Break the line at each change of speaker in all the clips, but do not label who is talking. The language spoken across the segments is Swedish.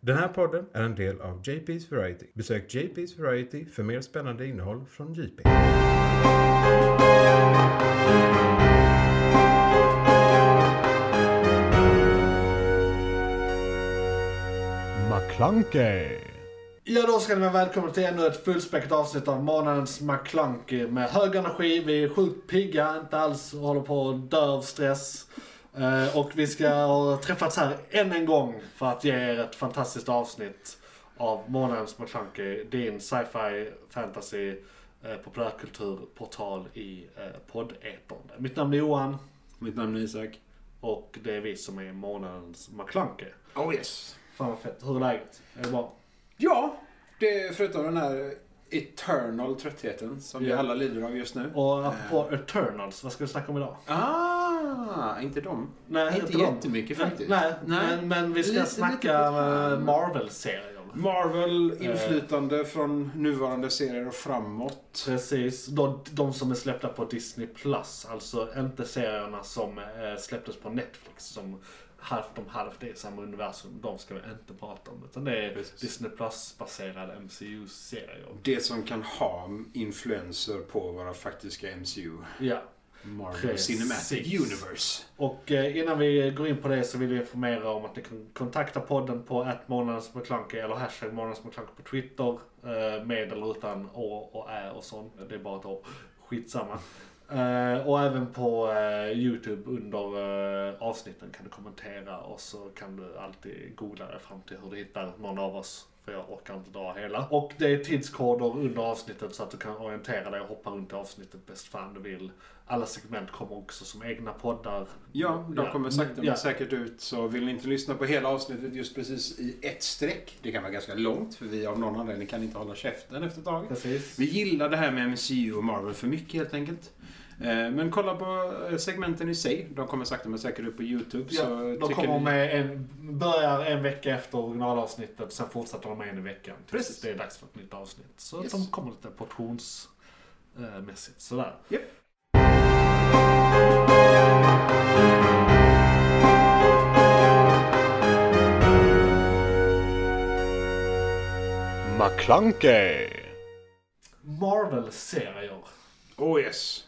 Den här podden är en del av JP's Variety. Besök JP's Variety för mer spännande innehåll från JP.
McClunkey.
Ja, då ska ni vara välkomna till ännu ett fullspäckat avsnitt av månadens McKlunky med hög energi. Vi är sjukt pigga, inte alls håller på att dö av stress. Eh, Och vi ska ha träffats här än en gång för att ge er ett fantastiskt avsnitt av månadens McKlunky. Din sci-fi fantasy eh, populärkulturportal i eh, poddetern. Mitt namn är Johan
Mitt namn är Isak.
och det är vi som är månadens McKlunky.
Oh yes.
Fan vad fett. Hur är läget? Är det bra?
Ja, det är förutom den här eternal tröttheten som vi
Ja.
alla lider av just nu.
Och apropå Eternals, vad ska vi snacka om idag?
Ah, inte dem.
Nej,
inte
dem.
jättemycket faktiskt.
Nej,
Nej.
Men, men vi ska
Lite, lite
snacka
grann.
eh, Marvel-serier.
Marvel,
Eh.
inflytande från nuvarande serier och framåt.
Precis. De, de som är släppta på Disney+. Plus, Alltså inte serierna som eh, släpptes på Netflix. Som halvt om halvt är i samma universum. De ska vi inte prata om. Utan det är
Precis.
Disney Plus-baserade MCU-serier.
Det som kan ha influenser på våra faktiska MCU.
Ja.
Marvel
Precis.
Cinematic Universe.
Och eh, innan vi går in på det så vill vi informera om att ni kan kontakta podden på att eller hashtag månadsmcklunky på Twitter. Eh, med eller utan å och ä och sånt. Det är bara ett å. Skitsamma. Eh, och även på eh, Youtube under eh, avsnitten kan du kommentera och så kan du alltid googla dig fram till hur du hittar någon av oss. För jag orkar inte dra hela. Och det är tidskoder under avsnittet så att du kan orientera dig och hoppa runt i avsnittet bäst fan du vill. Alla segment kommer också som egna poddar.
Ja, de kommer sakta men
ja.
säkert ut. Så vill ni inte lyssna på hela avsnittet just precis i ett streck. Det kan vara ganska långt för vi av någon anledning kan inte hålla käften efter ett tag.
Precis.
Vi gillar det här med MCU och Marvel för mycket helt enkelt. Eh, Men kolla på eh, segmenten i sig. De kommer sakta men säkert upp på YouTube.
Ja,
så
de
tycker
kommer
ni-
med en, börjar en vecka efter originalavsnittet, sen fortsätter de med en i veckan tills
Precis.
det är dags för ett nytt avsnitt. Så
Yes.
de kommer lite portionsmässigt sådär.
Japp.
McClunkey.
Marvel-serier.
Oh yes!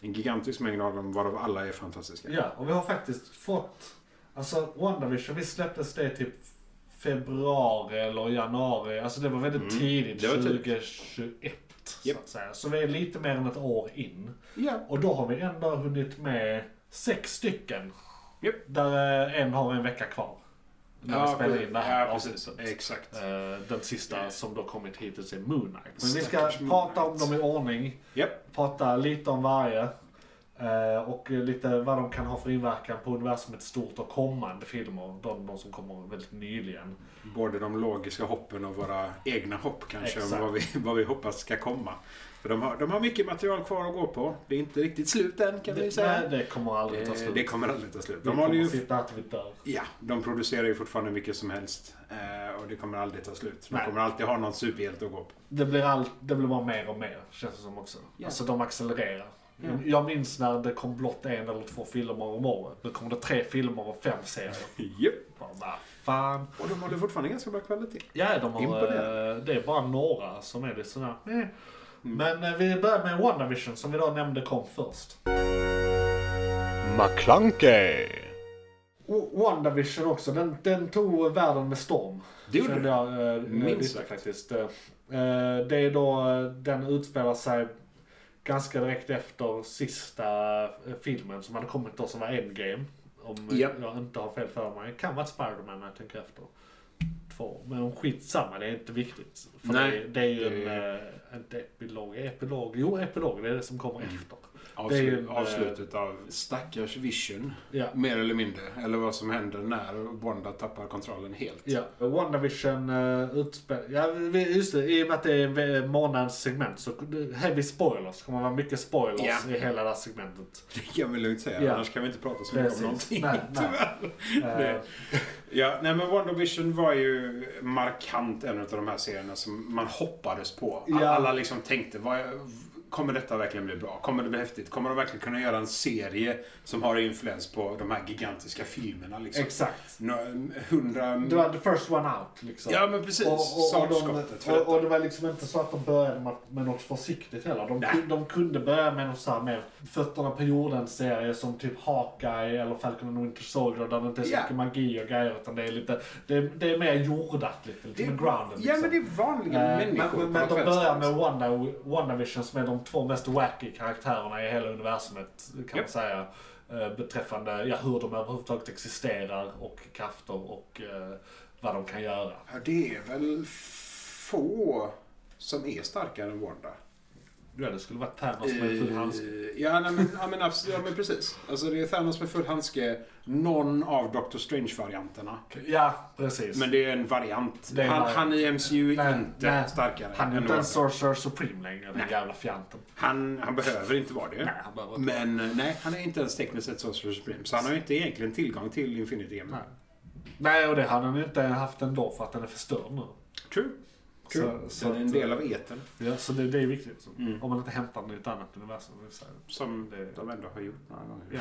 En gigantisk mängd av dem varav alla är fantastiska.
Ja, och vi har faktiskt fått... Alltså, WandaVision, vi släpptes det typ februari eller januari. Alltså det var väldigt tidigt,
Mm. det var tidigt.
2021.
Japp.
Så, att säga. så vi är lite mer än ett år in.
Ja.
Och då har vi ändå hunnit med sex stycken.
Japp.
Där eh, en har en vecka kvar. När vi spelar in det här
ja, precis.
avsnittet.
Exakt.
Eh, Den sista som då kommit hittills är Moon Knight. Men vi ska
Stackars Moon
prata om
Knight.
dem i ordning.
Japp.
Prata lite om varje. eh, Och lite vad de kan ha för inverkan på universumet stort och kommande filmer. De, de som kommer väldigt nyligen.
både de logiska hoppen och våra egna hopp kanske. Om
Exakt.
vad, vi, vad vi hoppas ska komma. För de har, de har mycket material kvar att gå på. Det är inte riktigt slut än kan vi
Det, nej,
säga.
det kommer aldrig
Eh,
ta
Det,
slut.
det kommer aldrig ta slut.
vi
De, har
kommer
ju,
sitta här till vi dör.
ja, de producerar ju fortfarande mycket som helst. Eh, och det kommer aldrig ta slut. De
Nej.
kommer alltid ha någon superhjälte att gå på.
Det blir, all, det blir bara mer och mer, känns det som också.
Ja.
Alltså de accelererar.
Ja.
Jag minns när det kom blott en eller två filmer om året. Nu kommer det tre filmer och fem serier.
Japp.
Bara, vad fan.
Och de håller fortfarande ganska bra kvalitet.
Ja, de har,
Imponerande.
eh, det är bara några som är det sådär. eh. Men eh, vi börjar med WandaVision som vi då nämnde kom först.
McClunkey.
O- WandaVision också, den, den tog världen med storm.
Det gjorde
Kände
den.
jag, eh,
Minst
lite
sagt.
faktiskt. Eh, eh, det är då, eh, den utspelar sig ganska direkt efter sista eh, filmen som hade kommit då som var Endgame. Om eh,
Ja.
jag inte har fel för mig. Kan vara Spiderman när jag tänker efter. Två. Men skitsamma, det är inte viktigt. För
Nej.
Det, det är ju
Det
en, eh, inte epilog, epilog, jo epilog det är det som kommer
Mm.
efter. Det är ju en,
Avslut,
eh,
avslutet av stackars Vision.
Ja.
Mer eller mindre. Eller vad som händer när Wanda tappar kontrollen helt.
Ja, WandaVision uh, utspelar... Ja, vi- just det. I och med att det är månadens segment så heavy spoilers. Det kommer vara mycket spoilers
Ja.
i hela det här segmentet.
Det kan vi lugnt säga.
Ja.
Annars kan vi inte prata så mycket om någonting.
Nej, nej.
Det-
Eh,
Ja, nej men WandaVision var ju markant en av de här serierna som man hoppades på. Alla,
Ja.
alla liksom tänkte, vad, Kommer detta verkligen bli bra? Kommer det bli häftigt? Kommer de verkligen kunna göra en serie som har influens på de här gigantiska filmerna? Liksom?
Exakt.
Nå- Hundra...
Det var the first one out liksom.
Ja, men precis.
Och, och, och,
Startskottet
de,
för
och, och
detta.
det var liksom inte så att de började med, med något försiktigt heller. De,
Nej.
kun- de kunde börja med någon så här mer fötterna på jorden-serie som typ Hawkeye eller Falcon and Winter Soldier där det inte är så
Ja.
mycket magi och grejer utan det är lite, det, är- det är mer jordat lite, lite med grounded
Ja, men det är
Eh,
vanliga
Men,
människor. på
men, men
något
de
vänster,
börjar med
liksom.
Wanda, WandaVision som är de två mest wacky karaktärerna i hela universumet kan man
Japp.
säga. Eh, Beträffande ja, hur de överhuvudtaget existerar och krafter och eh, vad de kan göra.
Ja, det är väl få som är starkare än Wanda.
Ja, det skulle vara Thanos med full handske.
Eh, Ja, nej, men, ja, men, abs- ja, men precis. Alltså, det är Thanos med full handske, någon av Doctor Strange-varianterna.
Ja, precis.
Men det är en variant.
Det är en
han,
variant.
han i MCU är
Nej,
inte
nej.
starkare
han är
än
inte ens
Wanda.
Sorcerer Supreme längre, den
Nej.
jävla fjanten.
han, han behöver inte vara det.
Nej, han behöver inte.
Men eh, nej, han är inte ens tekniskt sett Sorcerer Supreme. Så han har ju inte egentligen tillgång till Infinity Game.
Nej. Nej, och det hade han ju inte haft ändå för att den är förstörd nu.
True. True.
Så- så
Den är en
att-
del av etern.
Ja, så det, det är viktigt.
Mm.
Om man inte hämtar den i ett annat universum. i och för sig.
Som
Det-
de ändå har gjort några gånger.
Ja,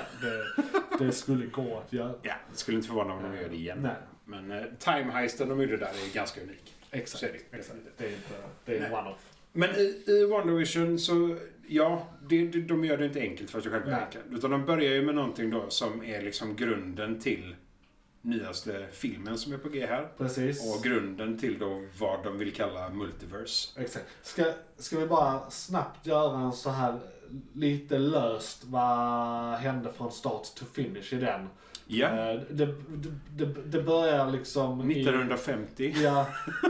det, det skulle gå att göra.
Ja, det skulle inte förvåna om de gör det igen.
Nej,
Men eh, time-heisten de gjorde där är ganska unik.
exakt.
Så är det.
exakt. Det är inte, det är en one-off.
Men i, i WandaVision så, ja, det, det, de gör det inte enkelt för sig själva
Nej.
egentligen. Utan de börjar ju med någonting då som är liksom grunden till nyaste filmen som är på G här.
Precis.
Och grunden till då vad de vill kalla multiverse.
Exakt. Ska, ska vi bara snabbt göra en så här lite löst vad hände från start to finish i den?
Ja,
Eh, Det, det, det, det börjar liksom i-
1950.
Ja,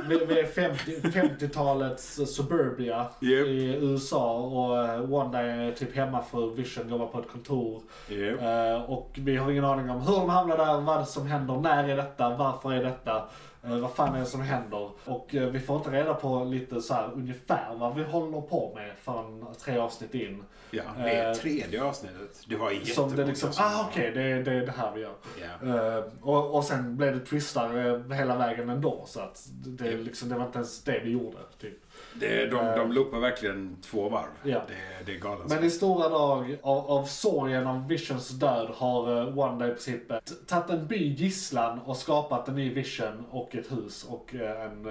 vi, vi är 50, 50-talets suburbia
Japp.
i USA och eh, Wanda är typ hemmafru, Vision jobbar på ett kontor.
Yep.
Eh, och vi har ingen aning om hur de hamnar där, vad som händer, när är detta, varför är detta, eh, vad fan är det som händer? Och eh, vi får inte reda på lite så här ungefär vad vi håller på med förrän tre avsnitt in.
Ja, det är
eh,
tredje avsnittet. Det var jättemånga
Som det liksom, ah okej, det, det är det här vi gör.
Ja.
Eh, och, och sen blev det twistar eh, hela vägen ändå. Så att det,
Ja.
liksom, det var inte ens det vi gjorde. Typ.
Det, de, de loopar verkligen två varv.
Ja.
Det, det är galet.
Men i stora drag av, av sorgen om Visions död har eh, Wanda i princip eh, t- tagit en by gisslan och skapat en ny Vision och ett hus och eh, en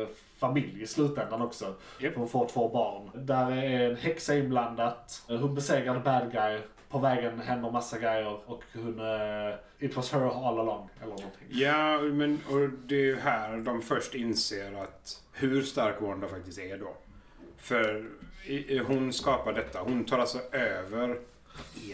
eh, familj i slutändan också.
Japp.
Hon får två barn. Där är en häxa inblandat. Eh, Hon besegrade bad guy. På vägen händer massa grejer och hon... eh, it was her all along. Eller någonting.
Ja, men och det är ju här de först inser att hur stark Wanda faktiskt är då. För i- i- hon skapar detta. Hon tar alltså över, är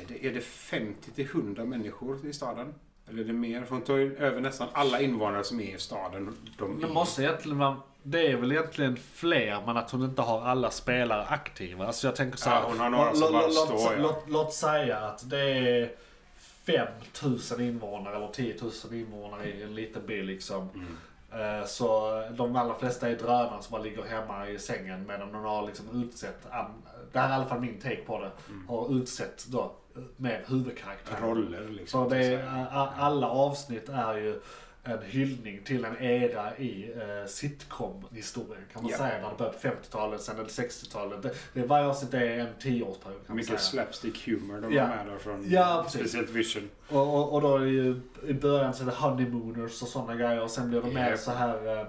det, är det 50 till 100 människor i staden? Eller är det mer? För hon tar ju över nästan alla invånare som är i staden. De
Det
är-
måste egentligen vara... Det är väl egentligen fler, men att hon inte har alla spelare aktiva. Alltså jag tänker så här,
Ja, hon har några som
låt-
bara
låt-
står,
låt,
ja.
låt, låt säga att det är 5000 invånare eller 10 000 invånare i en liten by liksom.
Mm.
Eh, Så de allra flesta är drönare som bara ligger hemma i sängen medan de har liksom utsett, an- det här är i alla fall min take på det,
Mm.
har utsett då eh, mer huvudkaraktärer.
roller liksom.
Så det är,
så här.
a- alla avsnitt är ju en hyllning till en era i eh, sitcom-historien kan man
Ja.
säga. När det började på 50-talet, sen är det 60-talet. Det, det, varje avsnitt är en tioårsperiod kan man
Mycket
säga.
slapstick humor de
Ja.
har med där från
Ja, precis.
speciellt Vision.
Och, och, och då är det ju, i början så är det honeymooners och sådana grejer och sen blir det mer
Japp.
så här, eh, eh,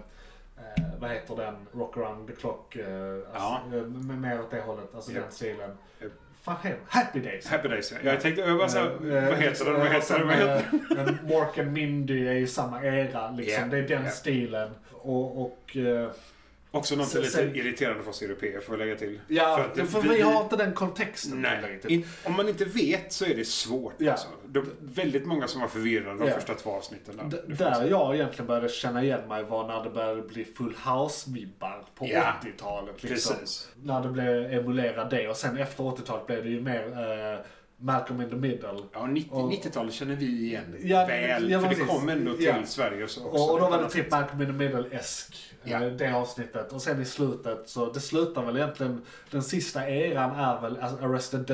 vad heter den, rock around the clock, eh, alltså, eh, m- mer åt det hållet, alltså
Japp.
den stilen.
Japp.
Fan, heter den? Happy Days
Happy Days. ja. Jag tänkte, jag bara så här,
Eh,
vad heter den?
eh,
Vad heter den? Vad heter den?
sen, eh, Men Mork and Mindy är ju samma era liksom.
Ja,
Det är den
ja.
stilen. Och, och eh,
Också något som är
Sen-
lite irriterande för oss europeer får jag lägga till.
ja,
För att det-
för, vi har inte den kontexten. heller
Nej,
riktigt.
in, om man inte vet så är det svårt.
Ja.
Alltså. De, väldigt många som var förvirrade de
Ja.
första två avsnitten. Där.
D-
Det
Där
finns-
jag egentligen började känna igen mig var när det började bli full house-vibbar på
Ja,
80-talet. Liksom.
Precis.
När det blev emulera det och sen efter 80-talet blev det ju mer eh, Malcolm in the Middle.
Ja, 90,
Och-
90-talet känner vi igen
Ja,
väl.
ja,
för det
precis.
kom ändå till
Ja.
Sverige och så också.
Och, och då var det typ Malcolm in the Middle-esk,
Ja.
eh, det avsnittet. Och sen i slutet, så det slutar väl egentligen, den sista eran är väl alltså, Arrested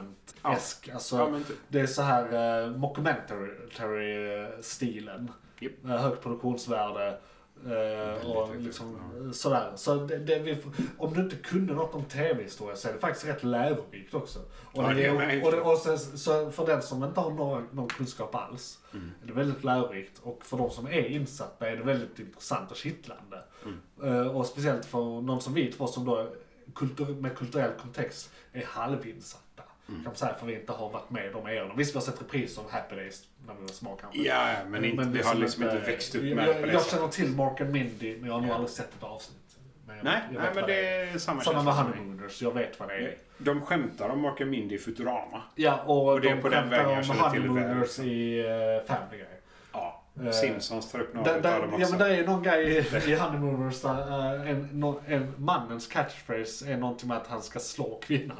Development-esk. Alltså,
Ja, men typ.
det är så här eh, mockumentary-stilen.
Japp.
Eh, högt produktionsvärde. Eh, och
högt
liksom,
upp,
eh, sådär. Så det, det vi, får- om du inte kunde något om tv-historia så är det faktiskt rätt lärorikt också. Och,
Ja,
det,
det är
är-
med.
och, det, och sen, så för den som inte har någon, någon kunskap alls är det väldigt lärorikt. Och för de som är insatta är det väldigt intressant och kittlande.
Mm.
Eh, och speciellt för någon som vi två som då kultur, med kulturell kontext är halvinsatta.
Mm.
Kan man säga, för vi inte har varit med i de erorna. Visst, vi har sett repriser av Happy Days när vi var små kanske.
Ja, men, inte, vi har liksom inte växt upp med det på
Jag,
det
jag
sättet.
känner till Mark and Mindy, men jag har nog aldrig sett ett avsnitt. Men jag
Nej,
vet- jag
nej
vet
men
vad
det är samma
Sådana
känsla för
med
mig.
Honeymooners, jag vet vad det är.
De skämtar om Mark and Mindy i Futurama.
Ja, och,
Och det är
de
på den
skämtar
vägen jag
om
känner till det väl,
Honeymooners
liksom.
i uh, Family Guy.
Ja.
Eh,
Simpsons tar upp några
Där,
av
där,
dem
ja,
också.
men där är någon grej i, i Honeymooners där eh, en, no, en mannens catchphrase är någonting med att han ska slå kvinnan.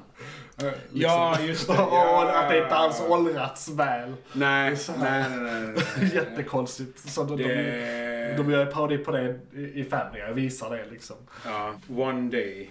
Eh, liksom.
Ja, just det.
och
Ja.
att det inte alls åldrats väl.
Nej, nej, nej. nej, nej.
Jättekonstigt. Så de, de,
Det...
de gör en parodi på det i, i Family Guy, visar det liksom.
Ja, One Day.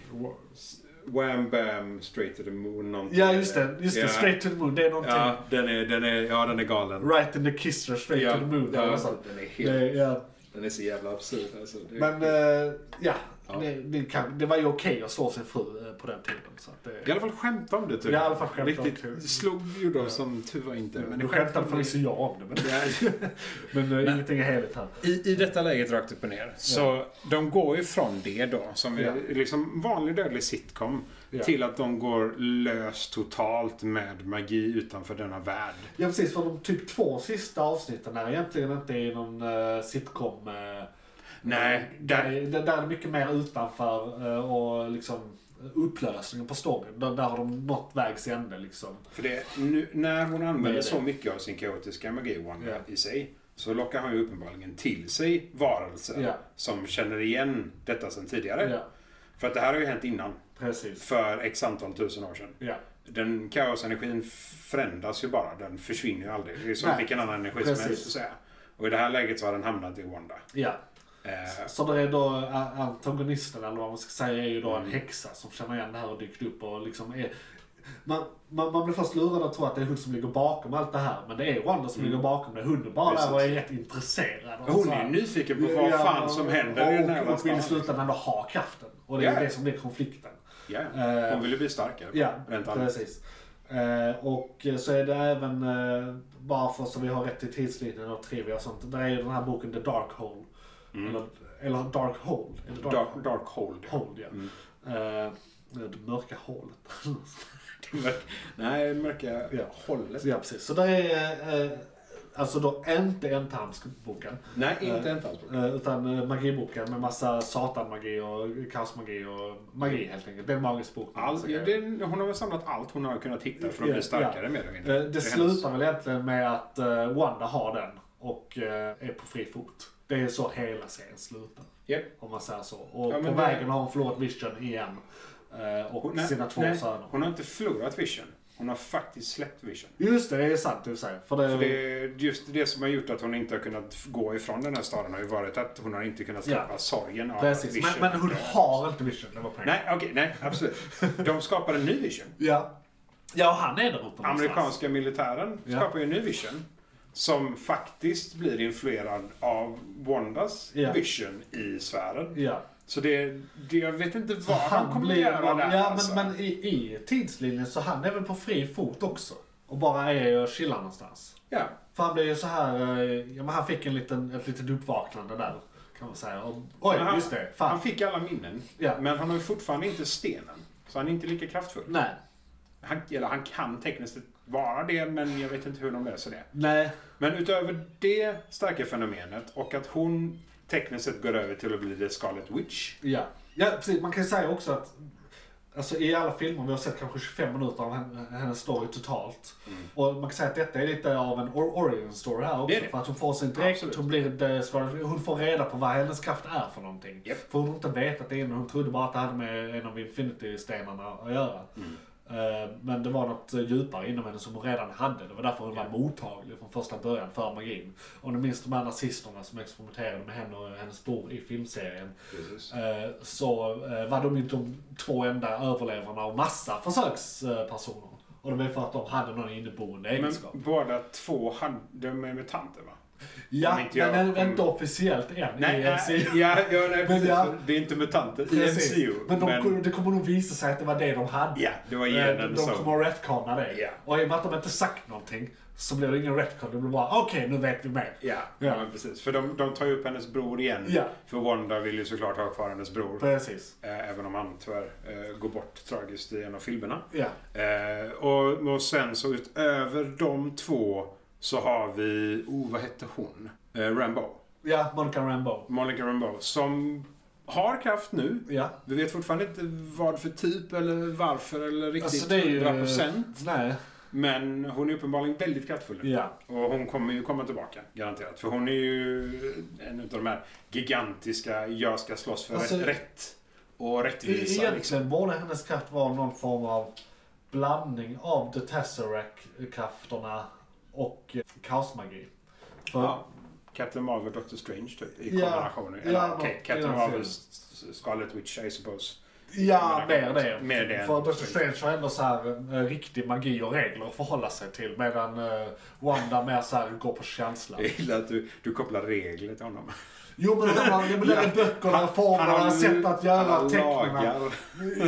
Wham Bam Straight to the Moon någonting.
Ja, just det. Just det.
Ja.
Straight to the moon. Det är någonting.
Ja, den är, den är, ja, den är galen.
Right in the kisser, straight
Ja,
to the moon.
ja, alltså,
eller något sånt.
den är helt-
det, ja.
Den är så jävla absurd. Alltså. Det-
Men eh, ja,
Ja.
Det, det, kan, det var ju okej att slå sin fru eh, på den tiden. Så att det,
I alla fall skämta om det typ.
I alla fall skämta om
Riktigt,
det.
slog gjorde de som tur var inte.
men
Men
nu
det
skämtade
skämtade
förvisso jag om det, men, men, eh, ingenting är heligt här.
I, I detta läget rakt upp och ner. Så de går ju från det då, som är
Ja.
liksom vanlig dödlig sitcom,
Ja.
till att de går lös totalt med magi utanför denna värld.
Ja precis, för de typ två sista avsnitten är egentligen inte i någon eh, sitcom. eh,
Nej, där-
grej. där, där är det mycket mer utanför eh, och liksom upplösningen på storyn. Där, där har de nått vägs ände liksom.
För det, nu, när hon använder
Nej, det-
så mycket av sin kaotiska magi Wanda
Ja.
i sig så lockar han ju uppenbarligen till sig varelser
Ja.
som känner igen detta sedan tidigare.
Ja,
För att det här har ju hänt innan,
precis.
för x antal tusen år sedan.
Ja.
Den kaosenergin förändras ju bara, den försvinner ju aldrig. Det är som
Nej,
vilken annan energi
precis.
som helst så att säga. Och i det här läget så har den hamnat i Wanda.
Ja,
Eh,
så det är då a- antagonisten eller vad man ska säga är ju då
Mm.
en häxa som känner igen det här och dykt upp och liksom är... Man, man, man blir först lurad att tro att det är hon som ligger bakom allt det här. Men det är Wanda som ligger bakom det. Hon är bara där och är jätteintresserad. Och
Mm. hon
så
är
här.
ju nyfiken på vad
Ja,
fan som händer i den här
Och, och vill i
världen.
slutändan då ha kraften. Och det är
Ja.
det som blir konflikten.
Ja,
Eh,
Hon vill ju bli starkare.
Ja,
rent allmänt.
precis. Eh, och eh, så är det även, eh, bara för så vi har rätt i tidslinjen och trivia och sånt. Där är ju den här boken The Dark Hole. Eller, eller Dark Hole. Är det Dark,
Mm. Dark, Mm. dark hold.
Hole, ja. Eh, det mörka hålet.
Mörk, nej, mörka
Ja.
hållet.
ja, precis. Så där är, eh, alltså då inte entarmsboken.
Nej, inte en talsbok.
Eh, Utan eh, magiboken med massa satanmagi och kaosmagi och magi helt enkelt. Det är en magisk bok. med
All,
massa
ja,
grejer.
det, är- hon har väl samlat allt hon har kunnat hitta för att
Alltså, Ja,
bli starkare
ja.
mer eller
Eh,
mindre.
Det,
är hennes-
slutar väl egentligen med att eh, Wanda har den och eh, är på fri fot. Det är så hela serien slutar.
Japp.
Om man säger så. Och
Ja,
på
men det-
vägen har hon förlorat Vision igen. eh, Och
Hon- nej,
sina två
nej,
söner.
Hon har inte förlorat vision. Hon har faktiskt släppt vision.
Just det, det är sant du säger. För det,
För det, är Eh, just det som har gjort att hon inte har kunnat f- gå ifrån den här staden har ju varit att hon har inte kunnat släppa
Ja.
sorgen av att
precis.
vision.
Men, men hon har inte Vision, det var poängen.
Nej, okej, nej, absolut. De skapar en ny vision.
Ja. ja, och han är där uppe någonstans.
Amerikanska militären
Ja.
skapar ju en ny vision. Som faktiskt blir influerad av Wandas
Ja.
vision i sfären.
Ja.
Så det, det, jag vet inte vad han, kommer
blir-
göra där.
Ja,
alltså.
men, men i, i tidslinjen så han är väl på fri fot också. Och bara är och chillar någonstans.
ja.
För han blev ju så här, eh, ja men han fick en liten, ett litet uppvaknande där. Kan man säga. Och, oj,
Men han,
just det. Fan.
han fick alla minnen.
Ja.
Men han har ju fortfarande inte stenen. Så han är inte lika kraftfull.
Nej.
Han, eller han kan tekniskt sett vara det, men jag vet inte hur de löser det.
Nej.
Men utöver det starka fenomenet och att hon tekniskt sett går över till att bli The Scarlet Witch.
Ja. ja, precis. Man kan ju säga också att alltså, i alla filmer, vi har sett kanske 25 minuter av hen- hennes story totalt. Och man kan säga att detta är lite av en or- origin story här också.
Mm. Det är det.
För att hon får sin dräkt,
Absolut.
hon, blir, det ska- hon får reda på vad hennes kraft är för någonting.
Japp.
För hon har inte vetat det innan, hon trodde bara att det hade med en av infinity-stenarna att göra.
Mm.
Eh, Men det var något djupare inom henne som hon redan hade. Det var därför hon var mottaglig från första början för magin. Om ni minns de här nazisterna som experimenterade med henne och hennes bror i filmserien. Eh, så eh, var de ju de två enda överlevarna av massa försökspersoner. Och det var för att de hade någon inneboende
Men
egenskap.
båda två hade, de är mutanter va? Om
Ja,
inte jag
men den är
kommer-
inte officiellt än.
Nej,
i MCU.
nej, ja, ja, nej precis.
ja.
Det är inte mutanter i
Precis.
MCU.
Men, de, det kommer nog visa sig att det var det de hade.
Ja, det var
Eh, de
genen som...
kommer att retconna det.
Ja.
Och i och med att de inte sagt någonting så blir det ingen retcon. Det blir bara okej, nu vet vi mer.
Ja,
Ja.
ja. Men precis. För de, de tar ju upp hennes bror igen.
Ja.
För Wanda vill ju såklart ha kvar hennes bror.
Precis.
Eh, även om han tyvärr eh, går bort tragiskt i en av filmerna.
Ja.
Eh, och, och sen så utöver de två så har vi, oh vad hette hon? Eh, Rambo.
ja, Monica Rambeau.
Monica Rambo. Som har kraft nu.
Ja.
Vi vet fortfarande inte vad för typ eller varför eller riktigt
Alltså, det är ju-
100%.
Nej.
Men hon är uppenbarligen väldigt kraftfull. nu.
Ja.
Och hon kommer ju komma tillbaka, garanterat. För hon är ju en av de här gigantiska, jag ska slåss för
Alltså-
rätt och
E-
rättvisa. liksom.
Egentligen borde hennes kraft vara någon form av blandning av the Tesseract-krafterna och eh, kaosmagi. För,
Ja. Captain Marvel och Doctor Strange typ, i
Ja.
kombination.
Ja,
Eller,
men-
okej, Captain
ja,
Marvel,
precis.
S- S- Scarlet Witch, I suppose.
Ja, mer det.
Mer det.
För Dr. Strange har ändå så här, eh, riktig magi och regler att förhålla sig till. Medan eh, Wanda mer så här, går på känsla.
Jag gillar att du, du kopplar regler till honom.
Jo men han har ju
Ja.
med böckerna, formerna, sätt att göra,
han har
tecknena.
lagar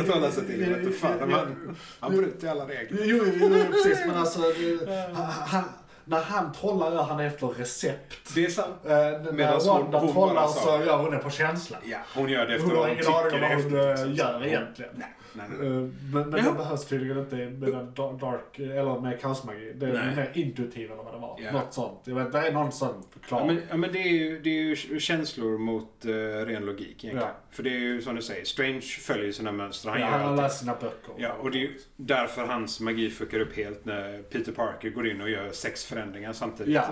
att hålla sig till. Vet du fan,
Ja.
han, han bryter alla regler.
Jo, jo, jo, jo, precis men alltså. eh, han- Han, när han trollar gör han efter recept.
Det är sant.
Eh, när
Medan hon-
Wanda
hon bara
trollar
sa-
så gör hon det på känsla.
Ja, hon gör det efter
Hon
vad
har
hon
ingen
tycker
aning om vad hon
efter.
eh, gör egentligen.
Nej, nej, nej.
Eh, Men, men
Jo.
det behövs tydligen inte med den da- dark, eller med kaosmagi. Det är
Nej.
mer intuitiv eller vad det var.
Ja.
Något sånt. Jag vet, det är någon sån
Ja,
förklaring.
men, ja, men det, är ju, det är ju känslor mot eh, ren logik egentligen.
Ja.
För det är ju som du säger, Strange följer ju sina mönster. Han
Ja,
gör
han har
alltid.
läst sina böcker.
Ja, och det är ju därför hans magi fuckar upp helt när Peter Parker går in och gör sex förändringar samtidigt.
Ja.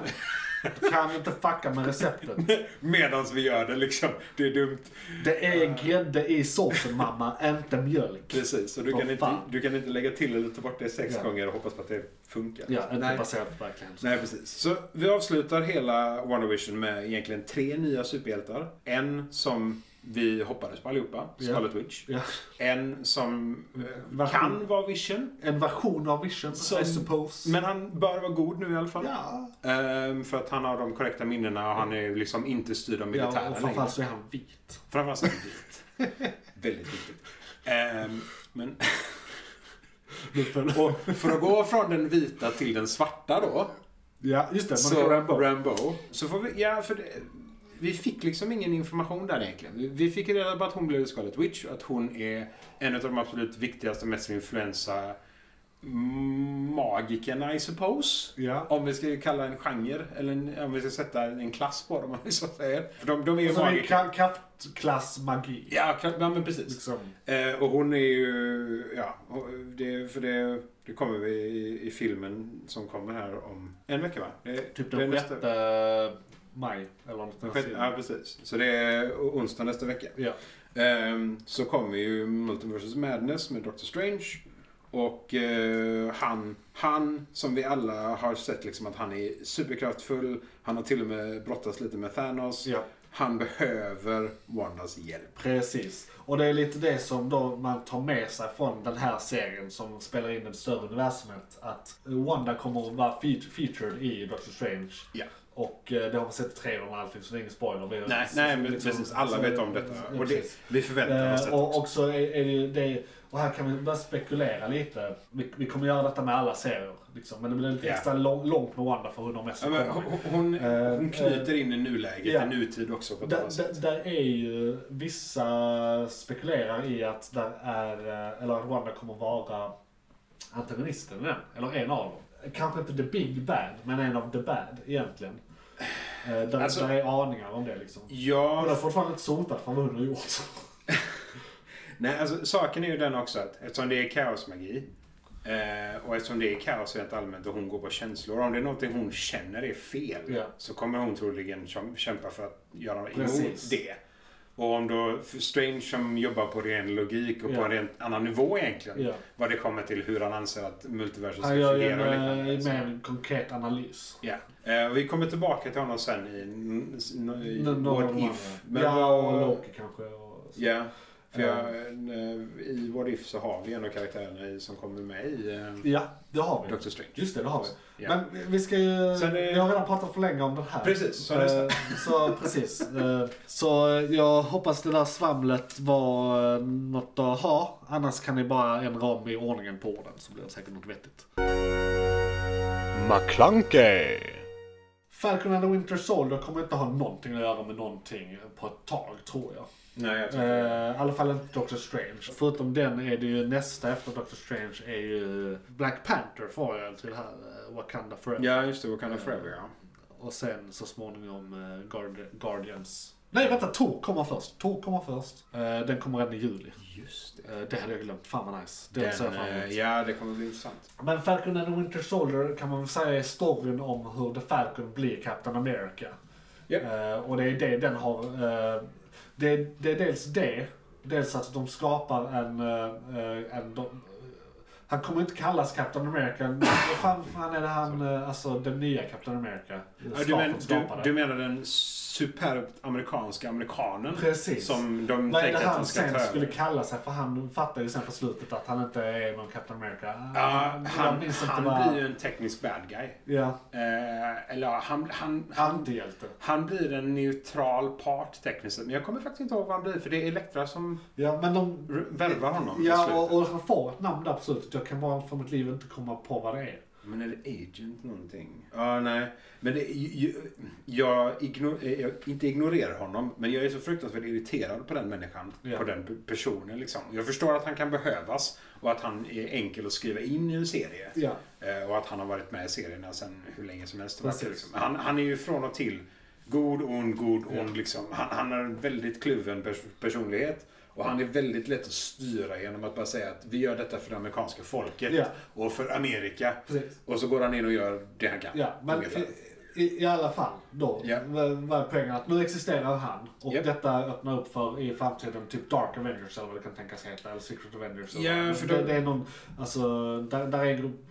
Kan inte fucka med receptet.
Medan vi gör det liksom. Det är dumt.
Det är grädde i såsen mamma, inte mjölk.
Precis, och du,
Vad
kan inte,
fan.
du kan inte lägga till eller ta bort det sex
Ja.
gånger och hoppas på att det funkar.
Ja, inte
Nej.
baserat på verkligheten.
Nej, precis. Så vi avslutar hela WandaVision med egentligen tre nya superhjältar. En som vi hoppades på allihopa,
Ja.
Scarlet Witch.
Ja.
En som eh,
Version.
kan vara Vision.
En version av Vision,
Som-
I suppose.
Men han bör vara god nu i alla fall.
ja.
Ehm, för att han har de korrekta minnena och han är liksom inte styrd av
ja,
militären
och
längre.
framförallt så är han vit.
Framförallt så är han vit. Väldigt viktigt. Ehm, men och för att gå från den vita till den svarta då.
Ja, just det.
Så
Monica Rambeau.
Rambo. Så får vi, ja, för det, vi fick liksom ingen information där egentligen. Vi, vi fick reda på att hon blev Scarlet Witch och att hon är en av de absolut viktigaste och mest influensa magikerna I suppose.
Ja.
Om vi ska kalla en genre, eller en, om vi ska sätta en klass på dem om vi så säger. För de, de är ju
Alltså det är
magiker.
ka- kraftklass magi.
Ja, kan, ja, men precis.
Liksom.
Eh, och hon är ju, ja, och det, för det, det kommer vi i, i filmen som kommer här om en vecka va? Det,
Typ
det är
den
nästa-
6 maj eller något
Den
sånt.
sjätte- Ja, precis. Så det är onsdag nästa vecka.
Ja.
Ehm, så kommer ju Multiversus Madness med Doctor Strange. Och eh, han, han, som vi alla har sett liksom att han är superkraftfull. Han har till och med brottats lite med Thanos.
ja,
Han behöver Wandas hjälp.
precis. Och det är lite det som då man tar med sig från den här serien som spelar in det större universumet. Att Wanda kommer att vara fe- featured i Doctor Strange.
Ja.
Och eh, det har man sett i trailern och allting så det är ingen spoiler. Det är
Nej,
liksom-
nej men
liksom-
precis. Alla
så-
vet om detta.
Ja,
Och det,
precis.
vi förväntar oss
Eh,
detta.
och, och så är, är det, ju- det och här kan vi bara spekulera lite. Vi, vi kommer göra detta med alla serier. Liksom. Men det blir lite
Ja.
extra lång, långt med Wanda för hon har mest
Ja,
att
men
komma med.
hon, hon,
Eh,
hon knyter in i nuläget,
ja.
i nutid också på ett
Där,
annat
där,
sätt.
där är ju, vissa spekulerar i att där är, eh, eller att Wanda kommer vara antagonisten i den, eller en av dem. Kanske inte the big bad, men en av the bad egentligen. Eh, Där,
Alltså-
där är aningar om det liksom.
Ja,
Hon är fortfarande inte sotad för vad hon har gjort.
Nej, alltså saken är ju den också att eftersom det är kaosmagi eh, och eftersom det är kaos rent allmänt och hon går på känslor. Om det är någonting hon känner är fel
Ja.
så kommer hon troligen käm- kämpa för att göra emot
Precis.
det. Och om då för Strange som jobbar på ren logik och
Ja.
på en rent annan nivå egentligen.
Ja.
Vad det kommer till hur han anser att multiversum ska
Han gör ju
fungera
en
och
eh,
liknande. Så-
mer konkret analys.
Ja. Eh, och vi kommer tillbaka till honom sen i, n- s- n- i
N- någon av
What
de
If.
andra. ja, och Loki kanske. Och...
Ja. För För jag,
Ehm.
eh, I What If så har vi en av karaktärerna i- som kommer med i eh,
Ja, det har vi.
Doctor Strange.
Just det, det har vi.
Ja.
Men vi- vi ska ju...
Sen, eh,
vi har redan pratat för länge om den här.
Precis, så
Eh,
nästa.
Så precis. Eh, Så eh, jag hoppas det där svamlet var eh, något att ha. Annars kan ni bara ändra om i ordningen på orden så blir det säkert något vettigt.
McClunkey!
Falcon and the Winter Soldier kommer inte ha någonting att göra med någonting på ett tag tror jag.
Nej, jag tror inte det.
Eh, I alla fall inte Doctor Strange. Förutom den är det ju nästa efter Doctor Strange är ju Black Panther får jag till det här eh, Wakanda Forever.
Ja, just det. Wakanda Forever, ja.
Och sen så småningom eh, Guard- Guardians. Nej vänta, Tor kommer först. Tor kommer först. Eh, den kommer redan i juli.
Just det.
Eh, det hade jag glömt. Fan vad nice. Det ser jag
Den,
fram
eh,
emot.
ja, det kommer bli intressant.
Men Falcon and the Winter Soldier kan man väl säga är storyn om hur The Falcon blir Captain America.
Ja.
Eh, och det är det den har... eh, det, det är dels det, dels att de skapar en... eh, eh, en de, han kommer inte kallas Captain America. men Vad fan, fan är det han, eh, alltså den nya Captain America?
Ja, du,
Skaparen
men, du,
skapade.
du menar den superbt amerikanska amerikanen?
Precis.
Som de
Vad är det
tänkte att han
han
ska ta
sen
över?
skulle kalla sig? För han fattar ju sen på slutet att han inte är någon Captain America.
Ja,
Jag
han,
minns inte
han
vad-
blir ju en teknisk bad guy.
Ja,
Eh, eller ja, han, han, han,
antihjälte.
han blir en neutral part tekniskt sett. Men jag kommer faktiskt inte ihåg vad han blir för det är Elektra som
Ja, men de,
r- värvar honom i
Ja,
slutet.
och, och han får ett namn där på slutet. Jag kan bara för mitt liv inte komma på vad det är.
Men är det agent någonting? Ja, nej. Men det, jag, jag, igno- eh, jag inte ignorerar honom, men jag är så fruktansvärt irriterad på den människan.
Ja.
På den pe- personen liksom. Jag förstår att han kan behövas och att han är enkel att skriva in i en serie.
Ja.
Eh, Och att han har varit med i serierna sedan hur länge som helst. tillbaka,
Precis.
Liksom. Han, han är ju från och till god, ond, god, ond. Liksom. Han, han har en väldigt kluven pers- personlighet. Och han är väldigt lätt att styra genom att bara säga att vi gör detta för det amerikanska folket
Ja.
och för Amerika.
Precis.
Och så går han in och gör det han kan.
Ja, men
ungefär.
i, i, i alla fall då.
Ja.
v- Vad är poängen? Att nu existerar han. Och
Japp.
detta öppnar upp för i framtiden typ Dark Avengers eller vad det kan tänkas heta. Eller Secret Avengers. eller
Ja,
vad. Men
för
det,
de-
det är någon, alltså, där, där är en grupp,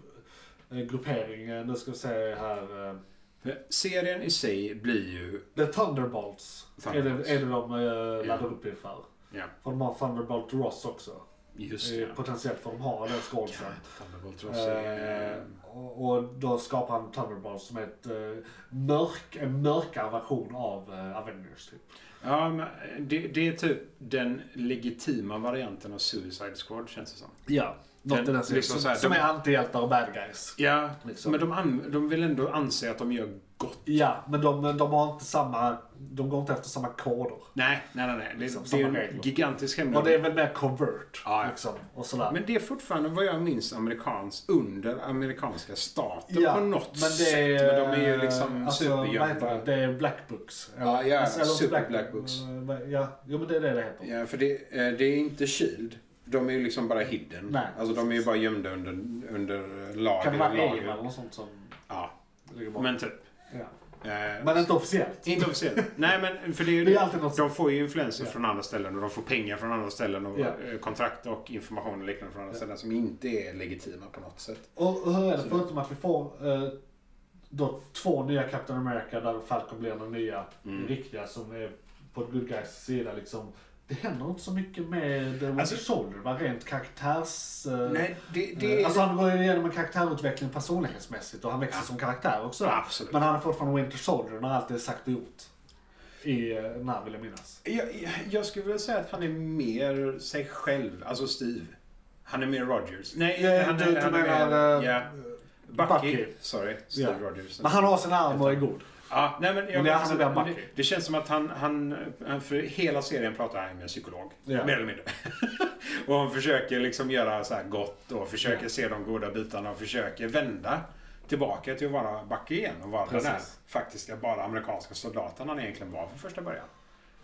eh, gruppering. eh, Nu ska vi se här. eh,
För Serien i sig blir ju...
The Thunderbolts.
Thunderbolts.
Är, det, är det de eh, laddar
Ja.
upp inför.
Ja,
För de har Thunderbolt Ross också.
just
Eh,
det.
Potentiellt får de ha den skådisen.
Thunderbolt Ross är-
Eh, och och då skapar han Thunderbolt som är ett, eh, mörk, en mörkare version av eh, Avengers. Typ.
Ja, men det, det är typ den legitima varianten av Suicide Squad känns det som.
Ja, något i den stilen.
liksom så här,
som, som
de-
är antihjältar och bad guys.
Ja,
Liksom.
men de, an- de vill ändå anse att de gör gott.
Ja, men de, de har inte samma, de går inte efter samma koder.
Nej, nej, nej. nej. Det,
Liksom,
det är
samma
en
regler.
gigantisk
Och
hemlighet.
det är väl mer covert.
Ja, ja.
Liksom, och sådär.
Men det är fortfarande vad jag minns amerikans, under amerikanska staten
ja,
på något
men det
sätt.
är,
Men de är ju liksom
alltså, vad heter
supergömda.
det? det är Black Books.
Ja, ja,
eller inte
Super Black Books.
eh, Ja, jo, men det är det det heter.
Ja, för det, eh, det är inte Shield. De är ju liksom bara hidden.
Nej.
Alltså de är ju bara gömda under, under lager.
Kan det vara Aim
lager.
eller något sånt som
Ja,
ligger bakom?
men typ.
ja.
Eh,
men inte officiellt.
Inte officiellt. Nej, men för det är ju
Det är alltid något
De får ju influenser
Ja.
från andra ställen och de får pengar från andra ställen och
Ja.
eh, kontrakt och information och liknande från andra
Ja.
ställen som inte är legitima på något sätt.
Och och hur är det förutom att vi får eh, då två nya Captain America där Falcon blir den nya
Mm.
riktiga som är på good guys sida liksom. Det händer inte så mycket med The Winter
Alltså-
Soldier va? Rent karaktärs... eh,
Nej, det,
eh,
det är...
Alltså han går ju igenom en karaktärutveckling personlighetsmässigt och han växer som karaktär också.
Absolut.
Men han är fortfarande Winter Soldier när allt är sagt och gjort. I eh, när vill jag minnas.
jag, jag skulle vilja säga att han är mer sig själv, alltså Steve. Han är mer Rogers. Nej,
Ja,
han,
du-
är-
du
han är
menar,
mer...
eh,
Ja. Bucky.
Bucky.
Sorry, Steve
Ja.
Rogers.
Men han har sin arm och är god.
Ja, nej, men
Men
jag,
det är
alltså,
han som är
det,
Bucky.
det känns som att han, han, han för hela serien pratar han med en psykolog.
Ja.
Mer eller mindre. och han försöker liksom göra så här gott och försöker se de goda bitarna och försöker vända tillbaka till att vara Bucky igen och vara den här
Precis.
faktiska bara amerikanska soldaten han egentligen var från första början.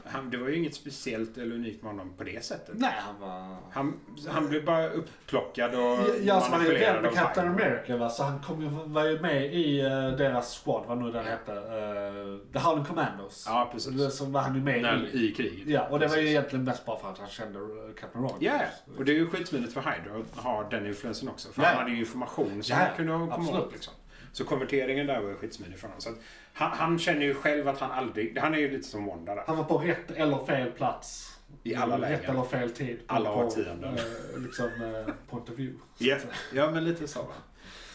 Han, det var ju inget speciellt eller unikt med honom på det sättet.
Nej, han var...
Han, han blev bara upplockad och
Ja, alltså han är ju vän med
och
Captain
fine.
America va, så han kom ju, var ju med i eh, deras squad, vad nu den hette, eh, The Howling Commandos.
Ja, precis.
Eller Så var han ju med
När-
i.
I kriget.
Ja, och det var ju
Precis.
egentligen mest bara för att han kände eh, Captain Rogers.
Ja, ja. och det är ju skitsmidigt för Hydra att ha den influensen också. För
Ja, ja.
han hade ju information som
Ja, ja.
han kunde komma
Absolut.
åt. Liksom. Så konverteringen där var ju skitsmidig för honom. Så att han, han känner ju själv att han aldrig... Han är ju lite som Wanda där.
Han var på rätt eller fel plats.
I alla
Rätt eller
lägen.
fel tid.
Alla
på,
årtionden.
eh, liksom, eh, point of view.
Ja, ja men lite så. Va?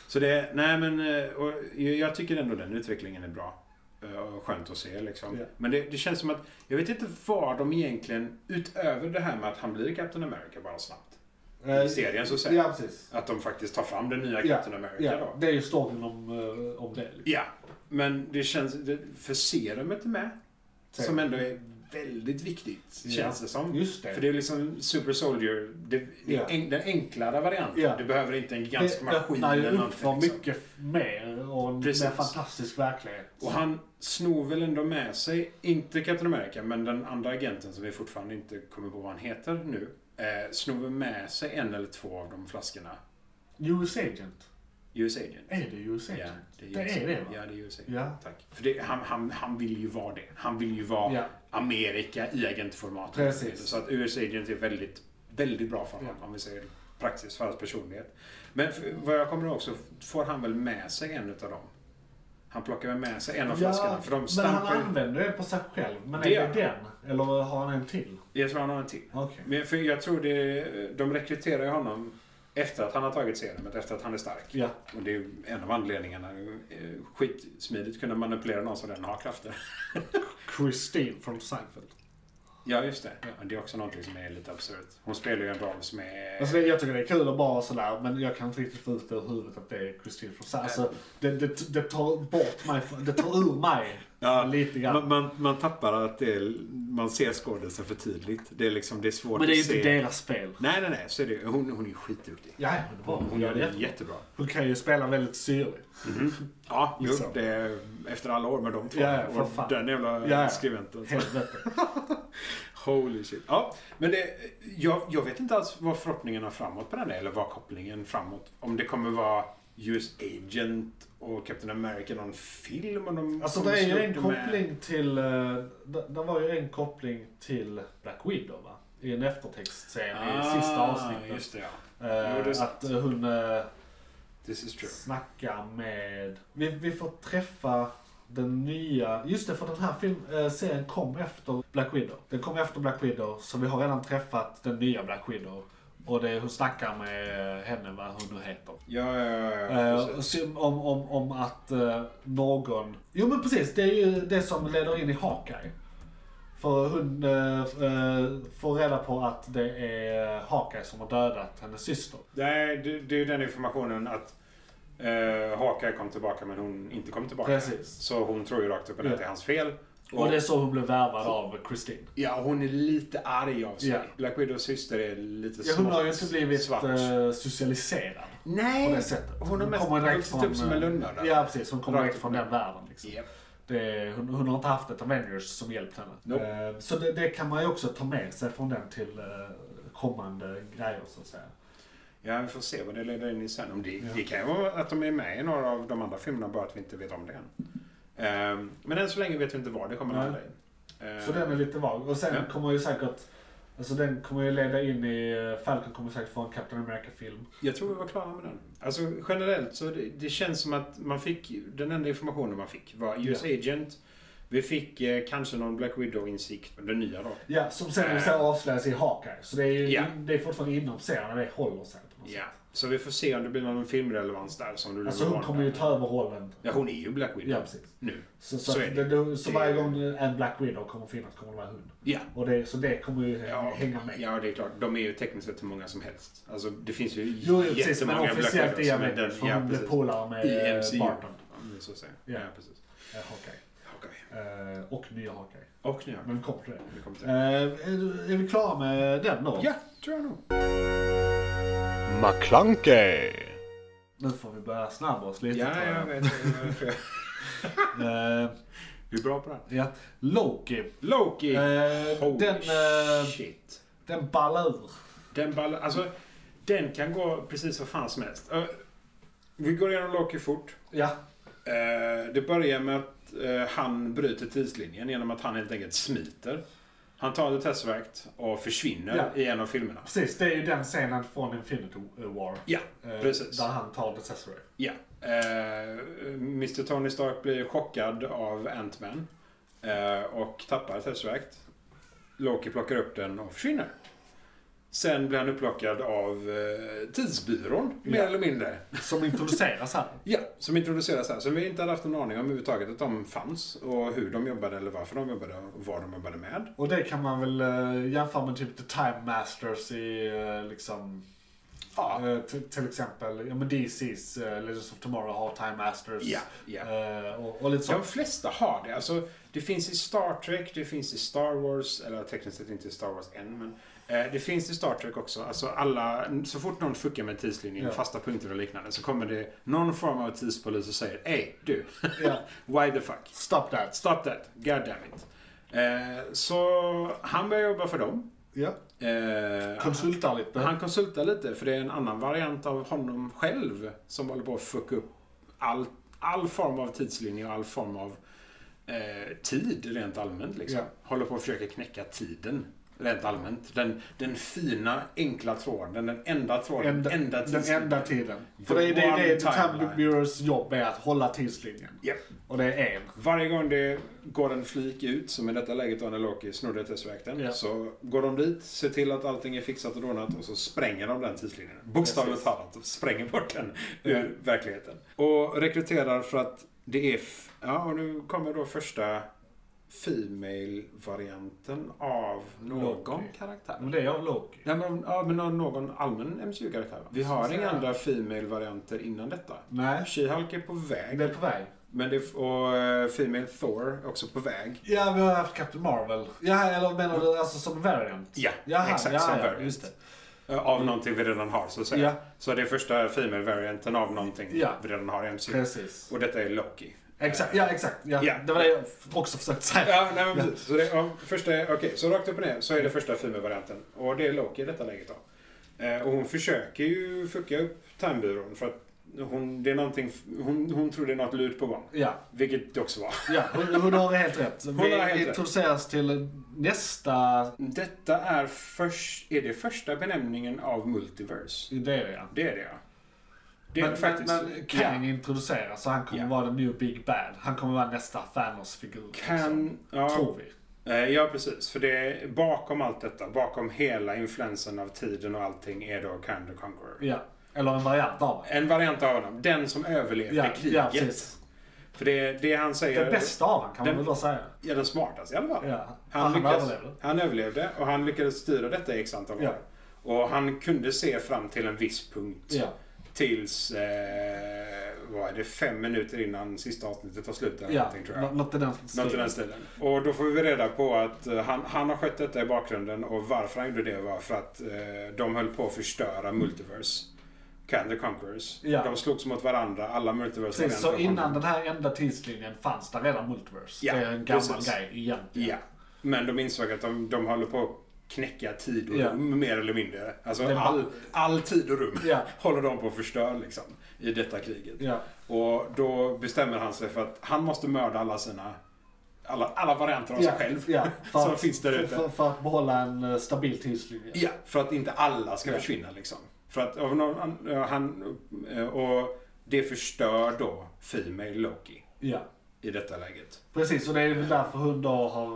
Så det... Nej men... eh, Och jag jag tycker ändå den utvecklingen är bra. Eh, och Skönt att se liksom.
Ja.
Men det, det känns som att... Jag vet inte vad de egentligen... Utöver det här med att han blir Captain America bara snabbt.
Eh,
I serien så säger
Ja, precis.
Att de faktiskt tar fram den nya
Ja,
Captain America
Ja,
då.
det är ju storyn om, eh, om det. Liksom.
Ja, men det känns... det- För serumet är med. Som ändå är väldigt viktigt,
Ja.
känns det som.
Just
För
det.
det är liksom Super Soldier, det, det är
Ja.
en, den enklare varianten.
Ja.
Du behöver inte en gigantisk
Det
maskin
öppnar ju
eller
upp för
någonting. Liksom.
mycket mer och en
Precis.
mer fantastisk verklighet.
Och han snor väl ändå med sig, inte Captain America, men den andra agenten som vi fortfarande inte kommer på vad han heter nu. Eh, snor väl med sig en eller två av de flaskorna.
US Agent.
US Agent.
Är det US Agent?
Ja,
det, är det va?
Ja, det är US Agent.
Ja.
Tack. För det, han, han, han vill ju vara det. Han vill ju vara
Ja.
Amerika i agentformat.
Precis.
Så att US Agent är väldigt, väldigt bra för honom. Om vi säger praktiskt för hans personlighet. Men för, vad jag kommer ihåg också får han väl med sig en utav dem. Han plockar väl med sig en av flaskorna. För de
men han
stampar ju-
använder det på sig själv. Men
Det
är det
gör
den? Eller har han en till?
Jag tror han har en till.
Okej.
Men för jag tror det, de rekryterar ju honom efter att han har tagit serumet, efter att han är stark.
Ja.
Och det är ju en av anledningarna. Eh, Skitsmidigt kunna manipulera någon som redan har krafter.
Christine från Seinfeld.
Ja, just det. Ja, det är också någonting som är lite absurt. Hon spelar ju en roll som är...
Alltså det, jag tycker det är kul att bara sådär, men jag kan inte riktigt få ut det ur huvudet att det är Christine från Seinfeld. Alltså, det, det, det tar bort mig, från- det tar ur mig lite grann.
Man, man, man tappar att det är, man ser skådisen för tydligt. Det är liksom, det är svårt
men det är ju
att se.
inte deras fel.
Nej, nej, nej. Så är det, hon, hon är ju skitduktig.
Ja, det var
Hon gör det jättebra.
Hon kan ju spela väldigt syrligt.
Ja, jo,
Liksom.
det är efter alla år med de två.
Ja, ja, för
och
fan.
den jävla
Ja, ja.
skribenten.
Helvete.
Holy shit. Ja, men det, jag, jag vet inte alls vad förhoppningarna framåt på den är, eller vad kopplingen framåt. Om det kommer vara US Agent och Captain America, någon film och de
Alltså
kommer
det är ju
slå
en
upp
koppling till... eh, Det det var ju en koppling till Black Widow va? I en eftertextscen i sista avsnittet.
Ah, Just det, ja.
Eh,
Jo, det är sant.
att hon eh,
This is true.
snackar med... Vi, vi får träffa den nya... Just det, för den här film, eh, serien kom efter Black Widow. Den kom efter Black Widow, så vi har redan träffat den nya Black Widow. Och det är hon snackar med eh, henne, vad hon nu heter.
Ja, ja, ja. ja.
Eh,
precis.
så om, om, om att eh, någon... Jo men precis, det är ju det som leder in i Hawkeye. För hon eh, f- eh, får reda på att det är Hawkeye som har dödat hennes syster.
Nej, det, det är ju den informationen att eh, Hawkeye kom tillbaka men hon inte kom tillbaka.
Precis.
Så hon tror ju rakt upp och ner
Ja.
att det är hans fel.
Och det är så hon blev värvad av Christine.
Ja, hon är lite arg av sig.
Ja.
Black Widows syster är lite
Ja, hon har ju inte
smått
blivit
svart.
eh, socialiserad
Nej!
på det sättet.
Hon har mest
kommer direkt
vuxit
från,
upp som en
eh,
lönnmördare.
Ja precis, hon kommer
Rakt
direkt
upp
från
och
den världen. Liksom.
Japp.
Det, hon, hon har inte haft ett Avengers som hjälpt henne.
Nope.
Eh, Så det, det kan man ju också ta med sig från den till eh, kommande grejer så att säga.
Ja, vi får se vad det leder in i sen. Om det, det kan ju vara att de är med i några av de andra filmerna, bara att vi inte vet om det än. Ehm, men än så länge vet vi inte var det kommer
Nej.
landa i. Ehm,
Så den är lite vag. Och sen
Ja.
kommer ju säkert, alltså den kommer ju leda in i, eh, Falcon kommer säkert få en Captain America-film.
Jag tror vi var klara med den. Alltså generellt så det, det känns som att man fick, den enda informationen man fick var US Agent. Vi fick eh, kanske någon Black Widow-insikt, den nya då.
Ja, som sen
Eh.
äh. avslöjas i Hawkeye. Så det är ju
Ja.
det är fortfarande inom serien, det håller sig på något
Ja. Så vi får se om det blir någon filmrelevans där som du
Alltså hon kommer ju ta över rollen.
Ja, hon är ju Black Widow.
Ja, precis.
Nu.
Så, så,
Så
att
är
det,
det.
det, så
Det-
varje gång en Black Widow kommer finnas kommer det vara hund.
Ja.
Och det, så det kommer ju
Ja,
hänga eh, med.
ja, det är klart. De är ju tekniskt sett hur många som helst. Alltså, det finns ju
Jo, jo precis. Men officiellt är jag
som
med.
den-
För
ja,
hon blev
precis.
polare med
I
eh,
MCU.
Barton.
Om det är så att säga.
Ja.
Ja, precis.
Eh, Hawkeye.
Okej.
Eh, och nya Hawkeye.
Och nu.
Men vi kommer till det.
Vi kommer till
Eh, är, är vi klara med den då?
Ja, tror jag nog.
McClunkey!
Nu får vi börja snabba oss lite.
Ja,
tror jag.
jag vet. Jag vet.
Eh,
Du är bra på det här.
ja. Loki.
Loki!
Eh,
Holy
den, eh,
shit.
den ballar ur.
Den ball, alltså, den kan gå precis vad fan som helst. Eh, vi går igenom Loki fort.
Ja,
Eh, det börjar med att eh, han bryter tidslinjen genom att han helt enkelt smiter. Han tar det tesseract och försvinner
Ja.
i en av filmerna.
precis. Det är ju den scenen från Infinity War.
Ja,
eh,
precis.
Där han tar The Cesare.
Ja. Eh, Mr Tony Stark blir chockad av Ant-Man eh, och tappar Tesseract. Loki plockar upp den och försvinner. Sen blir han upplockad av eh, Tidsbyrån, mer
Ja.
eller mindre.
Som introduceras här.
Ja, som introduceras här. Som vi inte hade haft någon aning om överhuvudtaget att de fanns och hur de jobbade eller varför de jobbade och vad de jobbade med.
Och det kan man väl eh, jämföra med typ The Time Masters i eh, liksom...
Ja.
eh, t- till exempel, ja men DC's eh, Legends of Tomorrow har Time Masters.
Ja, ja.
Eh, och, och lite
De
sånt.
flesta har det. Alltså, det finns i Star Trek, det finns i Star Wars, eller tekniskt sett inte i Star Wars än, men eh, det finns i Star Trek också. Alltså alla, så fort någon fuckar med tidslinjen,
Ja.
fasta punkter och liknande, så kommer det någon form av tidspolis och säger Ey, du,
Ja.
why the fuck?
Stop that.
Stop that, god damn it. Eh, så han börjar jobba för dem.
Ja.
Eh,
Konsultar lite.
han, han konsultar lite, för det är en annan variant av honom själv som håller på att fucka upp all, all form av tidslinje och all form av eh, tid rent allmänt. Liksom.
Ja.
Håller på att försöka knäcka tiden rent allmänt. Den, den fina, enkla tråden, den enda tråden,
Enda,
enda
den
tidslinjen.
enda tiden.
The
För det är det, är det The
one
Time
timeline.
Bureaus jobb är att hålla tidslinjen.
Japp.
Och det är en.
Varje gång det går en flik ut, som i detta läget då när Loki snodde Tesseracten,
Ja.
så går de dit, ser till att allting är fixat och donat och så spränger de den tidslinjen. Bokstavligt talat, spränger bort den ur verkligheten. Och rekryterar för att det är... F- ja, och nu kommer då första Female-varianten av någon
Loki.
karaktär.
Men det är av Loki.
Ja men, ja, men någon- någon allmän MCU-karaktär va? Vi har
Så-
inga andra Female-varianter innan detta.
Nej.
She-Hulk är på väg.
Det är på väg.
Men det, och eh, Female Thor är också på väg.
Ja, vi har haft Captain Marvel. Ja, eller menar du alltså som variant?
Ja,
Jaha,
exakt
ja,
som
ja,
variant.
just det.
Eh, Av någonting vi redan har så att säga.
Ja.
Så det är första Female varianten av någonting
Ja.
vi redan har i MCU.
Precis.
Och detta är Loki.
Exakt, ja exakt. Ja.
Ja.
Det var det jag f- också försökte säga.
Ja, nej men precis. Så, det, ja, första, okej, så rakt upp och ner så är det första Female-varianten. Och det är Loki i detta läget då. Eh, Och hon försöker ju fucka upp Timebyrån för att hon, det är någonting, hon, hon tror det är något lurt på gång.
Ja,
Vilket det också var.
ja. Hon, hon har helt rätt.
har
Vi
helt rätt.
introduceras till nästa
Detta är, först, är det första benämningen av Multiverse.
idé. Ja.
Det är det ja. Det är
men,
det faktiskt.
men, men Kang introduceras så han kommer
Ja.
vara the new big bad. Han kommer vara nästa Thanos-figur. liksom.
Kan, ja,
Tror vi.
eh, ja, precis. För det är bakom allt detta, bakom hela influensen av tiden och allting är då Kang the Conqueror.
Ja. Eller en variant av det.
En variant av honom. Den som överlevde
Ja, ja,
kriget.
precis.
för det, det han säger...
Det bästa av honom kan man
Den-
väl då säga.
Ja, den smartaste i alla fall.
Ja.
Han,
Han
lyckades,
överlevde.
han överlevde och han lyckades styra detta i x antal år.
Ja.
Och han kunde se fram till en viss punkt.
Ja.
Tills, eh, vad är det, fem minuter innan sista avsnittet tar slut eller
Ja,
någonting tror jag.
nå- något i den
Något i den stilen. Och då får vi reda på att eh, han, han har skött detta i bakgrunden och varför han gjorde det var för att eh, de höll på att förstöra Multiverse. Can the Conquerors.
Ja.
De slogs mot varandra, alla Multiverse
Precis, så innan den här enda tidslinjen fanns där redan Multiverse.
Ja,
det är en gammal
precis.
grej egentligen.
Ja. Men de insåg att de, de håller på att knäcka tid och
Ja.
rum mer eller mindre. Alltså
Det var-
all, all tid och rum
Ja.
håller de på att förstöra liksom, i detta kriget.
Ja.
Och då bestämmer han sig för att han måste mörda alla sina alla, alla varianter av sig själv
ja, för
som
att-
finns där ute.
För, för, för att behålla en eh, stabil tidslinje.
Ja, för att inte alla ska försvinna liksom. För att av någon, an- eh, han, eh, och det förstör då Female Loki
Ja.
i detta läget.
Precis, och det är väl därför hon då har,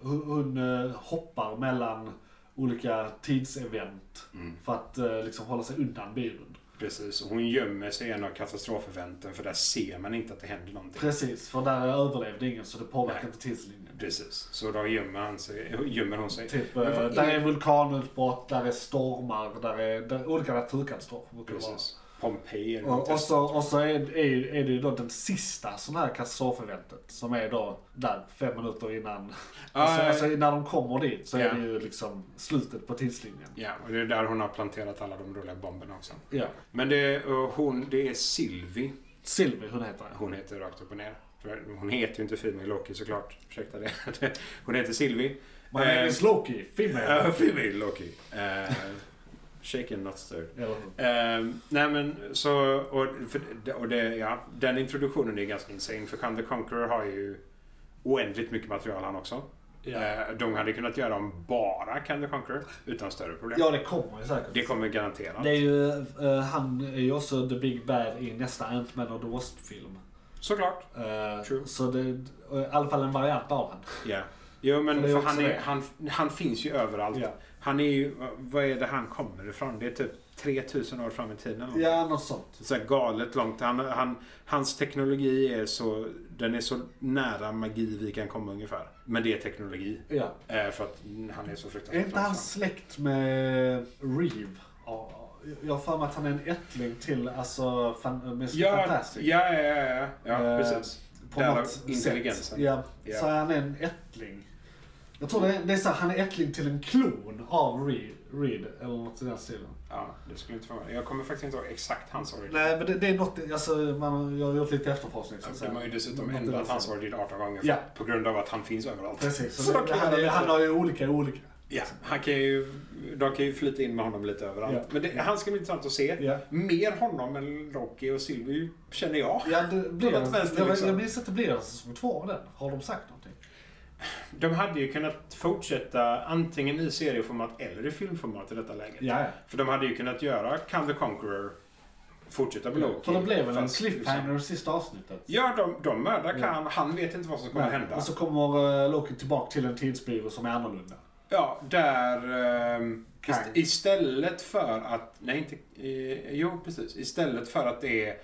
hon, hon eh, hoppar mellan olika tidsevent.
Mm.
För att eh, liksom hålla sig undan bilen.
Precis, och hon gömmer sig i en av katastrofeventen för där ser man inte att det händer någonting.
Precis, för där överlevde ingen så det påverkar
Nej.
inte tidslinjen.
Precis, så då gömmer, han sig, gömmer hon sig.
Typ, eh,
Men för
där är
ingen-
vulkanutbrott, där är stormar, där är, där olika naturkatastrofer. brukar det vara.
Precis. Pompeji eller
Och,
något.
och så, och så är, är, är det ju då den sista sån här katastrofeventet som är då där fem minuter innan. alltså,
Ah, ja, ja.
alltså när de kommer dit så
Ja.
är det ju liksom slutet på tidslinjen.
Ja, och det är där hon har planterat alla de roliga bomberna också.
Ja.
Men det, och hon, det är Sylvie
Silvi, hon heter jag.
Hon heter rakt upp och ner. För Hon heter ju inte Female Loki såklart. Ursäkta det. Hon heter Sylvie.
My name is Loki, female.
Eh, female Loki. Eh, shaken not stirred.
Eller hur?
Eh, nej men så, och, för, och det, ja, den introduktionen är ganska insane. För Khan the Conqueror har ju oändligt mycket material han också. Eh, De hade kunnat göra om bara Can the Conqueror utan större problem.
Ja, det kommer ju säkert.
Det kommer garanterat.
Det är ju, eh, han är ju också the big bad i nästa Ant-Man och the Wasp-film.
Såklart.
Eh,
True.
så det är i alla fall en variant av han.
Ja. Jo, men
För det
för
är
han,
också
är,
det.
han, han finns ju överallt.
Ja.
Han är ju, vad är det han kommer ifrån? Det är typ 3000 år fram i tiden.
Ja, något sånt.
Så här galet långt. Han, han, hans teknologi är så, den är så nära magi vi kan komma ungefär. Men det är teknologi.
Ja.
Eh, för att mm, han är så fruktansvärt
Är inte han släkt med Reeve? Ja, jag har för mig att han är en ättling till alltså, fan, Mr.
Ja,
Fantastic.
ja, ja, ja, ja. ja
Eh,
precis.
På
Därav
något sätt.
intelligensen.
Ja,
Ja.
så han är en ättling. Jag tror det är, det är så här, han är ättling till en klon av Reed, Reed eller något i den stilen.
Ja, det skulle inte vara. Jag kommer faktiskt inte ihåg exakt hans origin.
Nej, men det, det är något, alltså, man, jag har gjort lite efterforskning. Så att säga.
De har ju dessutom
Något i den
ändrat hans
stilen.
origin 18 gånger
Ja.
på grund av att han finns överallt.
Precis, så
Så
det,
då kan
han,
han-
är- han har ju olika olika.
Ja, han kan ju, de kan ju flyta in med honom lite överallt.
Ja.
Men det, han ska bli intressant att se.
Ja.
Mer honom än Rocky och Sylvie känner jag.
Ja, det blir,
Något vänster,
jag,
liksom.
jag minns att det blir alltså som två av den. Har de sagt någonting?
De hade ju kunnat fortsätta antingen i serieformat eller i filmformat i detta läget.
Ja, ja.
För de hade ju kunnat göra Can the Conqueror fortsätta med Loki.
För det blev väl en
Fast liksom-
cliffhanger i sista avsnittet?
Ja, de, de mördar
Ja.
Khan. Han vet inte vad som kommer
Nej,
hända.
Och så kommer eh, Loki tillbaka till en tidsbyrå som är annorlunda.
Ja, där... ehm,
Kang.
ist- istället för att... Nej, inte... Eh, jo, precis. Istället för att det är...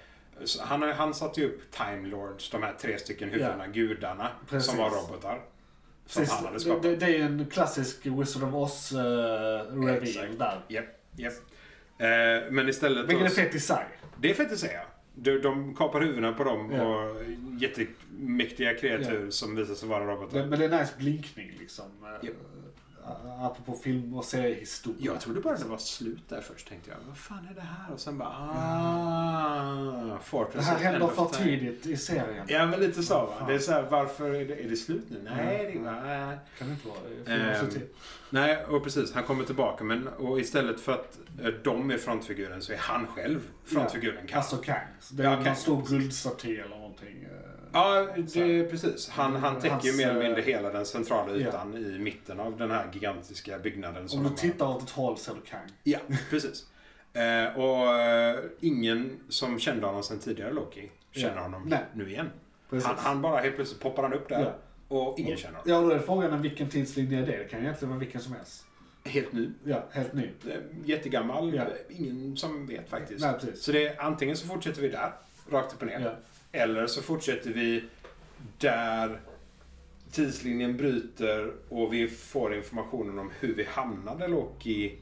så Han, har- han satte ju upp Time Lords, de här tre stycken huvudena, gudarna,
Precis.
som var robotar. Som
Precis,
han hade
det,
skapat.
det, det är ju en klassisk Wizard of Oz uh, reveal
Exakt.
där.
Japp, japp. Eh, men istället...
Vilket är
då-
fett i sig.
Det är fett att säga. De, de kapar huvudena på dem
Ja.
och jättemäktiga kreatur som visar sig vara robotar.
Men men det är en nice blinkning liksom. eh,
Ja.
a- Apropå film och seriehistoria.
Jag trodde bara det var slut där först tänkte jag. Vad fan är det här? Och sen bara ah,
det
Fortress
här
of
händer
End of
för
Time.
tidigt i serien.
Ja men lite så va.
Fan.
Det är så här, varför är det, är det slut nu? Nej, det är bara... äh.
Kan det inte vara? eh, filmen
Ehm,
så tidigt.
Nej, och precis. Han kommer tillbaka men och istället för att eh, de är frontfiguren så är han själv frontfiguren. Ja,
Alltså Kang. Det är
Ja, Kang.
en stor guldstaty eller någonting. eh.
ja det, precis. Han, han täcker ju
Hans,
mer eller mindre
eh,
hela den centrala
ja.
ytan i mitten av den här gigantiska byggnaden. som
Om du
de har.
tittar åt ett håll ser du Kang.
Ja, precis. Eh, och eh, ingen som kände honom sen tidigare, Loki, känner
Ja.
honom
Nej.
nu igen.
Precis.
Han, han bara helt plötsligt poppar han upp där
Ja.
och ingen känner honom.
Ja, då är frågan vilken tidslinje är det? Det kan ju egentligen vara vilken som helst.
Helt ny.
Ja, helt ny.
Eh, Jättegammal.
Ja.
Eh, Ingen som vet faktiskt.
Nej, precis.
så det är, antingen så fortsätter vi där, rakt upp och ner.
Ja.
Eller så fortsätter vi där tidslinjen bryter och vi får informationen om hur vi hamnade Loki.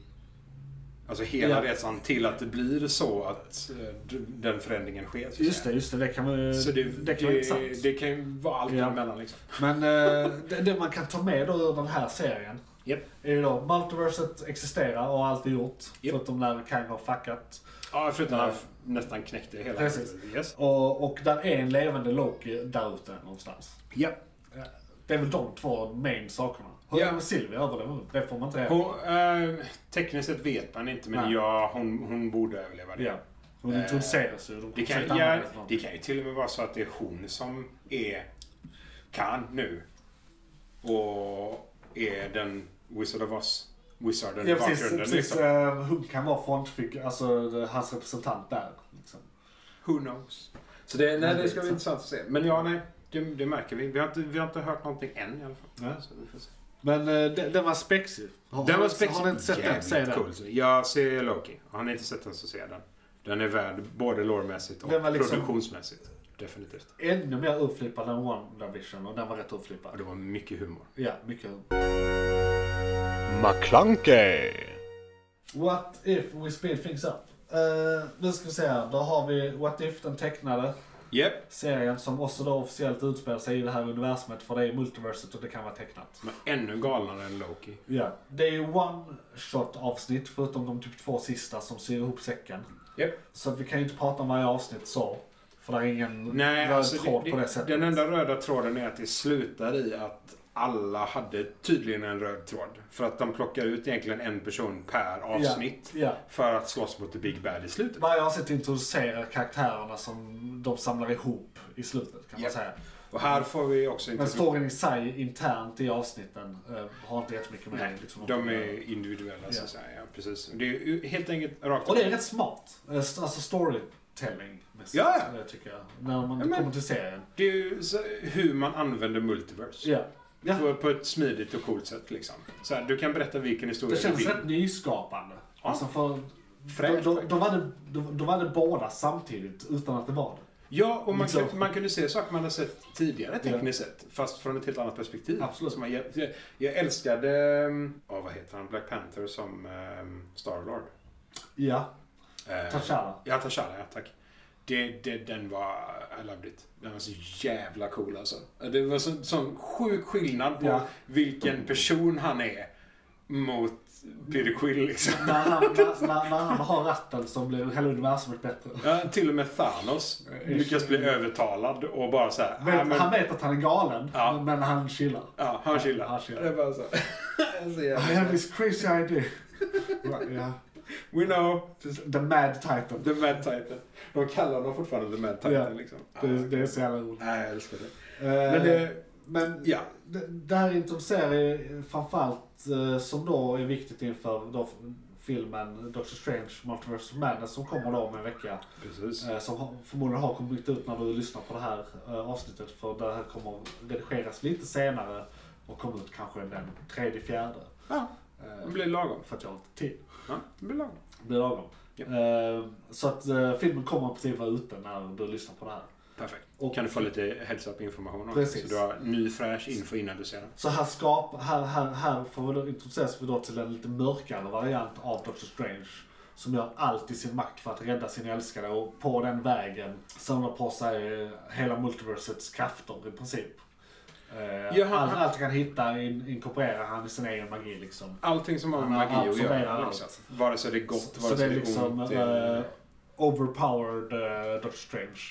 Alltså hela
Ja.
resan till att det blir så att eh, d- den förändringen sker. så att
Just det,
säga.
just det. Det kan, vara-
Så det,
det
det,
kan vara
det,
intressant.
kan ju vara allt
Ja.
emellan liksom.
Men eh, det, det man kan ta med då ur den här serien
Japp.
är ju då multiverset existerar och har alltid gjort.
Japp.
Förutom när Kang har fuckat.
Ja, förutom att han f- nästan knäckte hela.
Precis.
Yes.
Och, och där är en levande Loki där ute någonstans.
Ja.
Det är väl de två main sakerna. Hur
Ja.
är det med Sylvia överlever hon? Det får man inte reda på.
Hon, eh, tekniskt sett vet man inte, men
Nej.
ja, hon, hon borde överleva det.
Ja. Hon
Eh,
introduceras ju. De liksom.
Det
kommer
kan,
säkert
ja,
använda det för
det kan ju till och med vara så att det är hon som är kan nu. Och är den Wizard of Oz. Wizarden
Ja
i
precis,
bakgrunden
precis
liksom.
eh, hon kan vara frontfigur, alltså eh, hans representant där. Liksom.
Who knows? Så det, nej, det ska
det är
bli intressant att se. Men ja, nej. Det, det märker vi. Vi har, inte, vi har inte hört någonting än i alla fall.
Nej.
Så vi får se.
Men eh, den, den var spexig. Har,
Den var
Har ni inte sett den?
jävligt
Säg den.
cool. Jag ser Loki. Har ni inte sett den så se den. Den är värd både lårmässigt och
Den var liksom-
produktionsmässigt. Definitivt.
Ännu mer urflippad än WandaVision och den var rätt
Och
urflippad.
det var mycket humor.
Ja, mycket.
McClunkey.
What if we speed things up? Eh, nu ska vi se här. Då har vi What if, den tecknade
Japp.
serien som också då officiellt utspelar sig i det här universumet för det är multiverset och det kan vara tecknat.
Men ännu galnare än Loki.
Ja, det är ju one shot avsnitt förutom de typ två sista som syr ihop säcken.
Japp.
Så att vi kan ju inte prata om varje avsnitt så. För det är ingen
Nej,
röd
alltså,
tråd
det,
på det
det,
sättet.
den enda röda tråden är att det slutar i att alla hade tydligen en röd tråd. För att de plockar ut egentligen en person per avsnitt.
Ja, ja.
För att slåss mot The Big Bad i slutet.
Varje avsnitt introducerar karaktärerna som de samlar ihop i slutet kan
Ja.
man säga.
Och här får vi också
Men
inte...
storyn i sig internt i avsnitten eh, har inte jättemycket med
Nej,
liksom,
de
att-
är individuella så
Ja.
att säga. Ja, precis. Det är ju helt enkelt rakt
Och det är rätt smart. Eh, st- Alltså storytelling
Ja, ja.
tycker jag. När man
Ja, men-
kommer till serien.
Det är ju så, hur man använder multiverse.
Ja. Ja.
På, på ett smidigt och coolt sätt liksom. Så här, du kan berätta vilken historia
Det
du
känns
vill.
rätt nyskapande.
Ja.
Alltså för
Fräscht,
de, de,
faktiskt.
de, hade, de, de hade båda samtidigt utan att det var det.
Ja, och man,
Liksom.
kunde- man kunde se saker man hade sett tidigare tekniskt sett. Fast från ett helt annat perspektiv.
Absolut.
Som man, jag, jag- jag älskade, ehm, ja vad heter han, Black Panther som ehm, Starlord.
Ja,
Eh,
T'Challa.
Ja, Tashara, ja tack. Det, det, den var, I loved it. Den var så jävla cool alltså. Det var så, sån sjuk skillnad på
Ja.
vilken person han är mot Peter Quill liksom.
När han, när, när, när han har ratten så blir hela universumet bättre.
Ja, till och med Thanos lyckas bli övertalad och bara så här,
Vet,
"Ah, men-
Eh, Han vet att han är galen,
Ja.
men han chillar.
Ja, han
Han
chillar.
chillar.
Det är bara så. så
I
jävla-
have this crazy idea. Ja.
We know.
The Mad Titan.
The Mad Titan. De kallar honom fortfarande The Mad Titan
Ja.
liksom.
Det, det är så jävla roligt.
Nej, jag älskar det.
Men,
Men det,
men
ja.
det, det här introducerar ju framförallt eh, som då är viktigt inför då filmen Doctor Strange Multiverse of Madness som kommer då om en vecka.
Precis.
Eh, Som har- förmodligen har kommit ut när du lyssnar på det här eh, avsnittet. För det här kommer redigeras lite senare och kommer ut kanske den tredje, fjärde.
Ja,
Eh,
det blir lagom.
För att jag har inte tid.
Ja, det blir lagom.
Det blir lagom.
Ja.
Eh, Så att eh, filmen kommer precis vara ute när du lyssnar på det här.
Perfekt.
Och-
kan du få lite heads up information också?
Precis.
Så du har ny fräsch info innan du ser den.
Så här, skap, här, här, här får vi då introduceras vi då till en lite mörkare variant av Doctor Strange. Som gör allt i sin makt för att rädda sin älskade och på den vägen samlar på sig eh, hela multiversets krafter i princip. Eh,
Ja, han-
allt,
han-
allt han hittar in, inkorporerar han i sin egen magi liksom.
Allting som har med
Ja,
magi att
absorberar
göra.
allt.
Liksom. Vare sig det är gott,
så
vare
det
sig
är liksom
ont.
eh,
eller-
overpowered eh, Doctor Strange.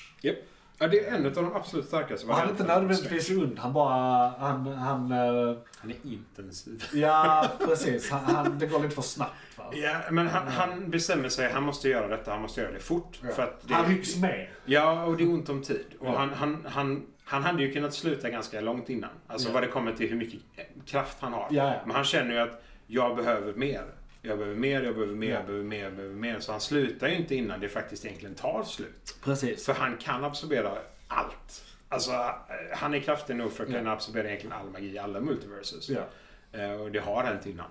Ja, det är en av de absolut starkaste
Och han är inte
varianterna.
nödvändigtvis ond, han bara, han, han, eh,
Han är intensiv.
ja precis, han, han, det går lite för snabbt va.
Ja, men han, han bestämmer sig. Han måste göra detta. Han måste göra det fort.
Ja.
För att det,
Han rycks med.
Ja, och det är ont om tid. Och
Ja.
han, han, han, han hade ju kunnat sluta ganska långt innan. Alltså
Ja.
vad det kommer till hur mycket kraft han har.
Ja, ja.
Men han känner ju att jag behöver mer. Jag behöver mer, jag behöver mer,
Ja.
jag behöver mer, jag behöver mer. Så han slutar ju inte innan det faktiskt egentligen tar slut.
Precis.
För han kan absorbera allt. Alltså, han är kraftig nog för att
Ja.
kunna absorbera egentligen all magi i alla multiverses.
Ja.
Eh, Och det har hänt innan.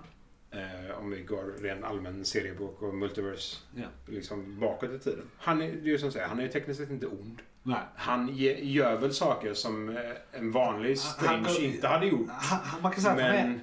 Eh, Om vi går ren allmän seriebok och multiverse
Ja.
liksom bakåt i tiden. Han är, det är ju som säger, han är ju tekniskt sett inte ond.
Nej.
Han ge, gör väl saker som eh, en vanlig
Han-
Strange
Ah, han- Ah,
inte hade gjort.
Han, han- man kan säga att han är
Men-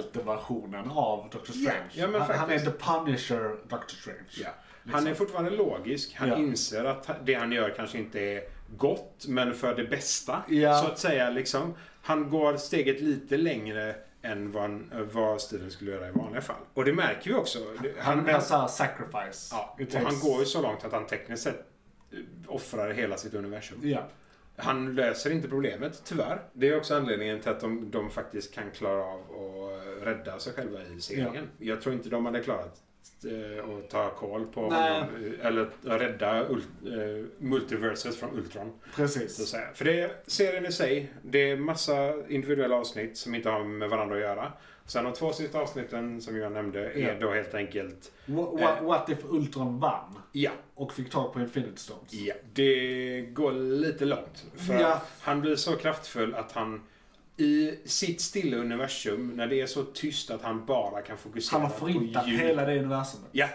antihjälteversionen av Dr. Strange.
Ja, ja, men
han, han är
faktiskt.
the punisher Dr. Strange.
Ja. Han
Liksom.
är fortfarande logisk. Han
Ja.
inser att det han gör kanske inte är gott, men för det bästa.
Ja.
Så att säga liksom. Han går steget lite längre än vad, han- vad Steven skulle göra i vanliga fall. Och det märker vi också. Det-
Han är mer
han-
såhär sacrifice.
ja,
It
och han
takes-
går ju så långt att han tekniskt sett eh, offrar hela sitt universum.
Ja.
Han löser inte problemet, tyvärr. Det är också anledningen till att de, de faktiskt kan klara av att rädda sig själva i serien. Jag tror inte de hade klarat eh, att ta koll på
Nej.
honom, eh, eller att rädda ult, eh, multiverses från Ultron. Så att
Precis.
säga. För det är serien i sig, det är massa individuella avsnitt som inte har med varandra att göra. Sen de två sista avsnitten som jag nämnde är
Ja.
då helt enkelt, Eh.
What, what, what if Ultron vann
ja,
och fick tag på Infinity Stones?
Ja, det går lite långt. För
Ja.
han blir så kraftfull att han i sitt stilla universum, när det är så tyst att han bara kan fokusera
Han har förintat
på ljud.
hela det universumet.
Ja,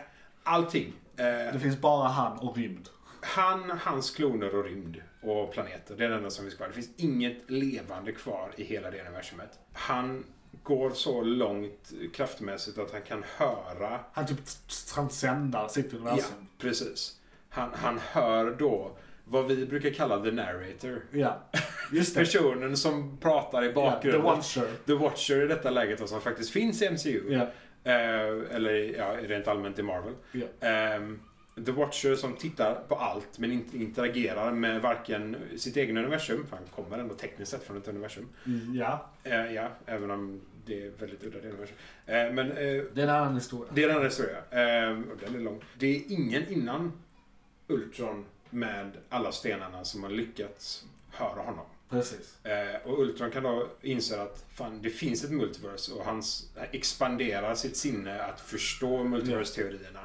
allting. Eh,
Det finns bara han och rymd.
han, hans kloner och rymd och planeter, det är det enda som finns kvar. Det finns inget levande kvar i hela det universumet. Han går så långt kraftmässigt att han kan höra
Han typ transcendar sitt universum.
Ja, precis. Han, han hör då vad vi brukar kalla the narrator.
Ja. Just det.
Personen som pratar i
Ja, the
bakgrunden.
Watcher.
The Watcher i detta läget och som faktiskt finns i MCU.
Ja.
Eh, eller ja, rent allmänt i Marvel.
Ja.
Ehm, The Watcher som tittar på allt men inte interagerar med varken sitt eget universum, för han kommer ändå tekniskt sett från ett universum.
ja.
Eh, ja, även om det är väldigt udda det universum. Eh, men eh,
Det är en annan historia.
det är en annan historia. Ehm, och den är lång. Det är ingen innan Ultron med alla stenarna som har lyckats höra honom.
Precis.
Eh, och Ultron kan då inse att fan, det finns ett multiverse och han s- expanderar sitt sinne att förstå multiverse-teorierna.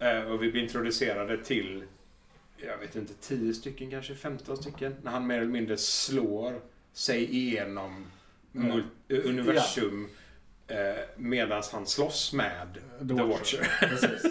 Eh, och vi blir introducerade till, jag vet inte, 10 stycken kanske, 15 stycken. När han mer eller mindre slår sig igenom mul- eh, universum eh, medan han slåss med The, Watcher.
Precis.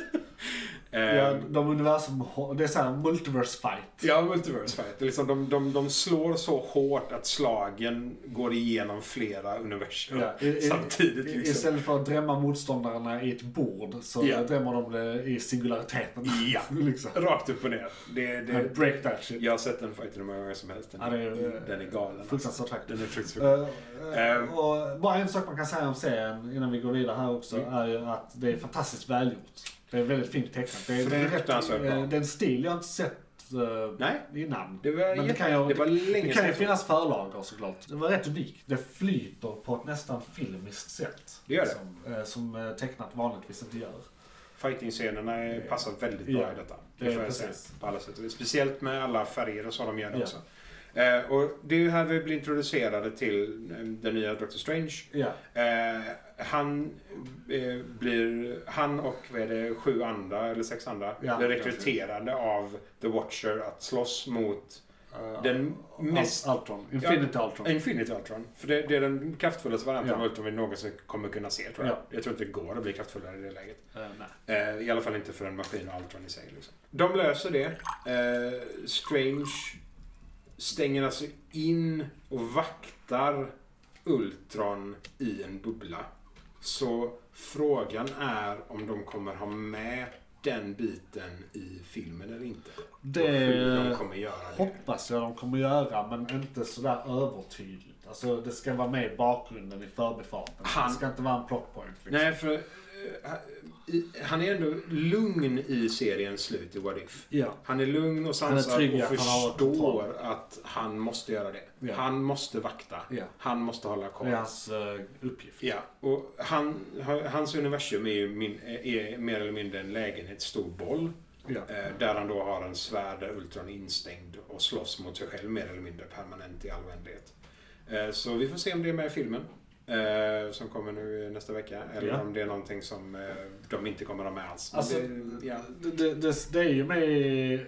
Eh,
Ja, de universum, det är såhär multiverse fight.
Ja, multiverse fight. Det är Liksom de, de, de slår så hårt att slagen går igenom flera universum
Ja, i- i-
samtidigt.
i-
Liksom.
Istället för att drämma motståndarna i ett bord så
Ja.
drämmer de det i singulariteten.
Ja.
liksom.
Rakt upp och ner. Det, det,
Break that shit.
jag har sett den fighten hur många gånger som helst. Den,
Ja, det är-
den är galen. alltså.
Fruktansvärt vackert.
Den är fruktansvärt.
Eh, eh, och bara en sak man kan säga om serien innan vi går vidare här också
Mm.
är ju att det är fantastiskt välgjort. Det är väldigt fint tecknat. Det, är- det, är rätt-
Fruktansvärt bra.
eh, det är en stil jag inte sett eh,
Nej.
innan.
Det var,
Men det
jätte-
kan, jag,
det var länge
det kan ju
sedan.
finnas förlagor såklart. Det var rätt unikt. Det flyter på ett nästan filmiskt sätt.
Det gör det.
Som, eh, som eh, tecknat vanligtvis inte gör.
Fighting-scenerna är- passar väldigt bra
Ja,
i detta.
det
Det,
är
får jag säga.
precis.
På alla sätt. och vis. Speciellt med alla färger och så de gör det
Ja.
också. Eh, och det är ju här vi blir introducerade till eh, den nya Doctor Strange.
Ja,
Eh, han eh, blir, han och vad är det, sju andra eller sex andra
Ja,
blir rekryterade av The Watcher att slåss mot den mest
Al- Ultron. Infinity Ultron.
Infinity Ultron. För det, det är den kraftfullaste varianten
Ja.
av Ultron vi någonsin kommer kunna se tror jag.
Ja.
Jag tror inte det går att bli kraftfullare i det läget.
Eh, nej.
Eh, I alla fall inte för en maskin och Ultron i sig. Liksom. De löser det. Eh, Strange stänger alltså in och vaktar Ultron i en bubbla. Så frågan är om de kommer ha med den biten i filmen eller inte. Och hur de
Det
kommer göra det.
hoppas jag de kommer göra, men inte sådär övertydligt. Alltså det ska vara med i bakgrunden i förbifarten.
Han-
Det ska inte vara en plot point. Liksom.
Nej, för eh, i- han är ändå lugn i seriens slut i What If.
Ja.
Han är lugn och
är
sansad
trygg i
och
att han har kontroll.
förstår att han måste göra det.
Ja.
Han måste vakta.
Ja.
Han måste hålla koll.
Det är hans eh, uppgift.
Ja, och han, hans universum är ju min, är mer eller mindre en lägenhet, stor boll.
Ja.
Eh, Där han då har en svärd där Ultron är instängd och slåss mot sig själv mer eller mindre permanent i all oändlighet. Eh, Så vi får se om det är med i filmen. eh, Som kommer nu nästa vecka. Eller
Ja.
om det är någonting som eh, de inte kommer att ha med alls. Men
Alltså,
det, ja.
Det, det, det, det är ju med i,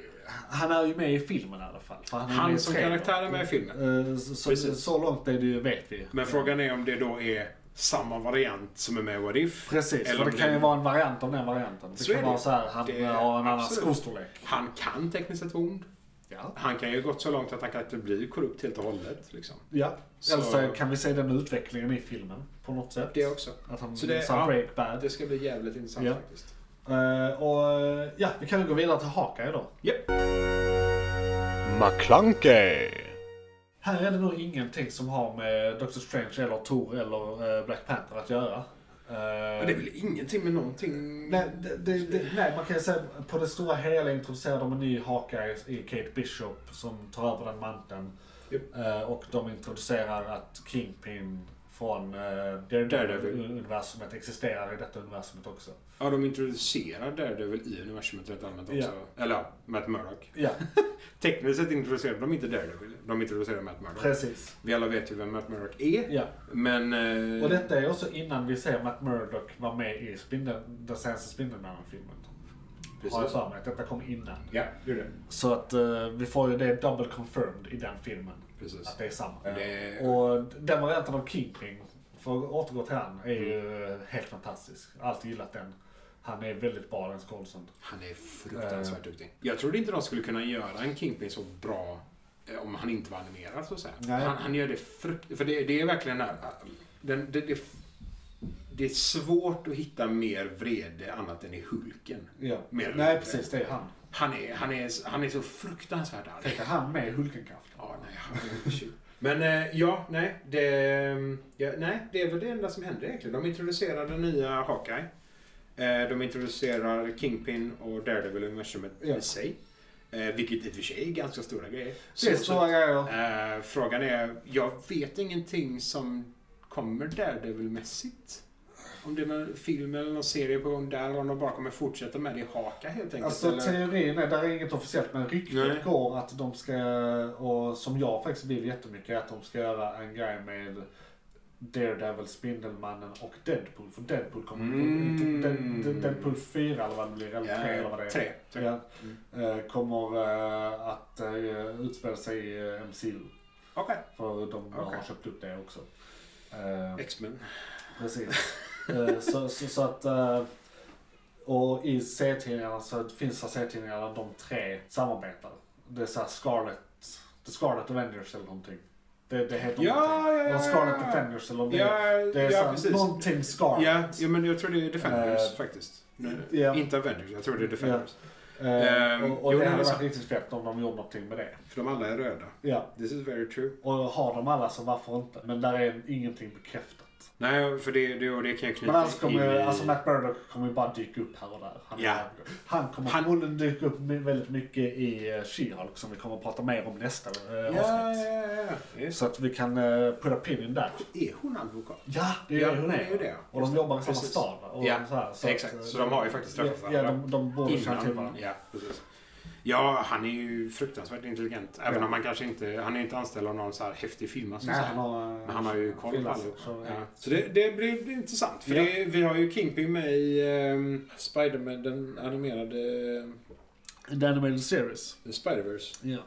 Han är ju med i filmen i alla fall. för är med i
Han som
trailern.
karaktär är med i filmen.
Eh, så- Så,
Precis.
så långt är det ju, vet vi.
Men frågan är om det då är samma variant som är med i What If.
Precis,
Eller
för det
om
kan ju
det-
vara en variant av den varianten. Det
Så är
kan
det
vara
ju.
så här, han
Det-
eh, har en annan
absolut.
skostorlek.
Han kan tekniskt sett vara ond.
Ja.
Han kan ju gått så långt att han kanske blir korrupt helt och hållet. Liksom.
ja.
Så-
Eller så kan vi se den utvecklingen i filmen på något sätt.
Det också.
Att han
Så det-
sa
ja.
break bad.
Det ska bli jävligt intressant
Ja.
faktiskt.
Eh, och eh, ja, vi kan ju gå vidare till Hawkeye då.
McClunkey!
Här är det nog ingenting som har med Doctor Strange eller Thor eller eh, Black Panther att göra. Eh,
Men det är väl ingenting med någonting...
nej, det, det, det, nej, man kan ju säga på det stora hela introducerar de en ny Hawkeye i Kate Bishop som tar över den manteln.
Japp.
Eh, och de introducerar att Kingpin från uh,
Daredevil.
universumet existerar i detta universumet också.
Ja, de introducerar Daredevil i universumet rätt allmänt också. Eller ja, Matt Murdock.
Ja,
Tekniskt sett introducerar de inte Daredevil. De introducerar Matt Murdock.
precis.
Vi alla vet ju vem Matt Murdock är.
Ja.
Men... eh,
Och detta är också innan vi ser Matt Murdock vara med i spindeln, den senaste Spindelmannen-filmen. Har jag
Precis.
för mig att detta kom innan.
Ja, det är det.
Så att eh, vi får ju det double confirmed i den filmen.
Precis.
Att det är samma.
Det-
Och den varianten av Kingpin, för att återgå till han, är ju
Mm.
eh, helt fantastisk. Alltid gillat den. Han är väldigt bra den skådisen.
Han är fruktansvärt duktig. Eh, Jag trodde inte de skulle kunna göra en Kingpin så bra eh, om han inte var animerad så att säga.
Nej.
Han, han gör det frukt... För det, det är verkligen den här... eh, Den, det, det, det är svårt att hitta mer vrede annat än i Hulken.
Ja.
Mer eller
Nej
mindre.
precis, det är han.
Han är, han är, han är så fruktansvärt arg.
Tänk han med Hulkenkraften.
Ja, nej, han är en tjuv. Men eh, ja, nej det, ja, nej, det är väl det enda som hände egentligen. De introducerar den nya Hawkeye. Eh, de introducerar Kingpin och Daredevil och universumet
Ja.
i sig. Eh, vilket i och för sig är ganska stora grejer.
Det är
Så-
stora grejer.
eh, frågan är, jag vet ingenting som kommer Daredevil-mässigt. om det är någon film eller någon serie på gång där, om de bara kommer fortsätta med det i haka helt enkelt.
Alltså
eller?
teorin är, där är inget officiellt men
Nej.
ryktet går att de ska, och som jag faktiskt vill jättemycket, att de ska göra en grej med Daredevil, Spindelmannen och Deadpool. För Deadpool kommer
Mm.
Dead- Dead- Deadpool 4 eller vad det blir, eller 3 eller vad det är.
Tre. tre. Mm.
Ja, eh, kommer eh, att eh, utspela sig i eh, MCU.
Okej.
För de
Okej.
har köpt upp det också. Eh,
X-Men.
Precis. Eh, så, så, så att... eh, Och i serietidningarna så finns det serietidningar där de tre samarbetar. Det är såhär Scarlet, The Scarlet Avengers eller någonting. Det, det heter
Ja,
någonting.
ja, ja,
Någon Scarlet
ja.
Defenders eller något.
Ja,
det
ja
är såhär
precis.
någonting Scarlet.
Ja, ja, men jag tror det är Defenders
Eh,
faktiskt. Nej,
ja.
Inte Avengers, jag tror det är Defenders.
Eh,
Ehm,
och och
jo, det
det
är
hade varit
sant.
riktigt fett om de gjorde någonting med det.
För de alla är röda.
Ja.
This is very true.
Och har de alla så varför inte? Men där är ingenting bekräftat.
Nej, för det, det, och det kan jag knyta
Men annars kommer
in
ju,
i...
alltså Matt Murdock kommer ju bara dyka upp här och där. Han,
Ja.
han kommer
Han-
förmodligen dyka upp med- väldigt mycket i eh, She-Hulk som vi kommer att prata mer om nästa eh,
ja,
avsnitt.
ja, ja, ja. Just.
Så att vi kan uh, put a pin in där.
Är hon advokat?
Ja, det är
Ja,
ju hon
det
är.
är ju det.
Och de jobbar i samma
Precis.
stad. va? Och
Ja,
så här, att,
exakt.
eh,
Så de har ju faktiskt träffat
Ja,
varandra.
de, de borde känna till varandra.
Ja, precis. Ja, han är ju fruktansvärt intelligent. Även
Ja.
om han kanske inte... Han är inte anställd av någon så här häftig film. Alltså,
Nej,
så
han
här.
har, eh,
Men han har ju koll på
Finland,
allihop.
så, eh,
Ja.
ja.
Så det, det blir blir intressant. För
Ja.
det, vi har ju Kingpin med i ehm, Spiderman, den animerade
The Animated Series.
eh, Spider-Verse.
Ja.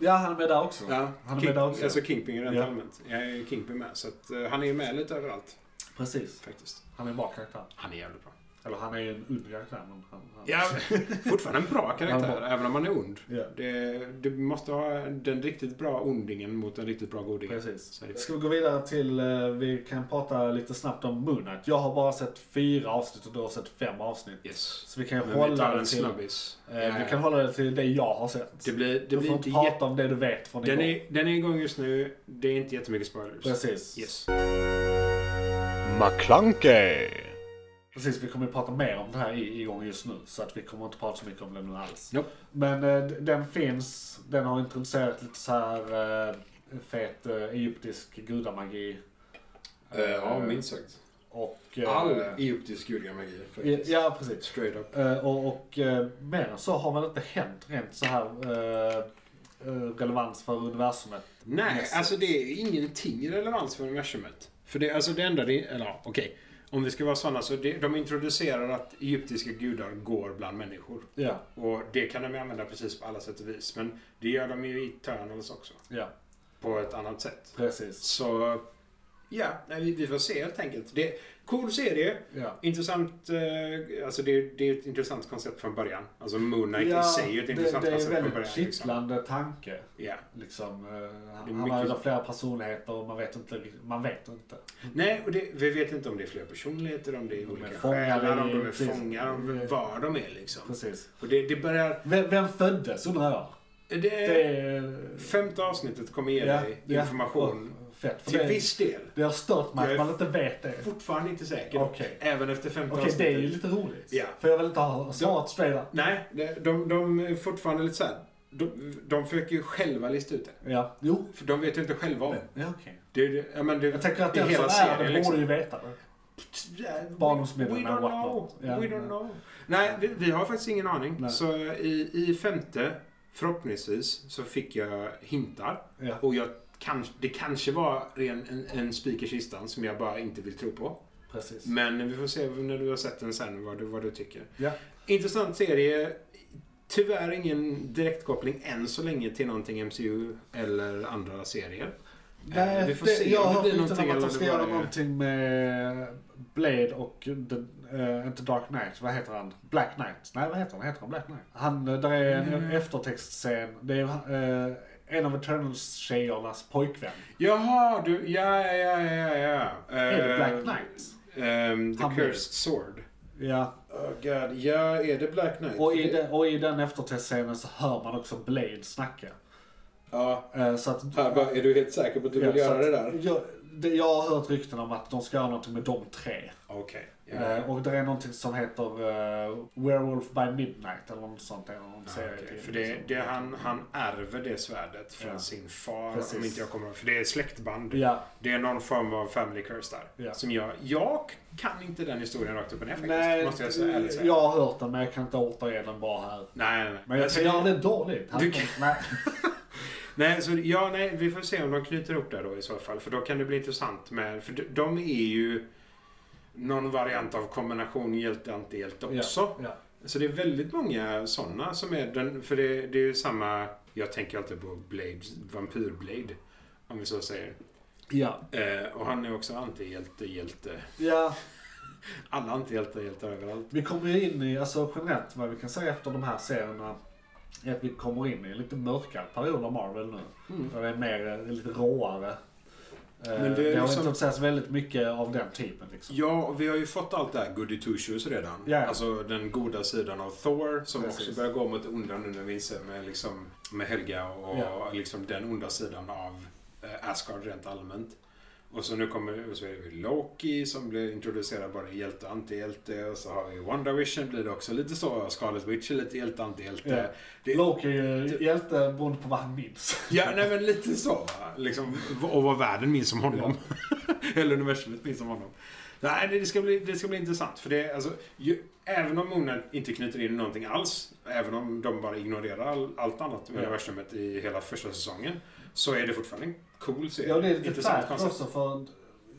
ja, han är med där också.
Ja,
han är
King,
med där också.
Alltså Kingpin rent
Ja.
allmänt. Jag är Kingpin med. Så att, eh, han är ju med lite överallt
Precis.
faktiskt.
Han är en bra karaktär.
Han är jävligt bra.
Eller han är ju en ond karaktär. men han- han-
Ja, fortfarande en bra
Han
karaktär,
är
även om han är ond.
Ja.
Det, du måste ha den riktigt bra ondingen mot den riktigt bra godingen.
Precis.
Så är det.
Ska vi gå vidare till, eh, vi kan prata lite snabbt om Moon Knight. Jag har bara sett fyra avsnitt och du har sett fem avsnitt.
Yes.
Så vi kan
Men vi
hålla
tar
det
en
till,
snabbis.
eh, vi kan hålla det till det jag har sett.
Det blir, det
du
blir
får
inte
prata om det du vet från
Den
igår.
är, den är igång just nu. Det är inte jättemycket spoilers.
Precis.
Yes.
McClunkey.
Precis, vi kommer ju prata mer om det här i- igång just nu. Så att vi kommer inte prata så mycket om det nu alls.
Nope.
Men eh, d- den finns, den har introducerat lite så här eh, fet eh, egyptisk gudamagi. Eh,
sagt.
Och... eh,
All egyptisk gudgamagi
ja,
faktiskt.
ja, precis.
Straight up.
Eh, och och eh, mer än så har väl inte hänt rent så här eh, eh, relevans för universumet.
Nej,
Yes.
alltså det är ingenting relevans för universumet. För det, alltså det enda det, eller ja, okej. Om vi ska vara sådana så det, de introducerar att egyptiska gudar går bland människor.
Ja,
Och det kan de ju använda precis på alla sätt och vis. Men det gör de ju i Eternals också.
ja,
På ett annat sätt.
precis.
Så ja, nej, vi, vi får se helt enkelt. Det, cool serie.
Ja.
Intressant, eh, alltså det, är- det är ett intressant koncept från början. Alltså Moon Knight i sig är ju ett
det,
intressant
det är
koncept från
en
början.
väldigt
liksom.
kittlande tanke.
Ja.
Liksom, eh, han
Det är
han har ju
mycket-
då flera personligheter och man vet inte. riktigt- Man vet inte.
Nej, och det, vi vet inte om det är flera personligheter, om det är
De är
olika
fångar
själar, om
i-
de är
precis.
fångar, om var de är liksom.
Precis.
Och det, det börjar...
Vem, vem föddes undrar jag?
Det,
Det är...
femte avsnittet kommer ge dig Eh, information.
och Fett. För
Till
det,
viss del.
det har stört mig
Jag
att
är-
man inte vet det.
Fortfarande inte säker.
Okej.
Även efter femte
Okej, det
avsnittet.
är ju lite roligt.
Ja.
För jag vill inte ha svaret straight up.
Nej, de, de, de är fortfarande lite såhär... De, de försöker ju själva lista ut det.
Ja, jo.
För de vet ju inte själva om.
Ja, okej.
Det, det, ja, men det,
Jag tänker att
det är
den som
hela
är
serien,
det borde
liksom.
ju veta det.
We
Barndomsminnen
don't
och
know.
whatnot. Ja,
We
ja.
don't know. Nej, vi, vi har faktiskt ingen aning.
Nej.
Så i, i femte, förhoppningsvis, så fick jag hintar.
Ja.
Och jag kanske- det kanske var ren, en, en spik i kistan som jag bara inte vill tro på.
Precis.
Men vi får se när du har sett den sen vad du, vad du tycker.
Ja.
Intressant serie. Tyvärr ingen direktkoppling än så länge till någonting MCU eller andra serier. Eh, vi får se om
jag
det
har
blir
hört
någonting
rykten om
eller
att de
om
ska
det
göra
bara är-
någonting med eh, Blade och, the, eh, inte Dark Knight, vad heter han? Black Knight? Nej, vad heter han? Heter han Black Knight? Han, eh, där är en
Mm.
eftertextscen. Det är eh, en av Eternals-tjejernas pojkvän.
Jaha, du. Ja, ja, ja, ja. ja.
är det
Eh,
Black Knight?
ehm, the
Han blir-
Cursed Sword.
Ja.
Oh god, ja, är det Black Knight?
Och i, den, och i den eftertextscenen så hör man också Blade snacka.
Ja,
Eh, så att...
här bara, är du helt säker på att du
Ja,
vill
så
göra
att
det där?
Jag, det, jag har hört rykten om att de ska göra något med de tre.
Okej. Ja.
Eh, och det är någonting som heter eh, Werewolf by Midnight eller något sånt. Eller någon liksom.
Ja,
serietidning
Ah, okej. För det,
som-
det han, han ärver det svärdet från
Ja.
sin far.
Precis.
Om inte jag kommer För det är släktband.
Ja,
Det är någon form av family curse där.
Ja.
Som jag, jag kan inte den historien rakt upp och ner faktiskt.
nej,
måste jag säga, ärligt säga.
jag har hört den men jag kan inte återge den bara här.
Nej, nej, nej.
Men jag
Alltså,
kan göra det dåligt.
Du kan-
Nej.
Nej, så, ja, nej, vi får se om de knyter ihop det då i så fall. För då kan det bli intressant med... För de, de är ju någon variant av kombination hjälte-antihjälte också.
Ja,
Så det är väldigt många sådana som är den... För det, det är ju samma... Jag tänker alltid på Blade, Vampyrblade. Om vi så säger.
ja.
Eh, och han är också antihjälte, hjälte.
ja,
Alla antihjältar är hjältar överallt.
vi kommer ju in i, alltså generellt vad vi kan säga efter de här serierna är att vi kommer in i en lite mörkare period av Marvel nu. Där det är mer, eh, lite råare. Eh,
Mm. Men det är
det har
liksom-
introducerats väldigt mycket av den typen liksom.
Ja, och vi har ju fått allt det här goody two shoes redan.
Ja.
Alltså den goda sidan av Thor som
Precis.
också börjar gå mot onda nu när vi inser med, liksom, med Helga och
Ja.
liksom den onda sidan av eh, Asgard rent allmänt. Och så nu kommer och så är det Loki som blir introducerad både hjälte och antihjälte. Och så har vi WandaVision blir det också lite så. Scarlet Witch är lite hjälte antihjälte.
Ja.
Det-
Loki är ju hjälte beroende på vad han minns.
Ja, nej men lite så. va? Liksom, och vad världen minns om honom. Eller universumet minns om honom. Nej, det ska bli, det ska bli intressant. För det, är, alltså, ju, även om Moon inte knyter in någonting alls, även om de bara ignorerar all, allt annat med
Ja.
universumet i hela första säsongen, så är det fortfarande en cool serie.
Ja, det är lite
Intressant
färskt också för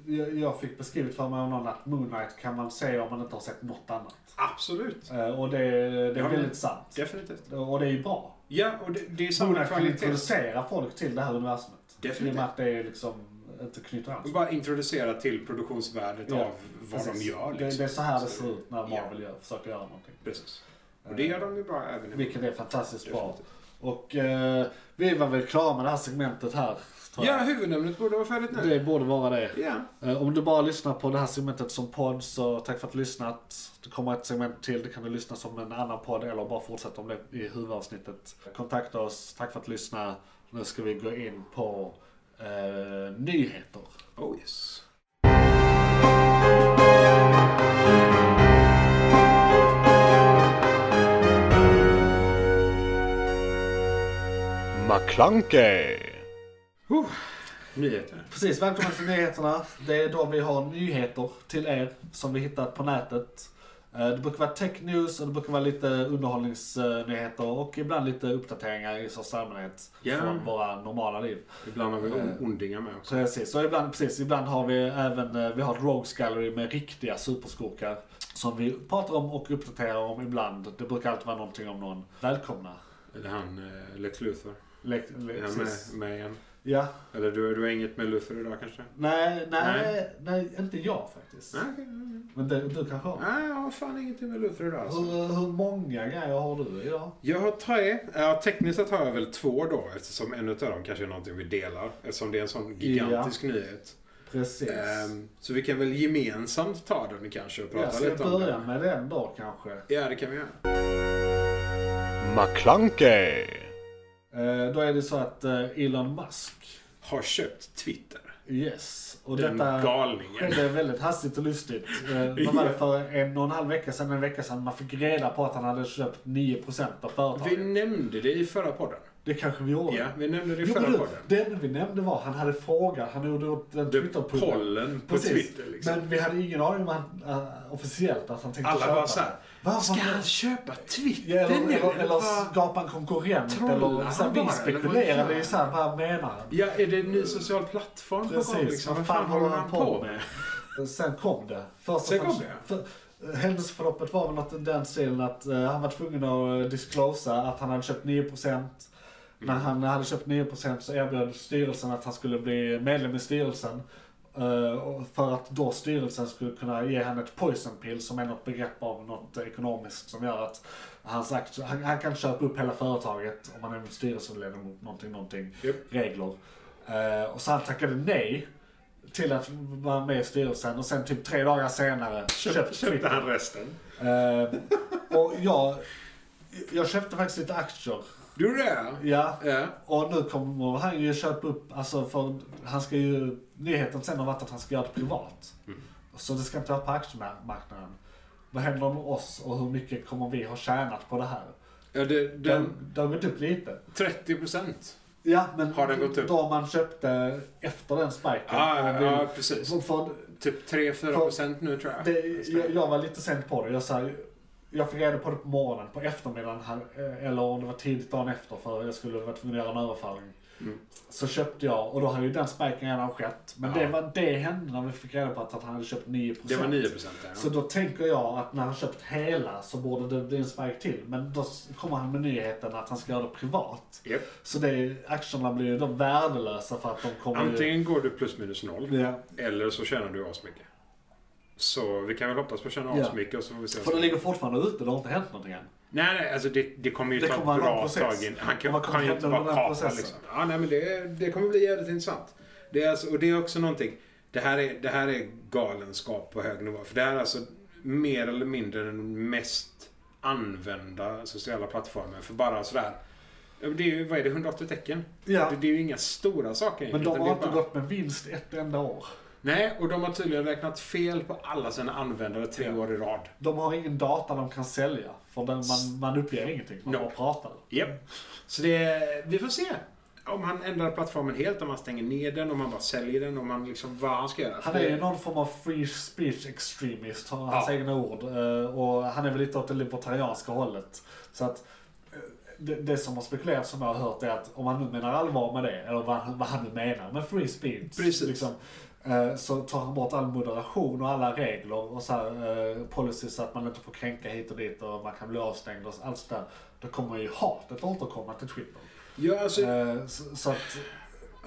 jag, jag fick beskrivet för mig av någon att Moon Knight kan man se om man inte har sett något annat.
Absolut.
Eh, Och det, det är
Ja, men-
väldigt sant.
Definitivt.
Och det är ju bra.
Ja, och det, det är
Moon
samma
Knight kan
kvalitet.
introducera folk till det här universumet.
Definitivt.
I och med att det är liksom inte knyter an
Och
sig.
bara introducera till produktionsvärdet
Ja,
av vad
Precis.
de gör.
det,
liksom.
det är så här det
Så
ser ut när
ja.
Marvel gör, försöker göra någonting.
Precis. Och det gör de ju bra även i
Vilket är fantastiskt bra.
Definitivt.
Och eh, vi var väl klara med det här segmentet här. Tror
Ja,
jag.
huvudnämnet borde vara färdigt nu.
Det borde vara det.
Ja.
Eh, Om du bara lyssnar på det här segmentet som podd så tack för att du lyssnat. Det kommer ett segment till, det kan du lyssna som en annan podd eller bara fortsätta om det i huvudavsnittet. Kontakta oss, tack för att du lyssnade. Nu ska vi gå in på eh, nyheter.
Oh yes.
McClunkey!
Nyheter.
Precis, välkomna till nyheterna. Det är då vi har nyheter till er som vi hittat på nätet. Eh, Det brukar vara tech news och det brukar vara lite underhållningsnyheter och ibland lite uppdateringar i största allmänhet
Ja.
från våra normala liv.
Ibland har vi on-
Eh.
ondingar med också.
Precis, och ibland, precis, ibland har vi även eh, vi har ett Rogues Gallery med riktiga superskurkar. Som vi pratar om och uppdaterar om ibland. Det brukar alltid vara någonting om någon. Välkomna.
Eller han eh, Lex Luthor.
Le- le-
Är han
precis.
med, med igen?
Ja.
Eller du, du har inget med Luthor idag kanske?
Nej, nej, nej,
Nej.
inte jag faktiskt.
Nej, okej, nej, nej.
Men det, du kanske har?
Nej, jag har fan ingenting med Luthor idag alltså.
Hur, hur många grejer har du idag?
Jag har tre. Ja, tekniskt sett har jag väl två då eftersom en av dem kanske är någonting vi delar. Eftersom det är en sån gigantisk nyhet.
Precis.
Ehm, så vi kan väl gemensamt ta den kanske och
jag
prata
ska
lite om
börja
den.
med den då kanske.
Ja, det kan vi göra.
McClunkey!
Eh, Då är det så att eh, Elon Musk,
Har köpt Twitter.
yes. Och
Den
detta...
galningen.
skedde väldigt hastigt och lustigt. Eh, Vad var det för en och en halv vecka sedan, en vecka sedan, man fick reda på att han hade köpt 9% av
Vi
företaget.
nämnde det i förra podden.
Det kanske vi gjorde.
Ja, vi nämnde det i
Jo,
förra
men
podden.
du, det enda vi nämnde var han hade frågat, han gjorde åt den
Det
Twitter-pullen.
pollen på
Precis.
Twitter liksom.
Men vi hade ingen aning om han, eh, officiellt att han tänkte
Alla
köpa.
bara såhär.
Varför?
Ska han köpa Twitter
Ja, eller,
nu?
eller, eller
Vad-
skapa en konkurrent.
Trollar
Eller,
han
så här,
bara,
vi
eller vad gör
spekulerade ju
han?
såhär, vad menar han?
Ja, är det en ny social plattform på gång
Precis,
liksom? Vad fan håller han på med?
Sen kom det. Först och
Sen kom
främst-
det?
För, eh, händelseförloppet var väl något i den stilen att eh, han var tvungen att eh, disclosa att han hade köpt 9%. När
Mm.
han hade köpt 9% så erbjöd styrelsen att han skulle bli medlem i styrelsen. eh, och för att då styrelsen skulle kunna ge han ett poison pill som är något begrepp av något ekonomiskt som gör att hans aktie, han, han kan köpa upp hela företaget om han är styrelseledamot, någonting, någonting,
Japp.
regler. Eh, och så han tackade nej till att vara med i styrelsen och sen typ tre dagar senare köpte
Köpte
Twitter.
han resten?
Eh, och jag, jag köpte faktiskt lite aktier.
Du gjorde det?
Ja.
Ja.
Och nu kommer han
Mm.
ju köpa upp, alltså för han ska ju, nyheten sen har varit att han ska göra det privat. Så det ska inte vara på aktiemarknaden. Vad händer med oss och hur mycket kommer vi ha tjänat på det här?
Ja, det, den,
Den, det har gått upp lite.
30 procent.
Ja, men
Har den gått upp?
då man köpte efter den spiken.
Ja,
och vill-
ja, precis.
för- för
Typ 3-4 procent nu tror jag.
det, jag, jag var lite sent på det. Jag, så här, jag fick reda på det på morgonen, på eftermiddagen, här, eh, eller om det var tidigt dagen efter för jag skulle vara tvungen att göra en överföring.
Mm.
Så köpte jag, och då hade ju den spiken redan skett. Men det, var, det hände när vi fick reda på att att han hade köpt 9%.
det var 9 procent där.
Så då tänker jag att när han köpt hela så borde det bli en spike till. Men då s- kommer han med nyheten att han ska göra det privat.
Japp.
Så det, aktierna blir ju då värdelösa för att de kommer ju...
Antingen går du plus minus noll
Ja.
eller så tjänar du asmycket. Så vi kan väl hoppas på att tjäna
Ja.
asmycket och så får vi se. vad
För den
som-
ligger fortfarande ute, det har inte hänt någonting än.
Nej, nej, alltså det, det kommer ju
Det
ta
kommer
ett
vara en
bra
process.
tag in. Han
Och
kan,
vad kommer
kan ju inte
hända under
bara
den här
kapa
processen?
liksom. Ja, nej, men det, det kommer bli jävligt intressant. Det är alltså, och det är också någonting. Det här är, det här är galenskap på hög nivå. För det här är alltså mer eller mindre den mest använda sociala plattformen. För bara sådär. ja, men Det är ju, vad är det, 180 tecken?
Ja.
Det, det är ju inga stora saker
Men de
egentligen,
har
det är
inte
bara-
gått med vinst ett enda år.
Nej, och de har tydligen räknat fel på alla sina användare tre år i rad.
De har ingen data de kan sälja. För den, man, man uppger ingenting, man
No.
bara pratar.
Japp. Så det, vi får se. Om han ändrar plattformen helt, om han stänger ner den, om han bara säljer den, om han liksom, vad han ska göra.
Han
För
är
det-
ju någon form av free speech extremist, har hans
Ja.
egna ord. Eh, Och han är väl lite åt det libertarianska hållet. Så att eh, det, det som har spekulerats som jag har hört är att om han nu menar allvar med det, eller vad, han- vad han nu menar med free speech.
Precis.
eh, så tar han bort all moderation och alla regler och så här, eh, policies att man inte får kränka hit och dit och man kan bli avstängd och allt sådär. Då kommer ju hatet återkomma till Twitter.
Ja, alltså,
Eh, så, så att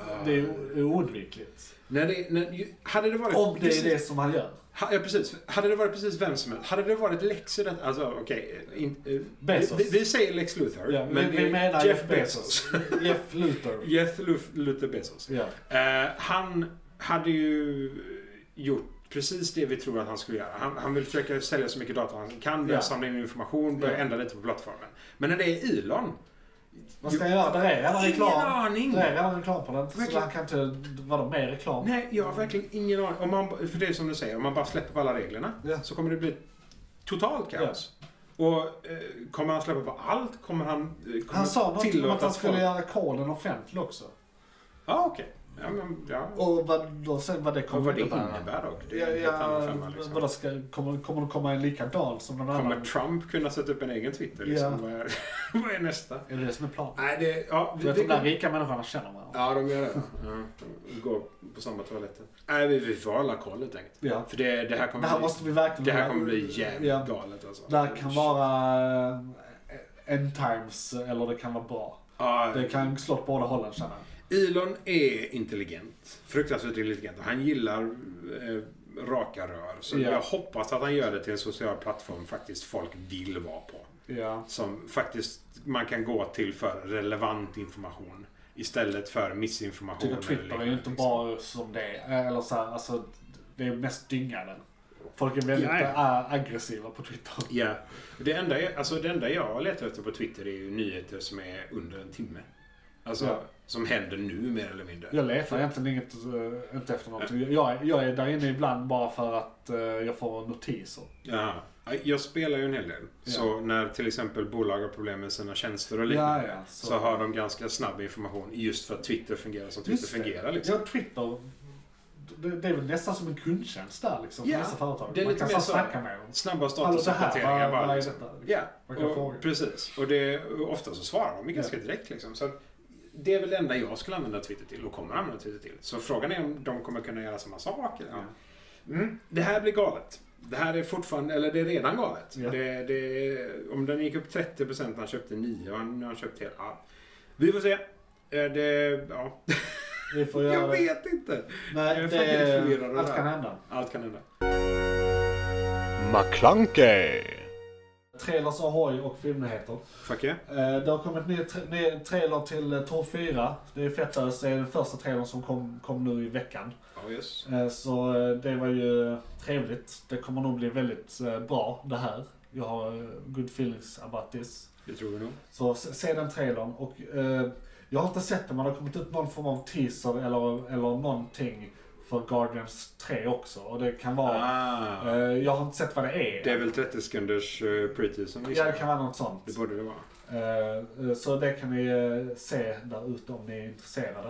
Eh.
det är o- oundvikligt.
när det, när, ju- hade det varit...
Om det
precis-
är det som han gör.
Ha, ja, precis. Hade det varit precis vem som helst. Hade det varit Lex i detta... Alltså, okej. in- eh,
Bezos.
vi, vi säger Lex Luthor.
Ja, men vi, vi
eh,
menar Jeff Bezos. Jeff Luthor.
Jeff Luf- Luthor Bezos.
Ja.
Eh, han hade ju gjort precis det vi tror att han skulle göra. Han, han vill försöka sälja så mycket data han kan, börja
Ja.
samla in information, börja
Ja.
ändra lite på plattformen. Men när det är Elon,
Vad ska jag göra? Där är redan
ingen
reklam.
aning!
Där är redan reklam på den. Så
Verkligen.
han kan inte vara mer reklam.
Nej, jag har verkligen ingen aning. Om man, för det är som du säger, om man bara släpper på alla reglerna
Ja.
så kommer det bli totalt kaos. Och eh, kommer han släppa på allt? Kommer han... eh, Kommer
Han sa något om
tillåta
att han skulle
folk-
göra koden offentlig också.
Ja, okej. Ja, men, ja.
Och vad, då, sen vad det kommer
Och vad det
innebära.
innebär dock. Det
Ja,
är en helt annan
ja,
femma, liksom.
vadå, ska, kommer, kommer det komma en likadan som någon
Kommer
annan?
Trump kunna sätta upp en egen Twitter? Liksom?
Ja.
Vad, är, vad är nästa?
Är det det som är planen?
Nej, det... Ja,
Du vet de där rika människorna känner varandra.
ja de gör det. De Går på samma toaletter. Nej, vi, vi får hålla koll helt enkelt.
Ja.
För det, det här kommer
Det här
bli,
måste vi verkligen...
det här kommer bli jävligt
Ja.
galet alltså.
Det här kan vara eh, end times eller det kan vara bra.
Ja,
Det kan slå åt båda hållen känner jag.
Elon är intelligent. Fruktansvärt intelligent. Han gillar eh, raka rör. Så
Ja.
jag hoppas att han gör det till en social plattform faktiskt folk vill vara på.
Ja.
Som faktiskt man kan gå till för relevant information. Istället för missinformation.
tycker
eller
Typ Twitter är ju
liknande,
inte
liksom.
bara som det är. Eller så här, alltså, det är mest dyngade. Folk är väldigt
Ja, ja.
ä- aggressiva på Twitter.
Ja. Det enda, jag, alltså det enda jag letar efter på Twitter är ju nyheter som är under en timme. Alltså,
Ja.
som händer nu mer eller mindre.
Jag letar egentligen inget, eh, inte efter någonting. Jag, är- jag är där inne ibland bara för att eh, jag får notiser.
Ja. Jag spelar ju en hel del. Så när till exempel bolag har problem med sina tjänster och liknande
Ja, ja,
så.
Eh, så-
har de ganska snabb information just för att Twitter fungerar som Twitter
Just det.
fungerar. Liksom.
Ja, Twitter. Det, det är väl nästan som en kundtjänst där liksom, för
Ja,
vissa företag.
det är
Man
lite
kan
mer
så här
så.
snacka med dem.
Snabba
Alltså det
statusuppdateringar
här, vad,
bara.
vad är
Liksom.
detta? Liksom.
Ja,
Man kan
och,
fråga.
precis. Och, det, och ofta så svarar de ju ganska direkt. Liksom. Så att det är väl det enda jag skulle använda Twitter till och kommer använda Twitter till. Så frågan är om de kommer kunna göra samma sak. Eller? Mm. Det här blir galet. Det här är fortfarande, eller det är redan galet.
Ja.
Det, det, om den gick upp 30% när han köpte 9 och nu har han köpt hela. Ja. Vi får se. Eh, Det, ja.
Vi får göra
Jag
det.
vet inte. Jag
Nej,
är faktiskt förvirrad av
det,
det
allt
här.
kan hända.
Allt kan hända.
McClunkey!
Trailers Ahoy och filmnyheter.
Fuck yeah.
Eh, Det har kommit ny, tra- ny trailer till eh, Tor 4. Det är fettas. Det är den första trailern som kom, kom nu i veckan.
Ja, yes.
Eh, Så eh, det var ju trevligt. Det kommer nog bli väldigt eh, bra det här. Jag har eh, good feelings about this.
Det tror vi nog.
Så s- se den trailern. Och, eh, jag har inte sett den, men det har kommit ut någon form av teaser eller, eller någonting för Guardians 3 också. Och det kan vara...
Ah,
eh, jag har inte sett vad det är.
det är väl 30 sekunders eh, preseason
ja, det
visst?
kan vara något sånt.
Det borde det vara.
Eh, Så det kan ni eh, se där ute om ni är intresserade.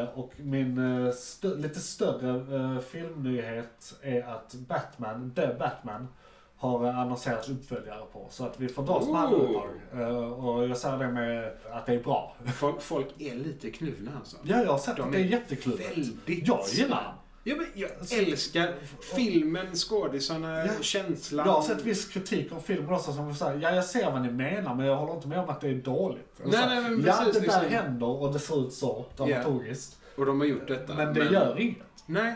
Eh, Och min eh, stö- lite större eh, filmnyhet är att Batman, The Batman, har eh, annonserats uppföljare på. Så att vi får dras med alla
Ooh.
uppdrag. Eh, Och jag säger det med att det är bra.
Folk, folk är lite knuvna alltså.
Ja, jag har sett
De
att det är
är
jätteklurigt.
Väldigt
Jag gillar den.
Ja, men jag älskar filmen, skådisarna,
Ja.
känslan.
Jag har sett viss kritik om filmen också som säger ja jag ser vad ni menar men jag håller inte med om att det är dåligt. Eller
Nej,
så här,
nej, men
ja
precis,
det där
liksom.
händer och det ser ut så dramaturgiskt.
Och de har gjort detta.
Men det gör inget.
Nej.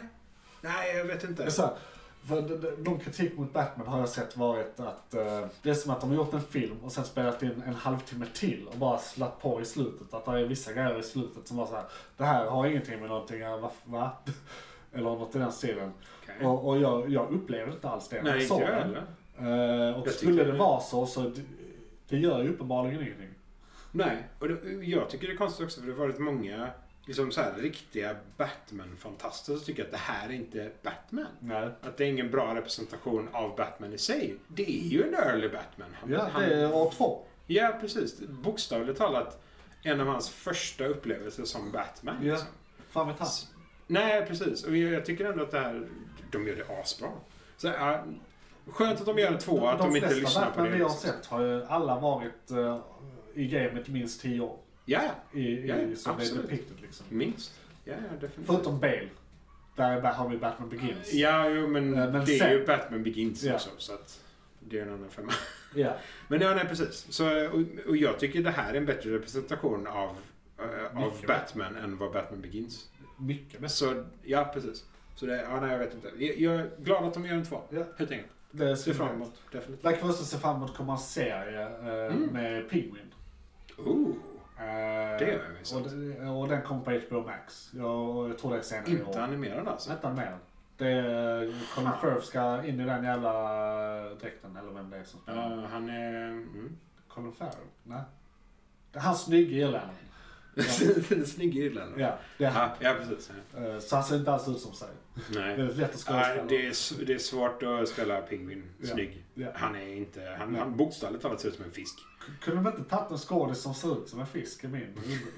Nej, jag vet
Det är
inte.
så här, för de- de- någon kritik mot Batman har jag sett varit att eh, det är som att de har gjort en film och sen spelat in en halvtimme till och bara slatt på i slutet. Att det är vissa grejer i slutet som var så här, det här har ingenting med någonting att va? va? Eller något i den stilen.
Okej.
Och, och jag, jag upplevde inte alls det. när
Nej, inte
såg
jag
den.
heller.
Eh, och
Jag
skulle
tycker-
det vara så, så det, det gör ju uppenbarligen ingenting.
Nej, och det, jag tycker det är konstigt också för det har varit många liksom så här, riktiga Batman-fantaster som tycker att det här är inte Batman.
Nej.
Att det är ingen bra representation av Batman i sig. Det är ju en early Batman. Han,
Ja,
han-
det är år två.
ja precis. Bokstavligt talat en av hans första upplevelser som Batman.
Ja.
Liksom.
Fan vet han.
Nej, precis. Och jag, jag tycker ändå att det här, de gör det asbra. Så, ja, skönt att de gör en tvåa, att de, inte lyssnar
Batman
på det.
vi har sett har ju alla varit eh, i gamet minst tio år.
Ja,
I, i,
Ja, ja,
som är
absolut.
depicted liksom.
minst. Ja, ja, definitivt.
Förutom Bale. Där har vi Batman Begins.
Ja, jo, men,
Eh, men
det
sen-
är ju Batman Begins
Ja.
också. Så att det är en annan femma.
Ja.
Men ja, nej, precis. Så, och, och jag tycker det här är en bättre representation av, eh, av
Mycket
Batman än vad Batman Begins.
Mycket bättre.
Så, ja, precis. Så det, ja, nej, jag vet inte. Jag, jag är glad att de gör en två.
Ja.
Helt enkelt.
Det
Ser
ser
fram
framåt.
emot, definitivt.
Där kan vi också se fram emot kommer en serie eh,
Mm.
med Penguin.
Ooh.
Eh,
Det gör vi, sant.
och, det- och den kommer på HBO Max. Jag, jag tror det är senare i år.
Inte animerad alltså.
Vänta med den. Det är, Colin Firth ska in i den jävla dräkten, eller vem det är som spelar.
Ja, han är... Mm.
Colin Firth? Nej. Det är han snygge irländaren.
Snygg irländare.
Ja, det är han.
Ja, ja, precis. Ja.
Eh, Så han ser inte alls ut som sig.
Nej.
Väldigt lätt att skådespela.
Ja, det, är, s- det är svårt att spela pingvin
Ja.
snygg.
Ja.
Han är inte... Han, han bokstavligt talat ser ut som en fisk.
K- Kunde man inte tagit en skådis som ser ut som en fisk i min liksom.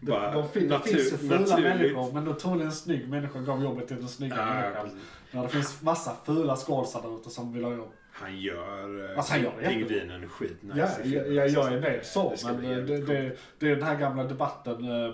Bara
De fin- det
natur-
finns ju fula
naturligt.
människor, men då troligen en snygg människa gav jobbet till den snygga
Ja,
människan.
precis.
När det finns massa fula skådisar där ute som vill ha jobb.
han gör eh,
Alltså, han gör det jättebra.
pingvinen skitnice.
Ja,
i
ja,
filmen.
ja, jag är med så,
Det ska
men
bli
det,
jävligt
det,
coolt.
det, är den här gamla debatten. eh,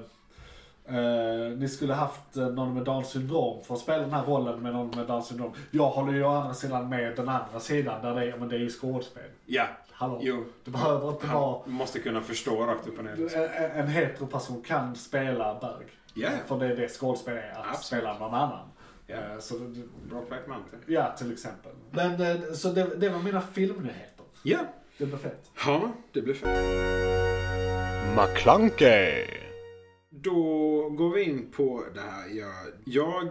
eh, ni skulle haft eh, någon med Downs syndrom för att spela den här rollen med någon med Downs syndrom. Jag håller ju å andra sidan med den andra sidan där det är, men det är ju skådespel.
Ja,
Hallå?
jo.
Det behöver inte vara...
Han måste kunna förstå rakt upp och ner. liksom.
En, en heteroperson kan spela bög.
Ja,
För det är det skådespel är, att
Absolut.
spela någon annan.
Ja.
Eh, så det, det-
Brokeback Mountain.
ja, till exempel. Men, eh, så det, det var mina filmnyheter.
Ja.
Det blev fett.
Ja, det blir fett.
McClunkey!
Då går vi in på det här. Jag,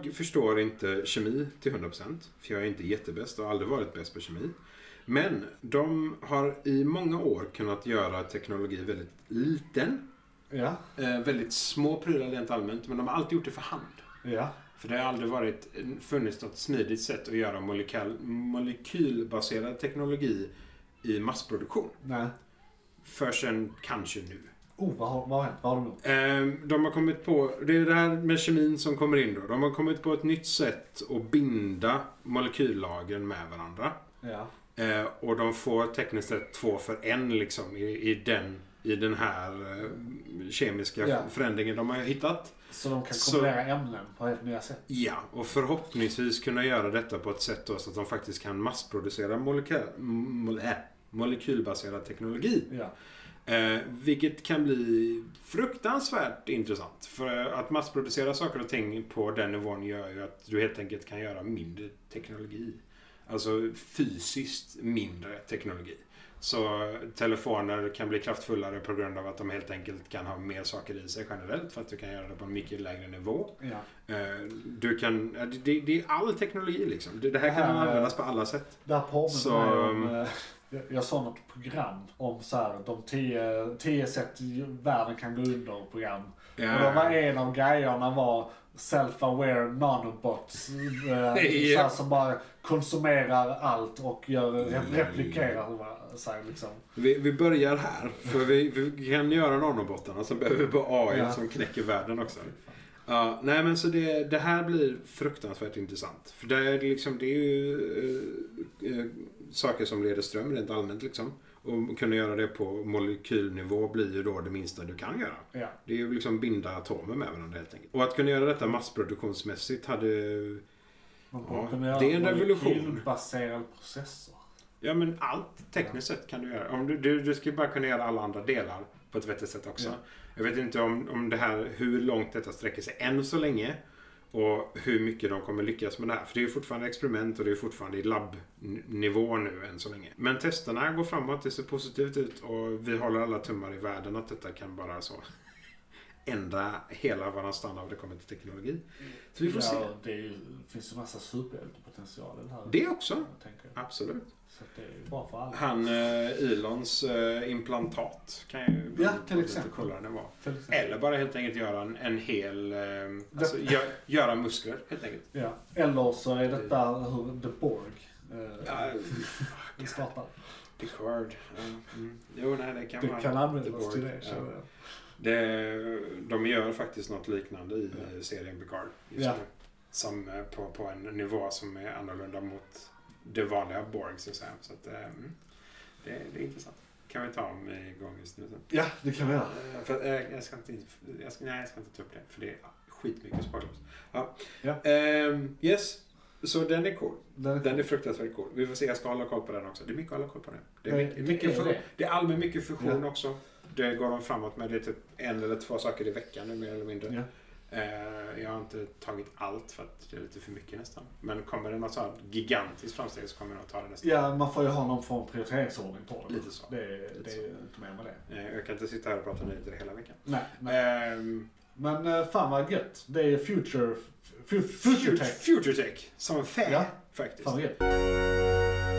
jag förstår inte kemi till 100%. För jag är inte jättebäst och har aldrig varit bäst på kemi. Men de har i många år kunnat göra teknologi väldigt liten.
Ja,
Eh, väldigt små prylar rent allmänt. Men de har alltid gjort det för hand.
ja,
För det har aldrig varit, funnits något smidigt sätt att göra molekyl, molekylbaserad teknologi i massproduktion.
nej.
Förrän kanske nu.
Oh, vad har, vad har hänt? Vad har de gjort?
Ehm, De har kommit på, det är det här med kemin som kommer in då. De har kommit på ett nytt sätt att binda molekyllagren med varandra.
Ja.
Eh, Och de får tekniskt sett två för en liksom i, i, den, i den här eh, kemiska
Ja.
förändringen de har hittat.
Så de kan
Så-
kombinera ämnen på helt nya sätt.
Ja, och förhoppningsvis kunna göra detta på ett sätt då så att de faktiskt kan massproducera molekyl, mol, äh, molekylbaserad teknologi.
Ja.
Eh, vilket kan bli fruktansvärt intressant. För att massproducera saker och ting på den nivån gör ju att du helt enkelt kan göra mindre teknologi. Alltså fysiskt mindre teknologi. Så telefoner kan bli kraftfullare på grund av att de helt enkelt kan ha mer saker i sig generellt för att du kan göra det på en mycket lägre nivå.
ja.
Eh, Du kan, ja, det- det, det är all teknologi liksom. Det, det här
Det
kan
här-
användas på alla sätt.
Det här påminner
Så,
mig om... eh, jag- Jag såg något program om så här, de tio, tio sätt världen kan gå under program.
Ja.
Och då
Eh,
var en av grejerna var self-aware nanobots. Eh,
Ja.
så här, som bara konsumerar allt och gör, replikerar sig liksom.
Vi, vi börjar här, för vi, vi kan göra nanobottarna, sen behöver vi bara AI
Ja.
som knäcker världen också. Ja, nej men så det, det här blir fruktansvärt intressant. För det är, liksom, det är ju eh, eh, saker som leder ström rent allmänt liksom. Och kunna göra det på molekylnivå blir ju då det minsta du kan göra.
Ja.
Det är ju liksom binda atomer med varandra helt enkelt. Och att kunna göra detta massproduktionsmässigt hade...
Man borde
Ja,
kunna göra
det är en revolution.
molekylbaserad processor.
Ja men allt tekniskt sett kan du göra. Om du, du, du ska ju bara kunna göra alla andra delar på ett vettigt sätt också.
Ja.
Jag vet inte om, om det här, hur långt detta sträcker sig än så länge. Och hur mycket de kommer lyckas med det här. För det är ju fortfarande experiment och det är fortfarande i labbnivå nu än så länge. Men testerna går framåt, det ser positivt ut och vi håller alla tummar i världen att detta kan bara så ändra hela våran standard när det kommer till teknologi. Så vi får
ja,
se.
Det är ju- finns ju massa superhjältepotential i den här.
Det också.
jag tänker.
Absolut.
Så att det är ju bra för alla.
Han eh, Elons eh, implantat kan ju bli
Ja, till
lite
exempel.
coolare det var.
Till exempel.
Eller bara helt enkelt göra en, en hel... Eh, alltså, gö- göra muskler helt enkelt.
Ja. Eller så är detta hur The Borg eh,
Ja,
startar.
Picard. Ja, mm. Jo, nej, det kan
Det
man.
kan
The
användas
Borg,
till det.
ja.
känner jag.
Det, de gör faktiskt något liknande i eh, serien Picard just
Ja.
nu. Som eh, på, på en nivå som är annorlunda mot det vanliga Borg, så att säga. Så att, eh, mm. det, det är intressant. Kan vi ta om igång just nu sen.
Ja, det kan vi göra.
Eh, För, eh, jag, ska inte, jag, ska, nej, jag ska inte ta upp det, för det är skitmycket spoilers. Ja.
Ja.
Ehm, yes, så den är cool.
Den,
Den är fruktansvärt cool. Vi får se, jag ska hålla koll på den också. Det är mycket att hålla koll på den. Det är,
Nej,
mycket,
det
mycket
är
fusion-
det.
det är allmänt mycket fusion också. Det går de framåt med. Det är typ en eller två saker i veckan nu mer eller mindre.
ja.
Eh, jag har inte tagit allt för att det är lite för mycket nästan. Men kommer det något sånt gigantiskt framsteg så kommer jag nog ta det nästan.
ja, man får ju ha någon form av prioriteringsordning på det.
Lite så.
Det, är-
Lite
det
så.
är inte mer med det.
Eh, jag kan inte sitta här och prata nyheter hela veckan.
Nej, nej.
Ehm,
Men eh, fan vad gött. Det är future... fu- fu- Future tech.
Future Tech. Som en fä,
Ja.
faktiskt.
Fan vad gött.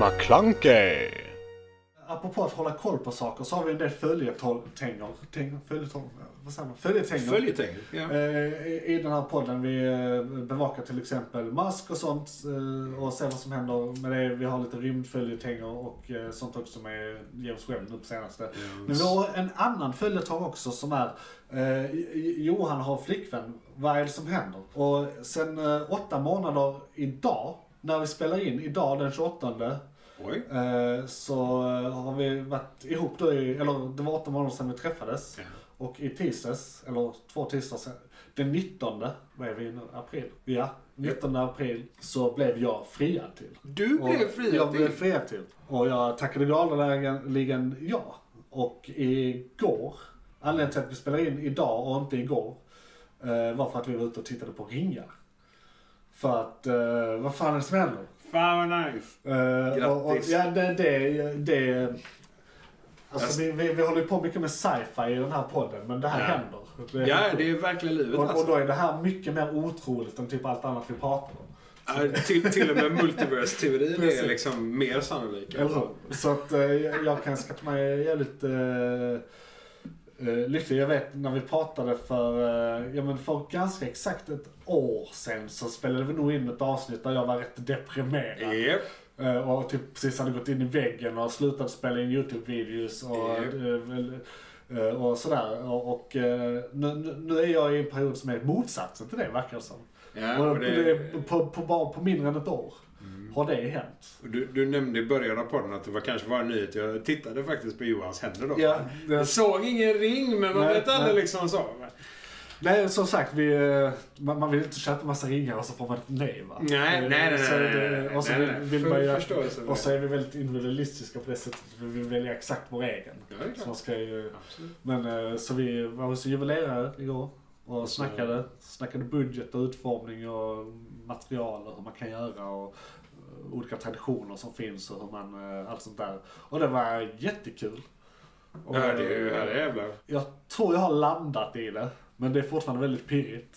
McClunkey.
Apropå att hålla koll på saker så har vi en del följetänger. Tänger? Följetänger? Vad säger man? Följetänger.
Följetänk. Ja.
Eh, i- I den här podden vi eh, bevakar till exempel mask och sånt eh, och ser vad som händer med det. Vi har lite rymdföljetänger och eh, sånt också med James Webb nu på senaste. Men vi har en annan följetong också som är eh, J- J- Johan har flickvän. Vad är det som händer? Och sen eh, åtta månader idag, när vi spelar in idag den 28
Oj.
Eh, så eh, har vi varit ihop då i, eller det var 18 månader sedan vi träffades.
Ja.
Och i tisdags, eller två tisdagar sedan, den 19, vad är vi nu, april? Ja, 19 april så blev jag friad till.
Du
Och
blev friad
Jag blev
till-
friad till. Och jag tackade gladeligen ja. Och igår, anledningen till att vi spelar in idag och inte igår, eh, var för att vi var ute och tittade på ringar. För att, eh, vad fan är det som händer?
Fan vad nice.
Eh, och, och,
Grattis.
ja, det, det, det, alltså, vi, vi, vi håller ju på mycket med sci-fi i den här podden, men det här
Ja.
händer. Det-
Ja, det är verkligen livet
och, och
alltså.
då är det här mycket mer otroligt än typ allt annat vi pratar om.
Ja, till, till och med multiverse-teorin är
Precis.
liksom mer sannolik.
Eller hur? Så att eh, jag, jag kan skatta mig jävligt eh, eh, lycklig. Jag vet när vi pratade för, eh, ja men för ganska exakt ett år sedan så spelade vi nog in ett avsnitt där jag var rätt deprimerad.
Japp.
Eh, Och typ precis hade gått in i väggen och slutat spela in YouTube-videos och,
Japp.
eh, väl, eh, och sådär. Och, och eh, nu, nu- nu är jag i en period som är motsatsen till det verkar det som.
Ja,
och
och
det, Mm.
det,
på, på, bara på mindre än ett år har det hänt.
du, du nämnde i början av podden att det var kanske var en nyhet. Jag tittade faktiskt på Johans händer då.
Ja,
Jag såg ingen ring, men man
Nej,
vet aldrig
nej.
liksom så.
nej, som sagt, vi, eh, man, man vill inte köpa massa ringar och så får man ett nej va?
Nej,
Eh,
nej, nej,
så
nej,
det-
nej, nej,
Och så
nej,
vill-
nej.
vill
Full
man ju-
förståelse för
och så
det.
är vi väldigt individualistiska på det sättet. Vi vill välja exakt vår egen.
Ja, det är
Så man
klart.
ska ju...
Absolut.
Men eh, så vi var hos en juvelerare igår och
så-
snackade, snackade budget och utformning och material och hur man kan göra och eh, olika traditioner som finns och hur man, eh, allt sånt där. Och det var jättekul. Och,
Ja, det är ju herrejävlar.
Jag tror jag har landat i det, men det är fortfarande väldigt pirrigt.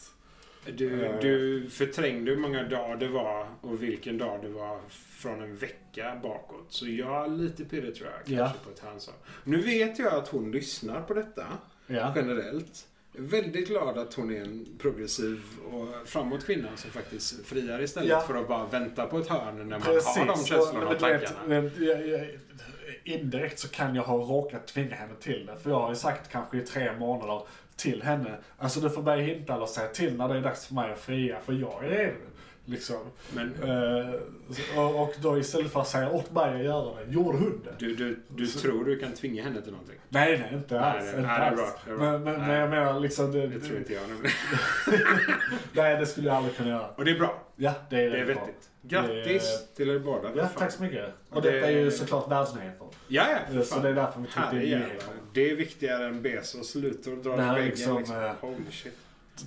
Du,
Eh.
du förträngde hur många dagar det var och vilken dag det var från en vecka bakåt. Så jag är lite pirrig tror jag. Kanske
Ja.
på ett handslag. Nu vet jag att hon lyssnar på detta
Ja.
generellt. Jag är Väldigt glad att hon är en progressiv och framåt kvinna som faktiskt friar istället
Ja.
för att bara vänta på ett hörn när man
Precis.
har de känslorna
Och-
och
men du vet,
tankarna.
men jag- jag- Indirekt så kan jag ha råkat tvinga henne till det. För jag har ju sagt kanske i tre månader till henne. Alltså du får börja hinta eller säga till när det är dags för mig att fria. För jag är redo. Liksom.
Men
Eh, så- och- och då istället för att säga åt mig att göra det, gjorde hon det.
du, du, du tror du kan tvinga henne till någonting?
Nej, nej, inte
Nej,
alls.
nej,
inte
nej, det är
alls.
bra, det är bra.
Men, men, men
Nej.
jag menar liksom... Det,
Det tror inte jag nu.
Nej, det skulle jag aldrig kunna göra.
Och det är bra.
Ja, det är,
Det är
bra.
vettigt. Grattis till er båda.
Ja,
Fan.
tack så mycket. Och
Det-
detta är ju såklart världsnyheter.
Ja, ja. för
Så
fan.
det är därför vi tyckte det är
Herrejävlar.
nyheter.
Det är viktigare än Bezos lutor och drar
Det här
i
är
väggen.
liksom,
Liksom,
eh,
Holy shit.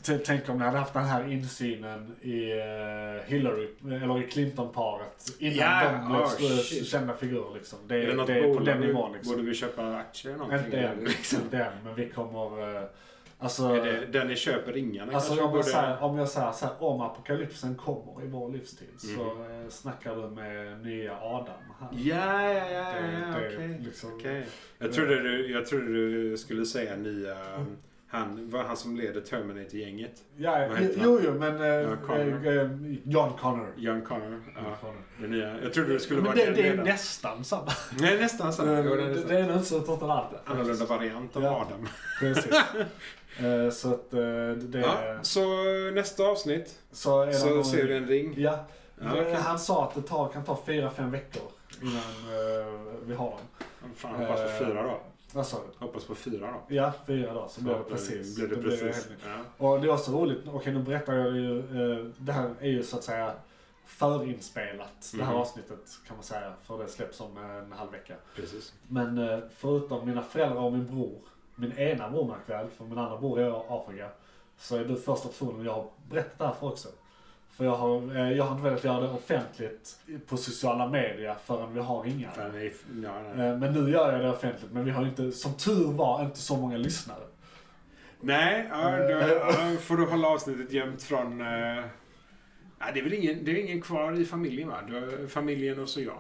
T- Tänk om ni hade haft den här insynen i eh, Hillary, eller i Clinton-paret innan
Ja,
de blev
oh,
stor-
shit.
kända figurer. Liksom. Det,
Är det
är,
något
det är på
bolag
den
vi-
nivån. Liksom.
Borde vi köpa aktier eller någonting?
Inte än,
Liksom.
inte än, men vi kommer... eh, Alltså,
Är det, den ni köper ringarna
alltså
kanske
om, jag
borde...
säger, om jag säger så här, om apokalypsen kommer i vår livstid så
Mhm.
eh, snackar du med nya Adam här.
Ja, ja, ja,
Det-
ja,
det är
okej.
liksom-
okej. Jag, trodde du, jag trodde du skulle säga nya... um, Han, var han som leder Terminator-gänget?
Ja,
Vad
jo,
heter
jo,
han?
jo, men... eh,
Ja, Connor.
eh, eh, John Connor.
John Connor?
John
Ja,
Connor.
den nya. Jag trodde det skulle
Men
vara
det,
den
det är ju
ledaren.
nästan samma.
Nej, nästan så.
Eh,
Jo, den är
det,
nästan.
det är en utsötad allt.
Annorlunda variant av
Ja.
Adam.
Precis. Eh, så att eh, det...
Ja, så eh, nästa avsnitt
så är det
så
någon-
ser vi en ring.
Ja.
Ja,
Eh,
okej.
Han sa att det tar, kan ta fyra fem veckor innan eh, vi har dem.
Fan, hoppas på
Eh,
fyra då.
Vad sa du?
Hoppas på fyra då.
Ja, fyra dagar så blir det precis.
Blir det
Då
precis.
helt-
ja.
Och det är också roligt, okej nu berättar jag ju, eh, det här är ju så att säga förinspelat, det här
Mhm.
avsnittet kan man säga, för det släpps om en halv vecka.
Precis.
Men eh, förutom mina föräldrar och min bror, min ena bror märk väl, för min andra bror är i Afrika, så är du första personen jag har berättat det här för också. För jag har, eh, jag har inte velat göra det offentligt på sociala medier förrän vi har ringar.
Fan, nej, f- ja, nej.
Eh, Men nu gör jag det offentligt, men vi har ju inte, som tur var, inte så många lyssnare.
Nej, ja, då,
Eh.
ja, får du hålla avsnittet gömt från... eh, ja, det är väl ingen, det är ingen kvar i familjen va? Du, har familjen och så jag.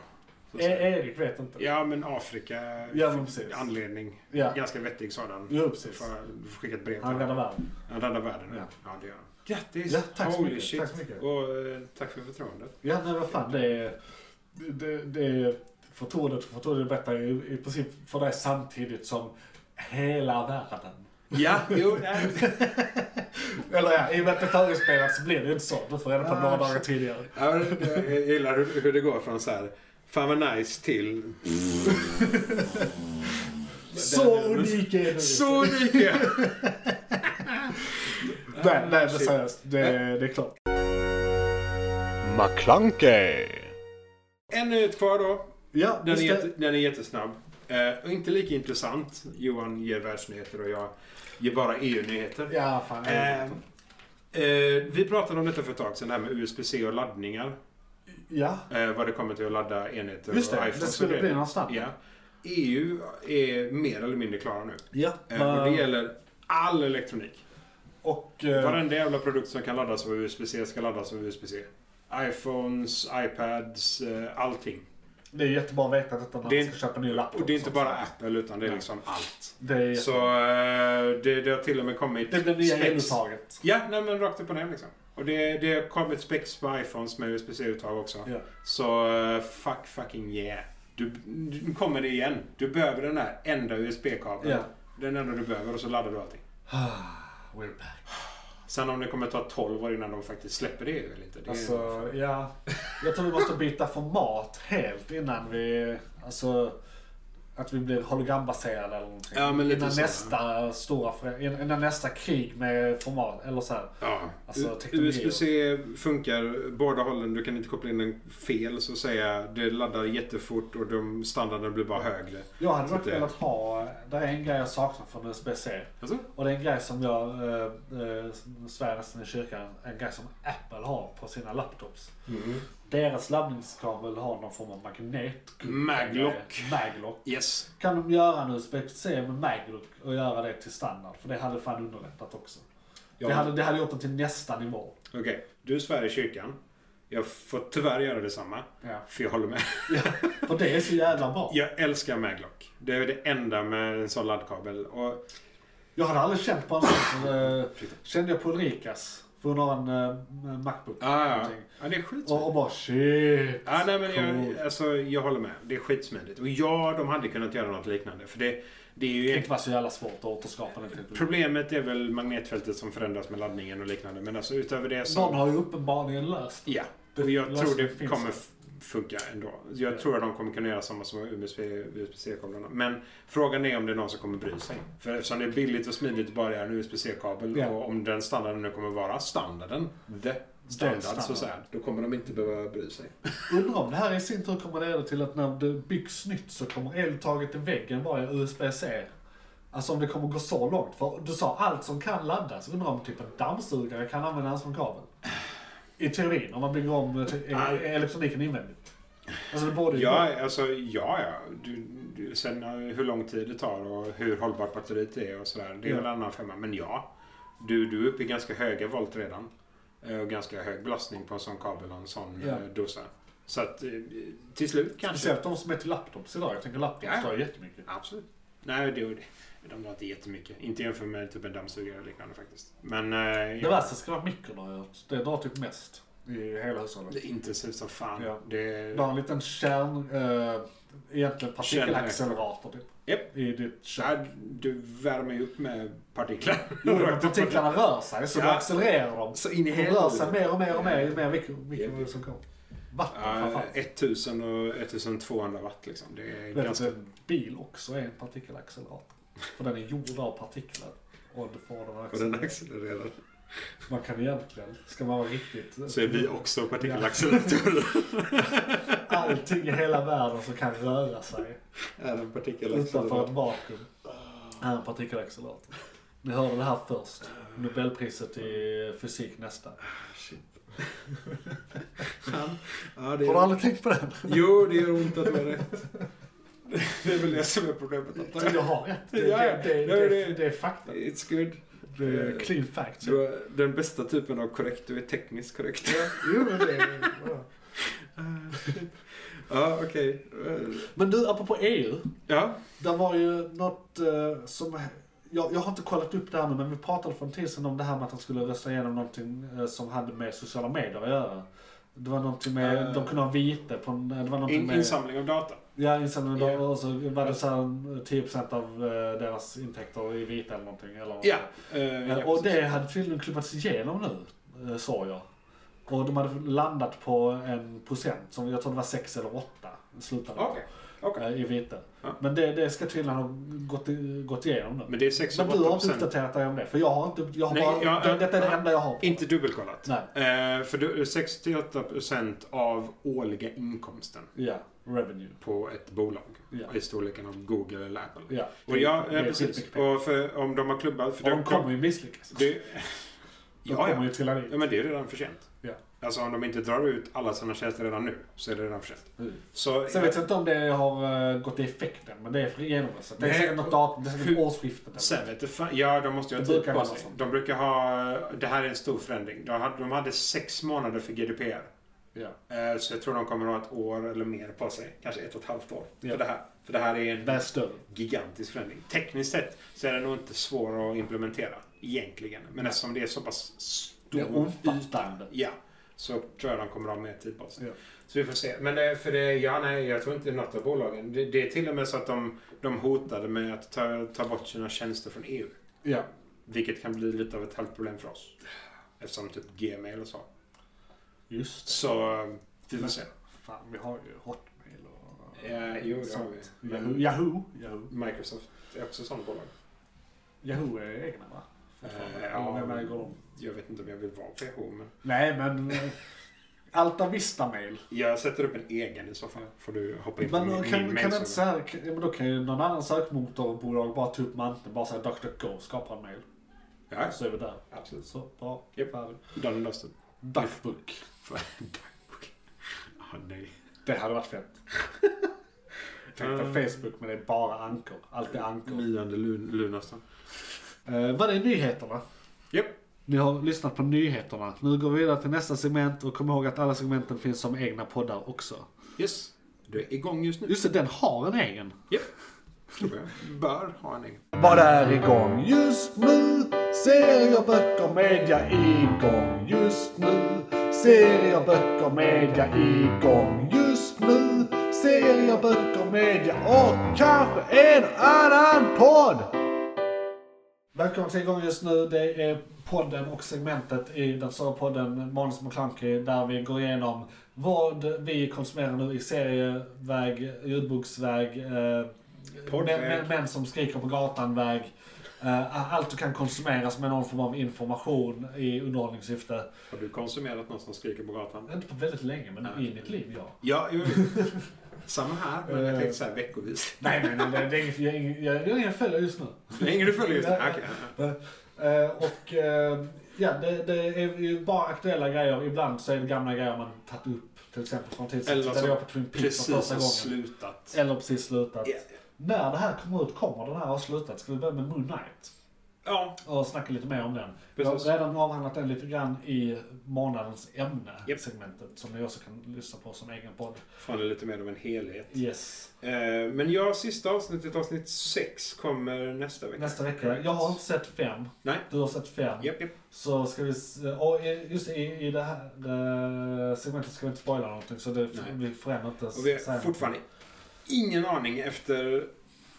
Så att
E-
säga.
Erik vet inte.
Ja, men Afrika.
Ja, men precis.
Anledning.
Ja,
Ganska vettig sådan.
jo precis.
Får- Du får skicka ett brev till
Han
honom.
räddar världen.
Han räddar världen.
Ja.
Ja. det gör han. Grattis!
Ja, tack så
Holy
mycket,
shit.
tack så mycket.
Och eh, tack för förtroendet.
Ja, nej vad fan, det är... Det, det är förtroendet för förtroendet berättar ju i princip för dig samtidigt som hela världen.
Ja, jo, nej.
Eller ja, i och med att det förespelat så blir det ju inte så. Du får reda på
Ah,
några
shit.
dagar tidigare.
Ja, men jag jag gillar hur, hur det går från så här, fan vad nice till
Så unik är du!
så mycket.
Nej,
Ah,
nej men seriöst. Det, det är klart.
McClunkey!
En nyhet kvar då.
Ja,
Den är,
just det.
jätte, den är jättesnabb. Eh, och inte lika intressant. Johan ger världsnyheter och jag ger bara EU-nyheter.
Ja, fan.
Eh, eh, vi pratade om detta för ett tag sedan, det här med USB-C och laddningar.
ja,
Eh, vad det kommer till att ladda enheter
just
och
det.
iPhones
Det
och
skulle
grejer.
bli någonstans.
Ja. EU är mer eller mindre klara nu.
Ja,
Eh, och det gäller all elektronik.
och... eh,
Varenda jävla produkt som kan laddas av USB-C ska laddas av USB-C. iPhones, iPads, eh, allting.
Det är jättebra att veta detta när
Det är
man ska köpa en ny laptop.
Och det är inte
sånt.
bara Apple utan det är
Nej.
liksom allt.
Det, är,
Så eh, det, det har till och med kommit
det blir nya
specs.
eluttaget.
Ja, nej men rakt upp och ner liksom. Och det, det har kommit specs på iPhones med USB-C-uttag också.
Ja.
Så eh, fuck fucking yeah. Du, nu kommer det igen. Du behöver den här enda USB-kabeln.
Ja.
Den enda du behöver och så laddar du allting.
We're back.
Sen om det kommer ta 12 år innan de faktiskt släpper det eller inte. Det
Alltså, ja. Jag tror vi måste byta format helt innan vi... Alltså, att vi blir hologrambaserade eller någonting.
Ja, men lite
innan,
så.
nästa stora, förä- in- innan nästa krig med format. Eller så här.
Ja.
Alltså,
U-
teknologi och-
USB-C funkar båda hållen. Du kan inte koppla in den fel så att säga. Det laddar jättefort och de standarden blir bara högre.
Jag hade
Så
varit
det-
velat ha... Det är en grej jag saknar från USB-C.
Alltså?
Och det är en grej som jag eh, eh, svär nästan i kyrkan. En grej som Apple har på sina laptops. Deras laddningskabel har någon form av magnet.
Maglock.
Maglock.
Yes.
Kan de göra en USB-C med Maglock och göra det till standard? För det hade fan underlättat också.
Ja.
Det, hade, det hade gjort det till nästa nivå.
Okej, du svär i kyrkan. Jag får tyvärr göra detsamma.
Ja.
För jag håller med.
För det är så jävla bra.
Jag älskar Maglock. Det är det enda med en sån laddkabel. Och
Jag hade aldrig känt på honom. men, eh, kände jag på Ulrikas. För hon har en eh, Macbook.
Ah, ja.
någonting.
ja, det är skitsmidigt.
Och, och bara shit.
Ja, nej, men
Cool.
jag, alltså, jag håller med. Det är skitsmidigt. Och ja, de hade kunnat göra något liknande. För det, det är
Det kan
ju...
inte vara så jävla svårt att återskapa den typen.
Problemet är väl magnetfältet som förändras med laddningen och liknande. Men alltså utöver det så...
Någon har ju uppenbarligen löst
Ja,
Det-
och jag tror det
finns
kommer
det.
f- funka ändå. Jag tror att de kommer kunna göra samma som USB- USB-C-kablarna. Men frågan är om det är någon som kommer bry sig. För eftersom det är billigt och smidigt att bara göra en USB-C-kabel
Ja.
och om den standarden nu kommer vara standarden, the standard, så
standard.
att säga, då kommer de inte behöva bry sig.
Undrar om det här i sin tur kommer leda till att när det byggs nytt så kommer eluttaget i väggen vara USB-C. Alltså om det kommer gå så långt. För du sa allt som kan laddas. Undrar om typ en dammsugare kan användas som kabel. I teorin, om man bygger om eh, te-
Ah.
eh, elektroniken invändigt. Alltså det borde ju gå.
Ja, alltså, ja, ja. Du, du, sen eh, hur lång tid det tar och hur hållbart batteriet är och sådär. Det är
Ja.
väl en annan femma. Men ja, du, du är uppe i ganska höga volt redan. Eh, Och ganska hög belastning på en sån kabel och en sån
Ja.
eh, dosa. Så att eh, till slut kanske.
Speciellt de som är till laptops idag. Jag tänker laptops
Ja.
tar ju jättemycket.
Absolut. Nej, det, det- de drar inte jättemycket. Inte jämfört med typ en dammsugare eller liknande faktiskt. Men eh,
Det värsta ska vara mikron har jag hört. Det drar typ mest i hela hushållet.
det är intensivt som fan.
Ja.
Det,
Du har en liten kärn... Eh, egentligen partikelaccelerator typ.
Japp.
I ditt kärn.
Ja, du värmer ju upp med partiklar.
Jo, men partiklarna rör sig så
Mm. Ja.
då accelererar de.
Så in i
De rör sig mer och mer och mer ju mer mikro-
Ja.
mikrovågor som kommer. Vatten
Ja,
framförallt.
1000 och 1200 watt liksom. Det är
Vet du
ganska...
att en Alltså, bil också är en partikelaccelerator? För den är gjord av partiklar. Och det får den att
Och den
accelerera.
accelererar.
Man kan egentligen, ska man vara riktigt...
Så är vi också partikelacceleratorer.
Allting i hela världen som kan röra sig
är en
utanför Ah, ett
partikelaccelerator.
vakuum är en partikelaccelerator. Ni hörde det här först. Nobelpriset i fysik nästa.
Ja, det
Har du
gör...
aldrig tänkt på den?
Jo, det gör ont att du har rätt. Det är väl det som är problemet. antar jag.
Jag har rätt. Det,
Ja, ja.
det, det,
Ja,
det,
det-
det, det är fakta.
It's good.
Det är clean facts.
Du är den bästa typen av korrekt. Du är tekniskt korrekt. Ah,
Jo, men det är- ja.
Ja, okej. Eh,
Men du, apropå EU.
Ja.
Det var ju något eh, som... Jag, jag har inte kollat upp det här nu, men vi pratade för en tid sedan om det här med att de skulle rösta igenom någonting eh, som hade med sociala medier att göra. Det var någonting med,
Eh,
de kunde ha vite på en, det var någonting
In,
med...
insamling av data.
Ja, insamling.
Ja.
Och så var det så här 10% av eh, deras intäkter i vite eller någonting. Eller något.
Ja. eh,
Eh,
ja,
Och
precis.
det hade tydligen klubbats igenom nu, eh, sa jag. Och de hade landat på en procent, som jag tror det var sex eller åtta i slutändan.
Okej. Ah, okej. Ah.
eh, I vite.
Ja.
Men det, det ska tydligen ha gått, i- gått igenom nu. Men,
Men det är 6
du har inte uppdaterat dig om det? För jag har inte, jag har
Nej,
bara,
jag-
det, detta är det
jag-
enda jag har. på.
Inte dubbelkollat.
Nej.
Eh, för du- 68% av årliga inkomsten
Ja, revenue.
på ett bolag.
Ja.
I storleken av Google eller Apple.
Ja,
Och ja,
Det är
ja precis.
skitmycket pengar.
Och för, om de har klubbat... För
Och de kommer ju misslyckas.
det,
De
ja,
kommer
ja.
ju trilla ner.
ja, men det är redan för sent.
Ja.
Alltså om de inte drar ut alla sina tjänster redan nu så är det redan för sent.
Mm.
Så,
Sen vet jag inte om det har eh, gått i effekten, men det är för genomröstat. Det är
Nej.
säkert något datum, det är säkert
Hur-
årsskiftet. eller
Sen vet du fan, ja de måste ju ha
Det
tid
brukar
på
vara
sig.
sånt.
De brukar ha, det här är en stor förändring. De hade, de hade sex månader för GDPR.
Ja.
Eh, Så jag tror de kommer att ha ett år eller mer på sig. Kanske ett och ett halvt år.
Ja.
För, det här. för det här är en
något. Väl större.
gigantisk förändring. Tekniskt sett så är den nog inte svår att implementera. Egentligen. Men eftersom det är så pass
Det
stor
är omfattande.
Ja. Så tror jag de kommer att ha mer tid på sig.
Ja.
Så vi får se. Men eh, för det, ja nej, jag tror inte något av bolagen. Det, det är till och med så att de, de hotade med att ta, ta bort sina tjänster från EU.
Ja.
Vilket kan bli lite av ett halvt problem för oss. Eftersom typ Gmail och så.
Just det.
Så eh, vi får se.
Fan, vi har ju Hotmail och
Ja, Eh, jo, det har
sånt.
vi. Men-
Yahoo. Yahoo. Yahoo.
Microsoft är också sånt bolag.
Yahoo är egna va? Fortfarande.
Eh,
Eller
ja.
vem äger dem?
Jag vet inte om jag vill vara PH men...
Nej men... eh, Alta Vista Mail.
Jag sätter upp en egen i så fall. Får du hoppa in på
Men
min,
då kan,
min
kan
mail.
inte så här, kan, ja, men då kan ju någon annan sökmotorbolag bara ta upp manteln, bara säga DuckDuckGo, skapa en mail.
Ja,
Så är vi där.
absolut.
Så, bra.
Japp.
Färdig.
Done and dusted.
Duckbook.
Ah, nej.
Det hade varit fett. Tänk
Eh.
dig Facebook men det är bara ankor. Allt är ankor.
Nionde lun- Lunarsson. Mm.
Eh, vad är nyheterna?
Japp.
Ni har lyssnat på nyheterna. Nu går vi vidare till nästa segment och kom ihåg att alla segmenten finns som egna poddar också.
Yes. Du är igång just nu.
Just det, den har en egen.
Japp. tror jag. Bör ha en egen.
Vad är igång just nu? Serier, böcker, media igång just nu. Serier, böcker, media igång just nu. Serier, böcker, media och kanske en annan podd. Välkommen till igång just nu. Det är podden och segmentet i den stora podden Manus McClunky där vi går igenom vad vi konsumerar nu i serieväg, ljudboksväg, eh,
Poddväg.
män, män- män som skriker på gatan-väg. Eh, allt du kan konsumeras med någon form av information i underhållningssyfte.
Har du konsumerat någon som skriker på gatan?
Inte på väldigt länge, men i mitt liv, ja.
Ja, jo. Samma här, men jag tänkte så här veckovis.
Eh. Nej, nej, nej, det, det är inget, jag, jag, jag, jag, jag följer just nu.
Länge du följer just det. Okej.
Eh, och eh, ja, det, det är ju bara aktuella grejer. Ibland så är det gamla grejer man tagit upp. Till exempel från tid
Eller
tittade
som
jag på Twin Peaks för
Precis
första
har
gången.
slutat.
Eller precis slutat.
Ja.
När det här kommer ut, kommer den här ha slutat? Ska vi börja med Moon Knight?
Ja,
Och snacka lite mer om den. Vi har
precis.
redan avhandlat den lite grann i månadens
Japp.
ämne-segmentet. Som ni också kan lyssna på som egen podd.
Fan, det är lite mer av en helhet.
Yes.
Eh, Men ja, sista avsnittet, avsnitt 6, kommer nästa vecka.
Nästa vecka. Jag har inte sett fem.
Nej.
Du har sett fem.
Japp, japp.
Så ska vi, s- och i- just i, i det här eh, segmentet ska vi inte spoila någonting så det,
Nej.
vi förändrar inte.
Och vi
så här.
har fortfarande ingen aning efter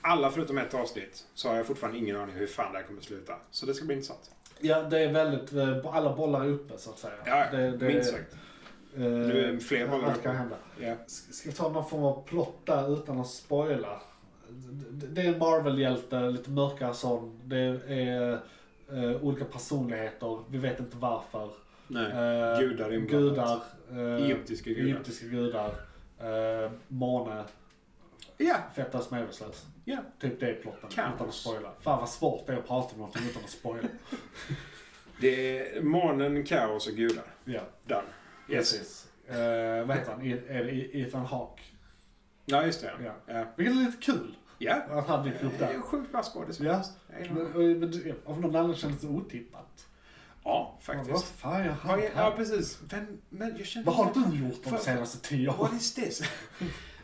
alla förutom ett avsnitt så har jag fortfarande ingen aning hur fan det här kommer sluta. Så det ska bli intressant.
Ja, det är väldigt, eh, alla bollar är uppe så att säga.
Ja,
det, det,
minst sagt.
eh,
Nu är det fler bollar
allt
uppe.
kan hända.
Ja.
S- Ska vi ta någon form av plott där utan att spoila? Det, det är en Marvel-hjälte, lite mörkare sån. Det är eh, olika personligheter, vi vet inte varför.
Nej.
Eh,
Gudar inblandat.
Gudar. eh,
Egyptiska gudar.
Egyptiska gudar. Eh, måne.
Ja,
Fetta smedelslös.
ja.
Typ det är plotten.
Kaos.
Utan att spoila. Fan vad svårt det är att prata om någonting utan att spoila.
Det är månen, kaos och gudar.
Ja,
Done. Yes.
precis. Eh, vad heter han? I- Är det Ethan Hawke?
Ja, just det.
Ja.
Ja.
Vilket är lite kul
ja.
att han dyker upp
Det är
där.
en sjukt bra skådis.
Ja.
Jag gillar
Men,
honom.
men det- av någon anledning kändes det otippat.
Ja,
Ja, Vad
faktiskt.
fan gör
Ja,
han
ja,
här?
precis. Vem, men jag känner...
Vad har du gjort de
Vad-
senaste tio
What
åren?
is this? Alltså,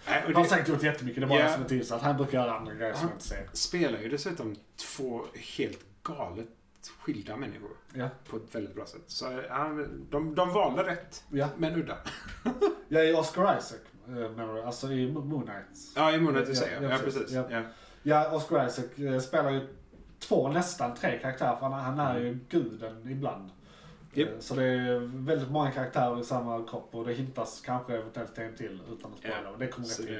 Nej, och
Han har
det
säkert gjort jättemycket, det var
Ja.
jag som är tillsatt. Han brukar göra andra grejer som jag inte ser.
spelar ju dessutom två helt galet skilda människor
Ja.
på ett väldigt bra sätt. Så ja, de, de valde rätt,
Ja.
men udda.
Jag är Oscar Isaac, eh, menar du? Alltså i Mo- Moon Knight.
Ja, i månaden du
Ja,
säger.
ja,
Ja,
precis.
precis.
Ja.
Ja.
Ja, Oscar Isaac eh, spelar ju två, nästan tre karaktärer. För han, han är ju guden ibland.
Mm. Japp.
Eh, Så det är väldigt många karaktärer i samma kropp och det hintas kanske eventuellt till en till utan att spoila.
Ja.
Men det kommer
Så
rätt in.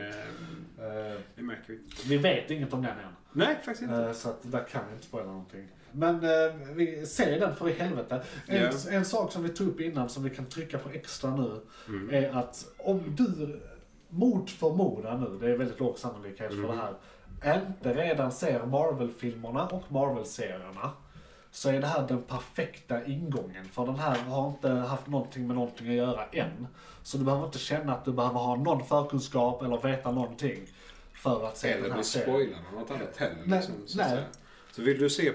det,
Eh,
det märker vi.
Vi vet inget om den än.
Nej, faktiskt inte.
Eh, Så att där kan vi inte spoila någonting. Men eh, vi ser den för i helvete. En,
Ja.
en sak som vi tog upp innan som vi kan trycka på extra nu
Mm.
är att om du mot förmodan nu, det är väldigt låg sannolikhet för
Mm.
det här, inte redan ser Marvel-filmerna och Marvel-serierna så är det här den perfekta ingången. För den här har inte haft någonting med någonting att göra än. Så du behöver inte känna att du behöver ha någon förkunskap eller veta någonting för att se Eh, den
Eller
här
bli
serien.
spoilad av något annat heller.
Nej,
Liksom, så, att
nej.
säga. så vill du se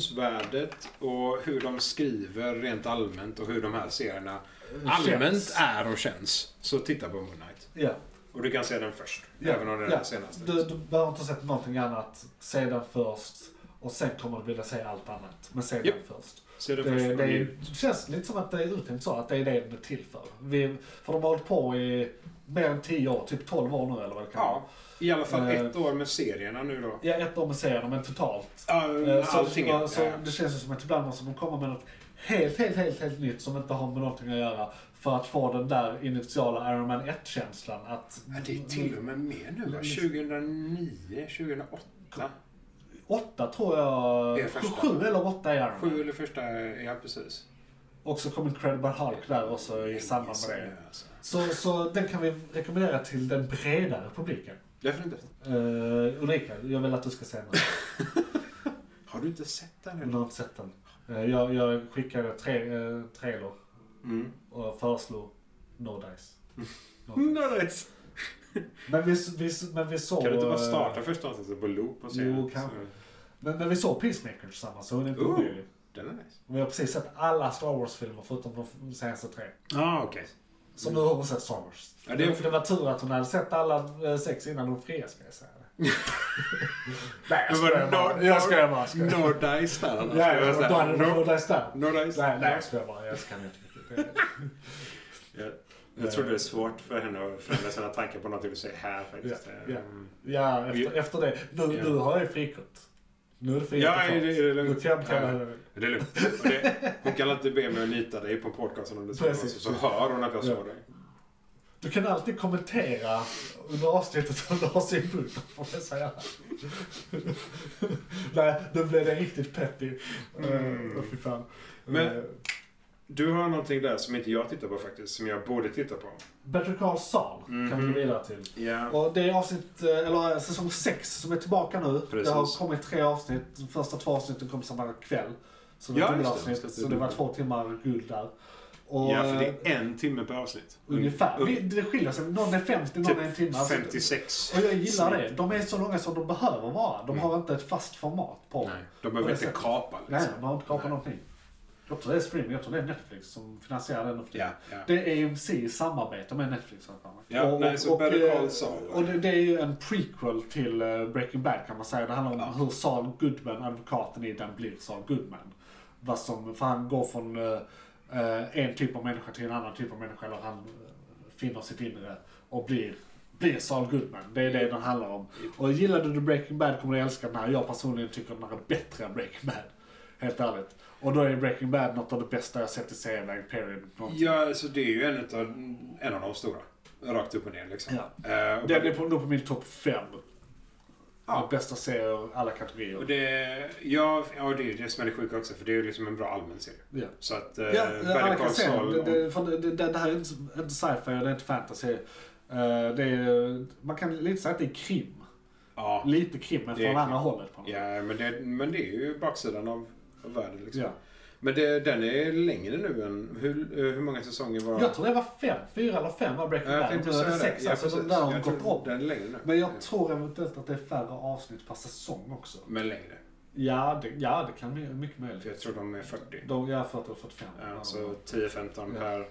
produktionsvärdet och hur de skriver rent allmänt och hur de här serierna
Eh,
allmänt är och känns, så titta på Moon Knight.
Ja.
Och du kan se den först,
Ja,
även om den är
ja.
den senaste.
Du, du behöver inte ha sett någonting annat. Se den först. Och sen kommer du vilja se allt annat. Men se
Japp.
den först.
Se
Det,
den först
det,
och njut.
är- känns lite som att det är uttänkt så, att det är det den är till för. Vi, för de har hållit på i mer än 10 år, typ 12 år nu eller vad det kan vara.
Ja, i alla fall
Eh.
ett år med serierna nu då.
Ja, ett år med serierna, men totalt.
Ja,
Eh, Så,
Mm, allting.
så,
är-
så det känns ju som att ibland måste de komma med något helt, helt, helt, helt nytt som inte har med någonting att göra. För att få den där initiala Iron Man 1-känslan. Att
Ja, det är till och med mer nu
Mm.
va? 2009, 2008?
åtta tror
Det
jag,
är första.
sju eller åtta är Iron Man.
Sju eller första, ja precis.
Och så kom Incredible Hulk där också i samband med det.
Alltså.
Så, så den kan vi rekommendera till den bredare publiken.
Definitivt.
Uh, Ulrika, jag vill att du ska se den.
Har du inte sett den
Om
än?
du har inte sett den. Eh, jag, jag skickade tre, eh, trailer
Mm.
och föreslog No Dice.
Nice.
Men vi, vi, men vi såg...
Mm. Kan du inte bara
eh,
starta första avsnittet på loop och se?
Jo,
den?
kanske.
Så-
Men, men vi såg Peacemaker tillsammans, så hon är inte
Oh.
omöjlig.
Den är nice.
Vi har precis sett alla Star Wars-filmer förutom de senaste tre.
Ja, ah, okej.
Så nu har hon sett Star Wars.
Ja, det
det,
är-
det var tur att hon hade sett alla eh, sex innan hon friade, ska jag säga. Nej, jag
Men
skojar
vadå?
bara. Jag skojar bara. jag skojar.
No dice där annars.
Ja,
Det var så
ja,
här,
då hade du
no,
fått dig stab.
no dice.
Nej, nej, jag skojar bara. Jag kan inte.
Jag,
Eh.
jag tror det är svårt för henne att förändra sina tankar på någonting du säger här faktiskt.
Ja,
Mm.
ja. Ja, efter, efter det. Nu,
Ja.
nu har jag frikort. Nu är det frikort.
Ja, är det- är det lugnt?
Nu kan jag betala
Ja.
henne.
Men Det är lugnt. Och Det, hon kan alltid be mig att nita dig på podcasten om det ska vara så.
Precis.
Så hör hon att jag
Ja.
såg dig.
Du kan alltid kommentera under avsnittet om du har synpunkter får jag säga. Nej, nu blev det riktigt petty. Mm.
Mm.
fy fan.
Men-
Eh,
Du har någonting där som inte jag tittar på faktiskt, som jag borde titta på.
Better Call Saul kan vi
Mhm.
gå vidare till.
Ja.
Och det är avsnitt, eh, eller säsong 6 som är tillbaka nu.
Precis.
Det har kommit tre avsnitt. De första två avsnitten kom samma kväll. Så det
Ja,
var ett
just det.
avsnitt.
Just det.
Så det var två timmar guld där. Och,
ja, för det
eh,
är en timme per avsnitt.
Ungefär.
Un-
Vi- Det skiljer sig. Någon är 50, någon
Typ
är en timme. Alltså,
56.
Och jag gillar det. De är så långa som de behöver vara. De har inte ett fast format på dem.
Mm. Nej, de behöver
På det
inte
sättet.
kapa
Nej,
liksom.
de har inte kapat
Nej.
någonting. Jag tror det är streaming, jag tror det är Netflix som finansierar den. nu för tiden.
Ja, ja.
Det är AMC i samarbete med Netflix. har jag för mig.
Ja, nej, så Better Call Saul.
och det, det är ju en prequel till eh, Breaking Bad kan man säga. Det handlar om hur Saul Goodman, advokaten i den, blir Saul Goodman. Vad som, för han går från eh, eh, en typ av människa till en annan typ av människa. Eller han eh, finner sitt inre och blir, blir Saul Goodman. Det är det den handlar om. Och gillade du Breaking Bad kommer du älska den här. Jag personligen tycker den här är bättre än Breaking Bad. Helt ärligt. Och då är Breaking Bad något av det bästa jag sett i serieväg, period. Någonting.
Ja, så det är ju en utav, en av de stora. Rakt upp och ner liksom.
Ja.
Eh, och,
Den är på, nog på min topp 5.
Ja.
Av Bästa serier, alla kategorier.
och det, ja, ja, det är ju det som är det sjuka också, för det är ju liksom en bra allmän serie.
ja.
Så att... eh,
Ja,
Better
alla
Call
kan se
Saul-
det, det, för det, det, det här är inte, inte sci-fi, det är inte fantasy. Eh, det är, man kan lite säga att det är krim.
ja.
Lite krim, men
Det är
från andra
krim.
hållet. På något sätt.
ja men, det, men det är ju baksidan av, av världen liksom.
ja.
Men det, den är längre nu än... Hur, eh, hur många säsonger var...
Jag tror det var fem, fyra eller fem var Breaking
Ja,
Bad. Nu är det sex,
Ja,
alltså de
precis.
där har
Jag
gått
tror
upp.
Den är längre nu.
Men jag
Ja.
tror eventuellt att det är färre avsnitt per säsong också.
Men längre.
Ja, det, ja, det kan bli mycket
För
möjligt.
jag tror de är 40.
De, jag har 40 och 45.
Ja, så 10-15
Ja.
per...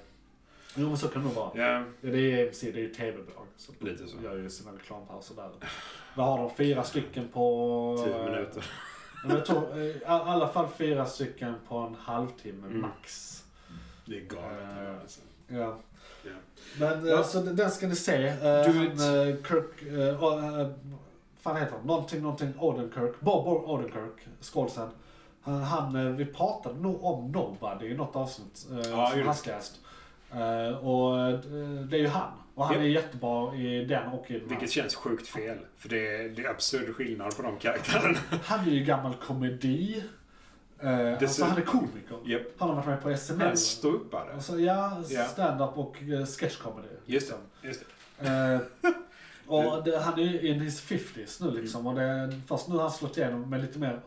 Jo, men så kan det nog vara.
Ja,
Ja, det är AMC, det är ju tv-bolag. Så de
Lite så.
gör ju sina reklampauser där. Vad har de? Fyra stycken på...
10 minuter.
Ja, men jag tror, eh, i alla fall fyra stycken på en halvtimme
Mm.
max.
Det är
Eh,
galet. alltså.
Ja.
Ja.
Men
Ja.
ja. alltså den den ska ni se. Eh,
Do
han,
it.
eh, Kirk... eh, och, eh, fan heter han? Någonting, någonting Odenkirk. Bob O- Odenkirk, skådisen. Han, han, eh, vi pratade nog om Nobody i något avsnitt eh,
Ja,
som
just.
hastigast. Eh, och eh, det är ju han. Och han
Ja.
är jättebra i den och i den här.
Vilket känns sjukt fel. För det är, det är absurd skillnad på de karaktärerna.
Han är ju gammal komedi. Eh, alltså
Dessutom-
han är komiker.
Japp.
Han har varit med på SNL.
Men ståuppare.
Alltså, ja,
Ja.
stand-up och eh, sketch comedy.
Just det. Just det.
Eh, och det, han är ju in his 50s nu liksom. Och det, är- fast nu har han slått igenom med lite mer...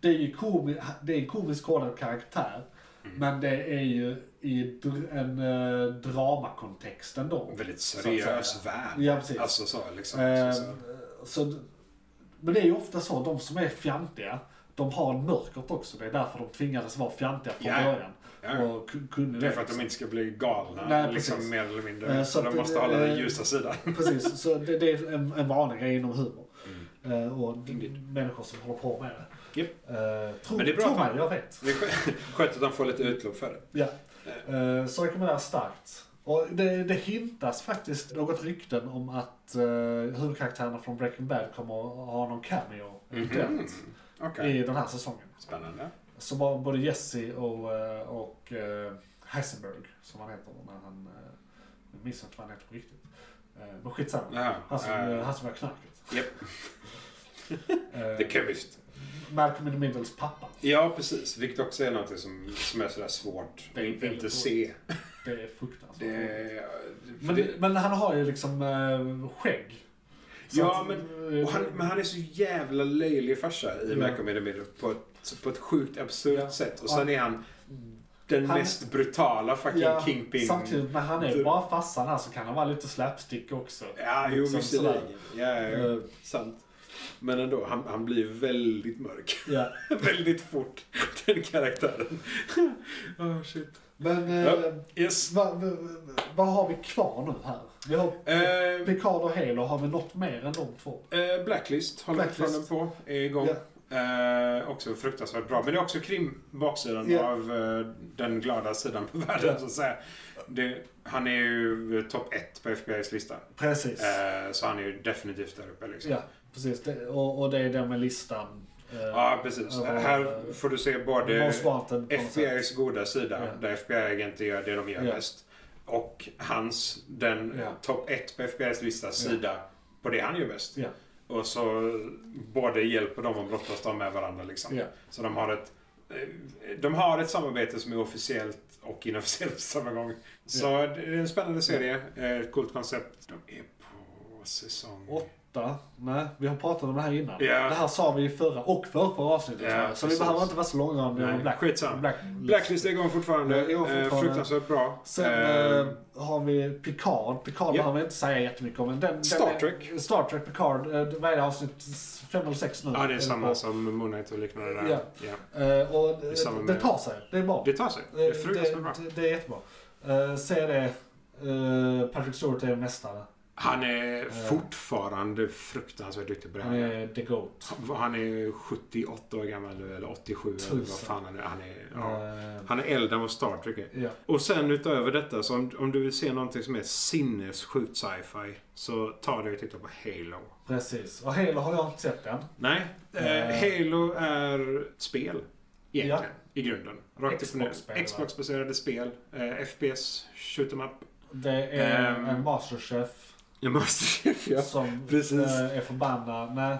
Det är ju komi, det är en komisk kodad karaktär.
Mm.
Men det är ju i dr, en eh, dramakontext ändå.
Och väldigt
att säga.
seriös värld.
Ja, precis.
Alltså så liksom.
Eh,
så, så.
så, d- men det är ju ofta så, de som är fjantiga, de har mörkret också. Det är därför de tvingades vara fjantiga från
Ja, ja.
början.
Ja.
Och ku- kunde liksom.
Det är för att de inte ska bli galna,
Nej, precis.
liksom, mer eller mindre.
Eh, så
så
att
de måste
det-
hålla den
eh,
ljusa sidan.
Precis, så det, det är en, en vanlig grej inom humor. Eh, och d- människor som håller på med det.
Mm. Japp.
Eh, tro,
Men det är bra
tro
att man-
mig, jag vet.
Det är skö- skönt att de får lite utlopp för det.
Ja. Eh, så rekommenderar jag starkt. Och det, det hintas faktiskt något rykten om att eh, huvudkaraktärerna från Breaking Bad kommer att ha någon cameo eventuellt
Mhm. Okej,
i den här säsongen.
spännande.
Så var både Jesse och, eh, och eh, Heisenberg, som han heter när han... eh, Jag minns inte vad han heter på riktigt. Eh, Men skitsamma.
Jaha,
Han som,
eh,
eh, han som gör knarket.
Japp,
Eh,
The Chemist.
Malcolm in the Middles pappa.
Ja, precis. Vilket också är något som, som är sådär svårt
Det är
att inte
väldigt
se.
Det är fruktansvärt.
Det, är- för
Men,
det,
men han har ju liksom eh, skägg. Så
ja,
att,
men,
eh,
och han, men han är så jävla löjlig farsa i
Ja.
Malcolm in the Middle på ett, på ett sjukt absurt
Ja.
sätt. Och
Ja.
sen är han den
Han-
mest brutala fucking
ja,
kingpin.
Samtidigt, men han är
Du-
ju bara farsan här så kan han vara lite slapstick också.
Ja, jo,
Liksom
visserligen.
sådär.
Ja, ja, ja.
Eh.
sant. Men ändå, han, han blir ju väldigt mörk.
Ja.
väldigt fort, den karaktären. Ah, shit.
Men eh,
Ja. Yes.
vad vad- vad har vi kvar nu här? Vi har
Eh,
Picard och Halo, har vi något mer än de två?
eh, Blacklist håller
Blacklist.
fortfarande på. Är igång. Eh, också fruktansvärt bra. Men det är också krim baksidan
Ja.
av eh, den glada sidan på världen så att säga. Det, han är ju eh, topp ett på FBI's lista.
Precis.
Eh, så han är ju definitivt där uppe liksom.
Ja, precis. Det, och, och det är den med listan. eh,
Ja, precis.
över,
Här
eh,
får du se
Most
både
Wanted på något sätt.
FBI's goda sida,
Ja.
där FBI-agenter gör det de gör
Ja.
bäst. Och hans, den
Ja.
topp 1 på FBI's lista, sida på det han gör bäst.
Ja.
Och så både hjälper de och brottas de med varandra liksom.
Ja.
Så de har ett eh, de har ett samarbete som är officiellt och inofficiellt på samma gång. Så det är en spännande serie, eh, ett coolt koncept. De är på säsong...
Åtta. Nej, vi har pratat om det här innan.
Ja.
Det här sa vi i förra och förra, förra avsnittet.
Ja,
tror jag. så vi
precis.
behöver inte vara så långa om det.
Nej,
om Black,
skitsamma.
Black,
Blacklist är igång fortfarande.
Ja, igång
Eh,
fortfarande.
Fruktansvärt bra.
Sen
Eh,
eh, har vi Picard. Picard
ja.
behöver vi inte säga jättemycket om. Men den, den
Star
är-
Trek.
Star Trek Picard. Eh, vad är det? Avsnitt fem eller sex nu?
Ja, det är
Eller
samma
på.
som Moon Knight och liknande där.
Ja.
Ja.
Eh, och
är
det,
samma
det,
med-
tar sig. Det är bra.
Det tar sig. Det är fruktansvärt bra.
Eh, det, det, det är jättebra. Eh, se det. Eh, Patrick Stewart är mästare.
Han är fortfarande fruktansvärt duktig på det
Han
här.
är the GOAT.
Han är 78 år gammal nu, eller 87 eller vad
Tusen.
fan han är. Han är, ja.
Eh,
han är äldre än vad Star Trek är.
ja.
Och sen utöver detta, så om, om du vill se någonting som är sinnessjukt sci-fi, så ta dig och titta på Halo.
Precis. Och Halo har jag inte sett än.
Nej, eh,
Eh.
Halo är ett spel. Egentligen. I grunden. Rakt upp och
Xbox-spel, va?
ner. Xbox-baserade spel. Eh, FPS, shoot 'em up.
Det är
Ehm.
en masterchef
Jag måste
som
precis. Eh,
eh, är förbannad. Nej,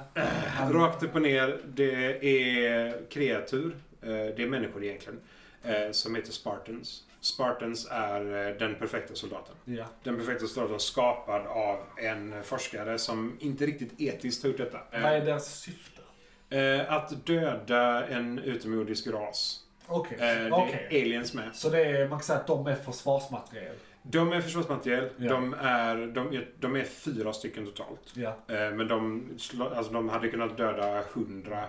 han-
Rakt upp och ner. Det är kreatur. eh, Det är människor egentligen. eh, Som heter Spartans. Spartans är eh, den perfekta soldaten.
Ja,
Den perfekta soldaten skapad av en forskare som inte riktigt etiskt har gjort detta.
Vad är deras syfte?
Eh, Att döda en utomjordisk ras.
Okej.
Eh, Det
Okej.
är aliens med.
Så det är, man kan säga att de är försvarsmateriel.
De är försvarsmateriel.
Ja.
De, är, de, är, de är fyra stycken totalt.
Ja.
Eh, Men de, slå- alltså de hade kunnat döda hundra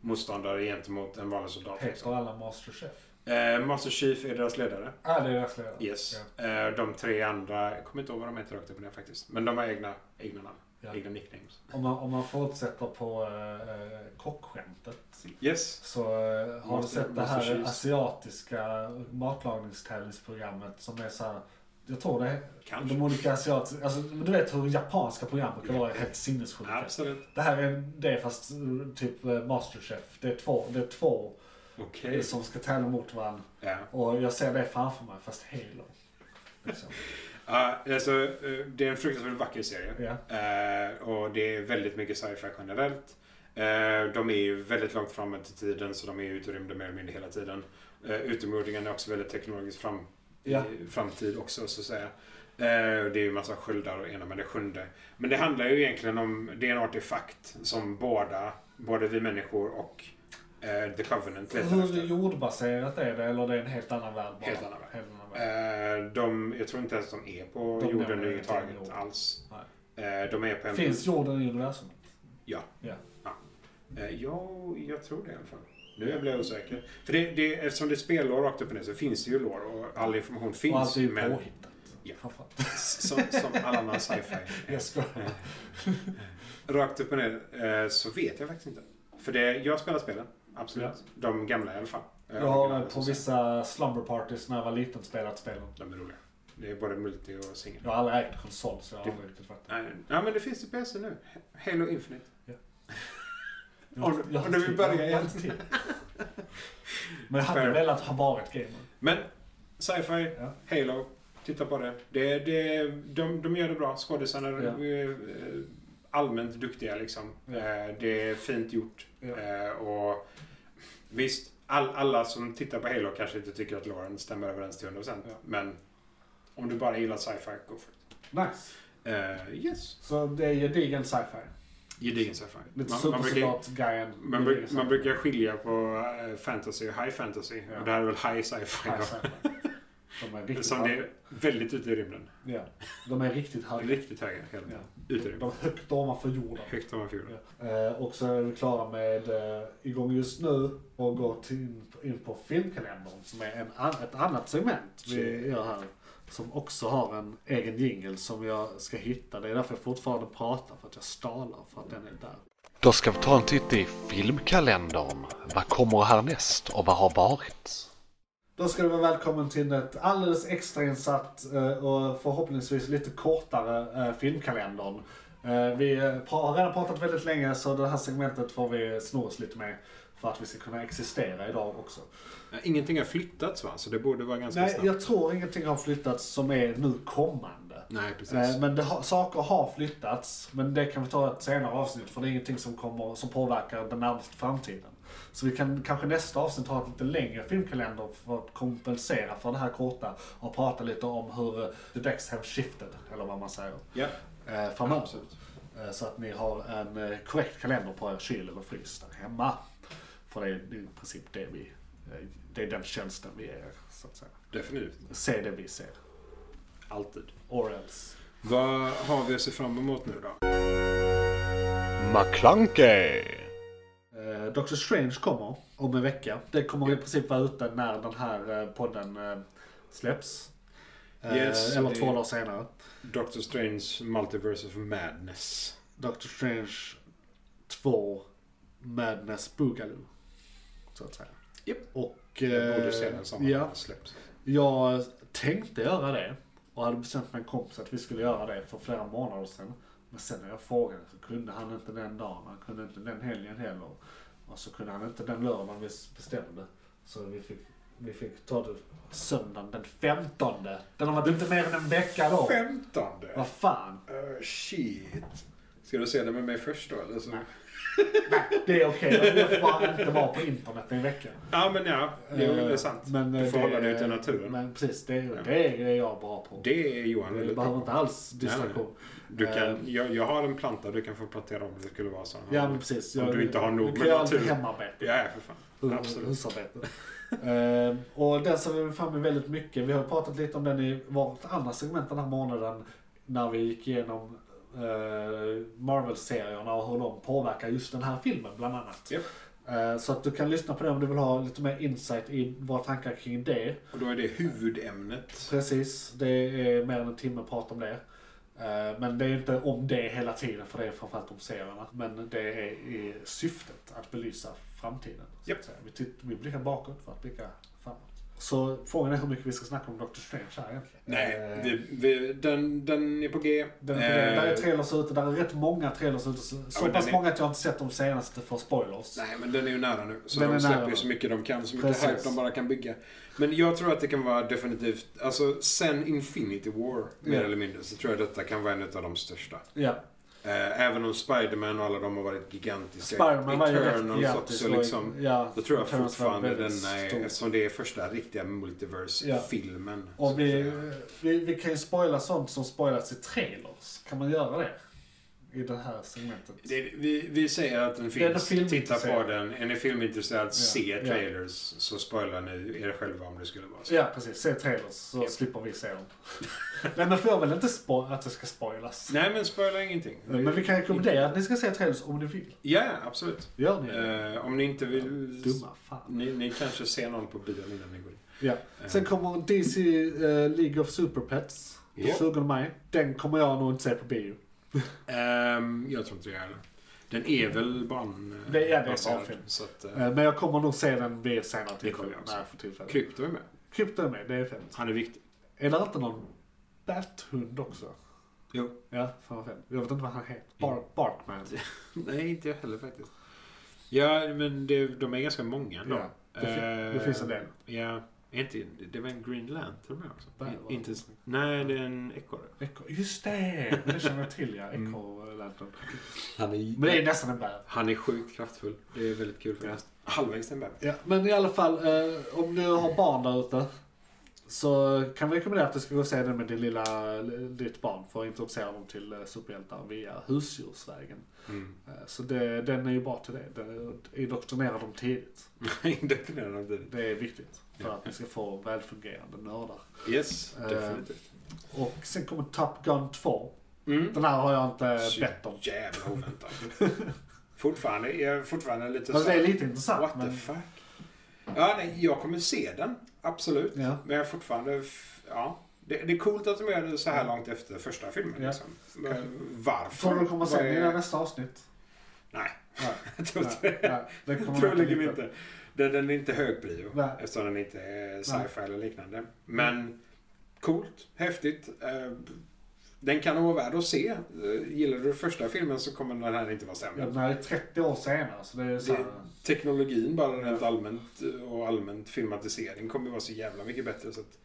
motståndare gentemot en vanlig soldat. liksom.
Heter alla masterchef?
Eh, Master Chief är deras ledare.
Ja, det är deras ledare.
Yes. Eh, de tre andra, jag kommer inte ihåg vad de heter rakt upp och ner faktiskt. Men de har egna, egna namn.
Ja.
Egna nicknames.
Om, man, om man fortsätter på äh, kockskämtet.
Yes.
Så eh, har
Master-
du sett det
Master
här
Chief.
asiatiska matlagningstävlingsprogrammet som är så här. Jag tror det är
Kanske.
de olika asiatiska, alltså men du vet hur japanska program kan
Ja.
vara helt sinnessjuka.
Absolut.
Det här är det fast eh, typ eh, Masterchef. Det är två, det är två
Okej.
som ska tävla mot varandra.
Ja.
Och jag ser det framför mig fast Halo. Liksom.
Ja, alltså, eh, det är en fruktansvärt vacker serie.
Ja.
Eh, och det är väldigt mycket sci-fi generellt. Eh, de är ju väldigt långt framme till tiden så de är ju ute i rymden mer eller mindre hela tiden. Uh, Utomjordingarna är också väldigt teknologiskt fram,
Ja.
i framtid också så att säga. Eh, det är ju en massa sköldar och ena med det sjunde. Men det handlar ju egentligen om, det är en artefakt som båda, både vi människor och eh, The Covenant letar
Hur
efter.
jordbaserat är det eller det är en helt annan värld bara?
Helt annan värld.
Helt annan värld.
Eh, de, jag tror inte ens de är på
De nämner
jorden
ingenting om
överhuvudtaget
jorden.
alls. Eh, de är på en
Finns jorden i universum?
Ja.
Ja.
Eh, ja, jag tror det i alla fall. Nu blir jag osäker. För det, det, eftersom det är spellår rakt upp och ner så finns det ju lår och all information finns.
Och allt är ju
men
påhittat.
Ja.
Framförallt.
som, som all annan sci-fi.
Jag skojar.
Rakt upp och ner eh, så vet jag faktiskt inte. För det, jag spelar spelen, absolut. De gamla i alla fall. Eh,
Jag har
originalen,
på
så att säga.
vissa slumber parties när jag var liten spelat spelen.
De är roliga. Det är både multi och singel.
Jag har aldrig ägt konsol så jag har
Det-
aldrig riktigt fattat.
Nej, nej, men det finns i PC nu. Halo Infinite.
Jag har
Om-
inte- jag har
om du
inte
vill
tid.
börja
Jag har inte tid. Men jag hade
Fair.
velat ha varit gamer.
Men sci-fi,
Ja.
Halo, titta på det. det, det de, de gör det bra. Skådisarna är
Ja.
eh, allmänt duktiga liksom.
Ja.
Eh, Det är fint gjort.
Ja.
Eh, Och visst, all, alla som tittar på Halo kanske inte tycker att Lauren stämmer överens till 100%.
Ja.
Men om du bara gillar sci-fi, go for it.
Nice.
Eh, yes.
Så det är gedigen sci-fi.
Gedigen sci-fi.
Lite
Man, man brukar,
supersoldat-guyen.
man, bruk, man brukar skilja på eh, fantasy och high fantasy.
Ja.
Och det här är väl high sci-fi. då.
Nice sci-fi. De är riktigt,
Som det är väldigt ute i rymden.
ja, de är riktigt höga.
Riktigt höga hela tiden. Ute i
De
rymden.
är högt ovanför jorden.
Högt ovanför jorden.
Eh, och så är vi klara med eh, igång just nu och går till, in på filmkalendern som är en, an, ett annat segment vi gör här. Som också har en egen jingle som jag ska hitta. Det är därför jag fortfarande pratar, för att jag stalar för att den är där.
Då ska vi ta en titt i filmkalendern. Vad kommer härnäst och vad har varit?
Då ska du vara välkommen till ett alldeles extrainsatt eh, och förhoppningsvis lite kortare eh, filmkalendern. Eh, Vi eh, pra- har redan pratat väldigt länge så det här segmentet får vi sno oss lite med för att vi ska kunna existera idag också.
Ja, Ingenting har flyttats va? Så det borde vara ganska
Nej,
snabbt.
jag tror ingenting har flyttats som är nu kommande.
Nej, precis.
Eh, Men det har, saker har flyttats, men det kan vi ta i ett senare avsnitt för det är ingenting som, kommer, som påverkar den närmaste framtiden. Så vi kan kanske nästa avsnitt ha ett lite längre filmkalender för att kompensera för det här korta och prata lite om hur eh, the decks have shifted, eller vad man säger,
Ja,
eh, framöver.
absolut.
Eh, Så att ni har en eh, korrekt kalender på er kyl eller frys där hemma. För det är det är i princip det vi, eh, det är den tjänsten vi är, så att säga.
Definitivt.
Se det vi ser.
Alltid.
Or else.
Vad har vi att se fram emot nu då?
McClunkey!
Eh, Doctor Strange kommer om en vecka. Det kommer i princip vara ute när den här eh, podden eh, släpps. Eh,
Yes,
eller
det-
två dagar senare.
Doctor Strange Multiverse of Madness.
Doctor Strange 2 Madness Boogaloo. Så att säga.
Japp.
Och...
Jag borde
eh,
se den som
Ja,
den släpps.
jag tänkte göra det. Och hade bestämt med en kompis att vi skulle göra det för flera månader sedan. Men sen när jag frågade så kunde han inte den dagen. Han kunde inte den helgen heller. Och så kunde han inte den lördagen vi bestämde. Så vi fick, vi fick ta det söndagen den 15. Den har varit inte mer än en vecka då.
Femtonde!
Vad fan.
Uh, shit. Ska du se den med mig först då eller? Så?
Det är okej. Jag får bara inte vara på internet i en vecka.
Ja men ja, jo, det är sant.
Men,
du
eh,
får
det-
hålla dig ute i naturen.
Men precis, det, det är jag bra på.
Det är Johan
Jag
väldigt
behöver
bra
inte
på.
alls distraktion.
Du
Eh,
kan, jag, jag har en planta, du kan få plantera om det skulle vara så.
Ja, men precis.
Om
Jag-
du inte har
jag
nog
kan
med
göra lite
natur.
hemarbete.
Ja, ja, för fan.
Hu-
Absolut.
Husarbete. Ehm, och den ser vi fram emot väldigt mycket. Vi har pratat lite om den i vårt andra segment den här månaden. När vi gick igenom eh, Marvel-serierna och hur de påverkar just den här filmen bland annat.
Japp.
Eh, så att du kan lyssna på det om du vill ha lite mer insight i våra tankar kring det.
Och då är det huvudämnet.
Precis, det är mer än en timme prat om det. Eh, Men det är inte om det hela tiden, för det är framförallt om serierna. Men det är i syftet att belysa framtiden. så att
Japp.
säga. Vi, titt- vi blickar bakåt för att blicka framåt. Så frågan är hur mycket vi ska snacka om Doctor Strange här egentligen.
Nej,
Eh,
vi, vi, den, den är på G.
Den, där är
Eh,
trailers ute, där är rätt många trailers ute. Så, så
men
pass
den är-
många att jag inte sett de senaste för spoilers.
Nej, men den är ju nära nu. Så
Den är
de släpper
nära nu.
ju så mycket de kan, så mycket
Precis.
hype de bara kan bygga. Men jag tror att det kan vara definitivt, alltså sen Infinity War, mer
Ja.
eller mindre, så tror jag detta kan vara en av de största.
Ja,
Eh, även om Spider-Man och alla de har varit gigantiska.
Spiderman var ju rätt
Eternals
gigantisk.
också
och-
liksom.
ja,
Då tror jag
Eternals var
fortfarande den
väldigt stor.
är, eftersom det är första riktiga multiverse-filmen. så att
Och vi,
säga.
vi, vi kan ju spoila sånt som spoilas i trailers. Kan man göra det? I det här segmentet.
det, vi, vi säger att den
är
finns, titta
filmintresserad.
på den. Är ni filmintresserade, se
ja.
trailers så spoilar ni er själva om det skulle vara så.
Ja, precis. Se trailers så slipper vi se dem. Nej, men får jag väl inte spo- att det ska spoilas?
Nej men spoila ingenting.
Men vi kan rekommendera att ni ska se trailers om ni vill.
Ja, absolut.
Gör ni det?
Eh, om ni inte vill...
Dumma fan.
Ni, ni kanske ser någon på bilen innan ni går in.
Ja. Sen kommer DC eh, League of Super Pets.
Ja.
20 maj. Den kommer jag nog inte se på bio.
Ehm, jag tror inte det heller. Den är väl barn... eh,
Det är- ja, det är en
baserad,
barnfilm.
Så att, eh,
Eh, men jag kommer nog se den vid ett senare
kommer
tillfälle.
jag också.
När jag får tillfälle.
krypto är med.
Krypto är med, det är fint.
Han är viktig.
Är det inte någon Bat-hund också?
Jo.
Ja, fan vad fint. Jag vet inte vad han heter. Bark, Barkman.
Nej, inte jag heller faktiskt. Ja, men det, de är ganska många ändå.
Ja, det, fin- det
Eh,
finns en del.
Ja, är inte, det var en Green Lantern med också.
Där var
In, inte, nej, det är en ekorre.
Echo, just det! Det känner jag till ja. Echo Lantern.
Mm. Han är,
Men det är nästan en bad.
han är sjukt kraftfull. Det är väldigt kul faktiskt. Halvvägs till en bebis.
Ja, men i alla fall, eh, om du har barn där ute Så kan vi rekommendera att du ska gå och se den med din lilla, ditt barn för att introducera dem till eh, superhjältar via husdjursvägen. Eh, Så det, den är ju bra till det. Den indoktrinerar dem tidigt.
Indoktrinerar dem tidigt.
Det är viktigt för att ni ska få välfungerande nördar.
Yes,
Eh,
definitivt.
Och sen kommer Top Gun 2.
Mm.
Den här har jag inte
Så
bett om.
Jävla oväntat. fortfarande, jag är fortfarande lite
Fast
så
Alltså, det
här,
är lite intressant.
What the
men,
fuck? Ja, nej, jag kommer se den. Absolut.
Ja.
Men jag är fortfarande... f- Ja. Det, det är coolt att de gör det så här långt efter första filmen.
Mm. Ja.
Liksom. Men varför?
Tror du det kommer
Vad
sen
är-
i nästa avsnitt?
Nej.
Nej.
Jag tror inte
Nej,
det.
nej, det kommer
Troligen
dyka upp.
liksom inte. Den, den är inte hög prio.
Nej. Mm.
Eftersom den inte är sci-fi eller liknande. Men coolt, häftigt. eh, Den kan vara värd att se. Eh, Gillar du första filmen så kommer den här inte vara
Ja,
sämre.
den här är 30 år senare så det är så här,
Det- Teknologin bara
Mm.
rent allmänt eh, och allmänt filmatisering kommer vara så jävla mycket bättre. Så att,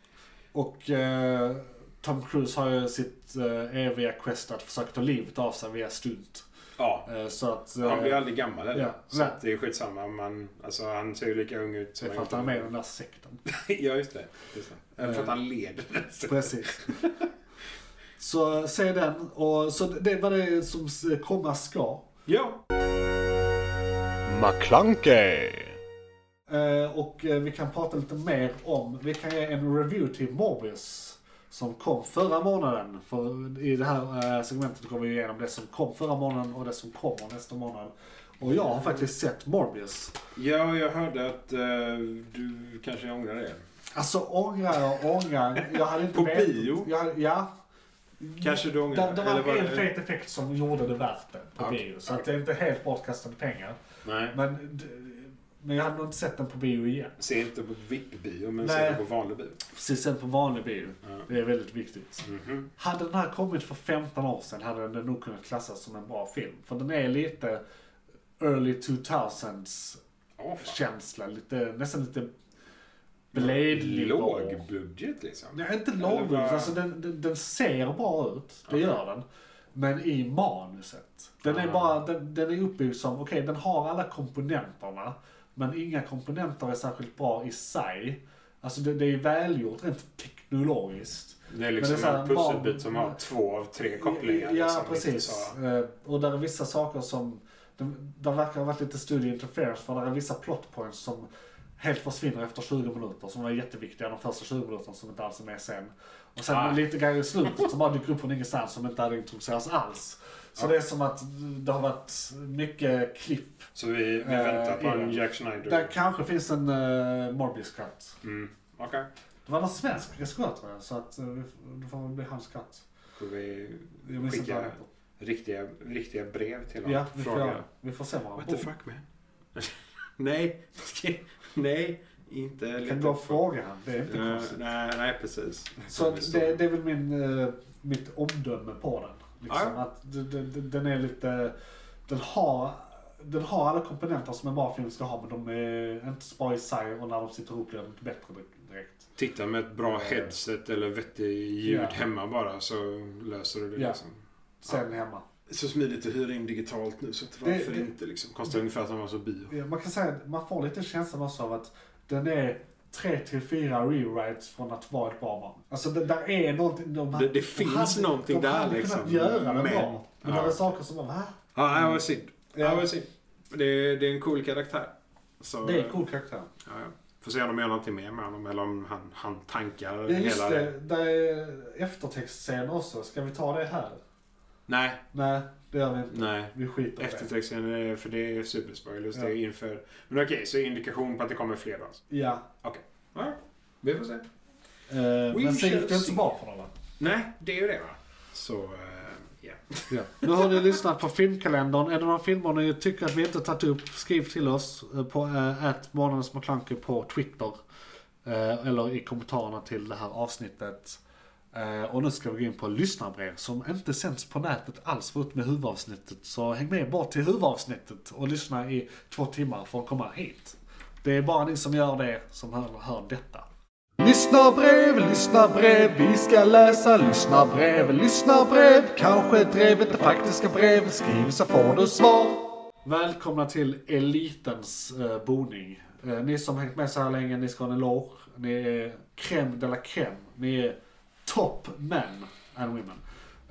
Och eh, Tom Cruise har ju sitt eh, eviga quest att försöka ta livet av sig via stunt.
ja,
Eh, så att... Eh,
han blir aldrig gammal eller?
ja.
Så att det är skitsamma. Man, alltså, han ser ju lika ung ut.
det
som
är för att han är med i den där sekten.
Ja, just det. Just det. För att han leder den.
Precis. Så se den. Och, så det var det som komma ska.
Ja.
McClunkey!
Eh, och eh, vi kan prata lite mer om, vi kan ge en review till Morbius som kom förra månaden. För i det här eh, segmentet går vi igenom det som kom förra månaden och det som kommer nästa månad. Och jag har faktiskt sett Morbius.
Ja, jag hörde att eh, du kanske ångrar det.
Alltså ångrar jag ångrar. Jag hade inte
På
vetat-
bio?
Jag, hade- ja.
Kanske du
Det,
ångrar
det var en
det-
fet effekt som gjorde det värt det på
Okej,
bio. Så att det
okej.
är inte helt bortkastade pengar.
Nej.
Men, d- men jag hade nog inte sett den på bio igen.
Se inte på VIP-bio, men
Nej.
se på vanlig bio.
Precis, sen på vanlig bio.
Ja.
Det är väldigt viktigt.
Mhm.
Hade den här kommit för 15 år sedan hade den nog kunnat klassas som en bra film. För den är lite early 2000s
Åh, fan.
känsla. Lite, nästan lite Blade-nivå.
Låg budget liksom.
Nej, inte
Eller
låg.
bara-
Alltså den, den, den ser bra ut. Det gör den. Men i manuset. Den är,
Ah.
bara, den, den är uppbyggd som, okej den har alla komponenterna. Men inga komponenter är särskilt bra i sig. Alltså det, det är välgjort rent teknologiskt.
Det är
Men
liksom
det är så här,
en pusselbit
barn-
som har två av tre kopplingar.
Ja,
liksom, Inte
precis.
så...
Eh, Och där är vissa saker som, de- där verkar ha varit lite studio interference för där är vissa plot points som helt försvinner efter 20 minuter som var jätteviktiga de första 20 minuterna som inte alls är med sen. Och sen
Ah.
lite grejer i slutet som bara dyker upp från ingenstans som inte hade introducerats alls. Så det är som att det har varit mycket klipp.
så vi, vi
Eh,
väntar på en
innan.
Jack Schneider.
Där kanske finns en uh, Morbius cut.
Mm. Okej.
Det var någon svensk regissör tror jag, så att eh, vi f- det får väl bli hans cut.
Får vi
Jag minns inte vad han
skicka
heter.
riktiga, riktiga brev till honom?
Ja, vi får,
Fråga.
göra det. vi får se vad han
What the fuck man? nej. nej. Inte.
Jag
leta
kan gå
upp
och fråga han. Det är inte
Eh,
konstigt.
nej, nej, precis.
Så att det, det är väl min, eh, mitt omdöme på den. Liksom.
Ja.
Att d- d- d- den är lite... Den har, den har alla komponenter som en bra film ska ha men de är inte så bra i sig och när de sitter ihop blir de inte bättre di- direkt.
Titta med ett bra headset eller vettig ljud
Eh. Ja.
hemma bara så löser du det.
Ja.
Liksom.
Sen hemma.
Så smidigt att hyra in digitalt nu så att
Det-
varför
det-
inte liksom. Kostar ungefär samma som bio.
Ja, Man kan säga att man får lite känslan också av att den är tre till fyra rewrites från att vara ett bra barn. Alltså det, där är någonting. De,
Det- det finns någonting
de
där,
hade
liksom.
kunnat göra det
Men-
bra. Men
Ja.
det är saker som var, va?
Ja, det var synd.
Ja.
Ja, det var synd. Det, är- det är en cool karaktär. Så,
Det är en cool karaktär.
Ja, ja. Får se om de gör någonting mer med honom eller om han, han tankar
Ja, just
hela
det. Där är eftertextscen också. Ska vi ta det här?
Nej,
Nej, det gör vi inte.
nej.
Vi skiter i det.
Eftertexten, är- för det är superspoilers.
Ja.
Det är inför... Men okej, så indikation på att det kommer fler då. alltså.
Ja.
Ja, vi får se.
Eh,
We
men sen
shall
gick det inte så
see.
bra för dem va?
Nej, det är ju det va. Så, eh, ja.
Nu har ni lyssnat på filmkalendern. Är det några filmer ni tycker att vi inte tagit upp, skriv till oss eh, på att månadens McKlunky på Twitter. eh, Eller i kommentarerna till det här avsnittet. Eh, Och nu ska vi gå in på lyssnarbrev som inte sänds på nätet alls förutom med huvudavsnittet. Så häng med bort till huvudavsnittet och lyssna i två timmar för att komma hit. Det är bara ni som gör det som hör, hör detta. Lyssna brev, lyssna brev, vi ska läsa lyssna brev, lyssna brev. Kanske drevet det faktiska brev, skriv så får du svar. Välkomna till elitens eh, boning. Eh, Ni som har hängt med så här länge, ni ska ha en eloge. Ni är crème de la crème. Ni är top men and women.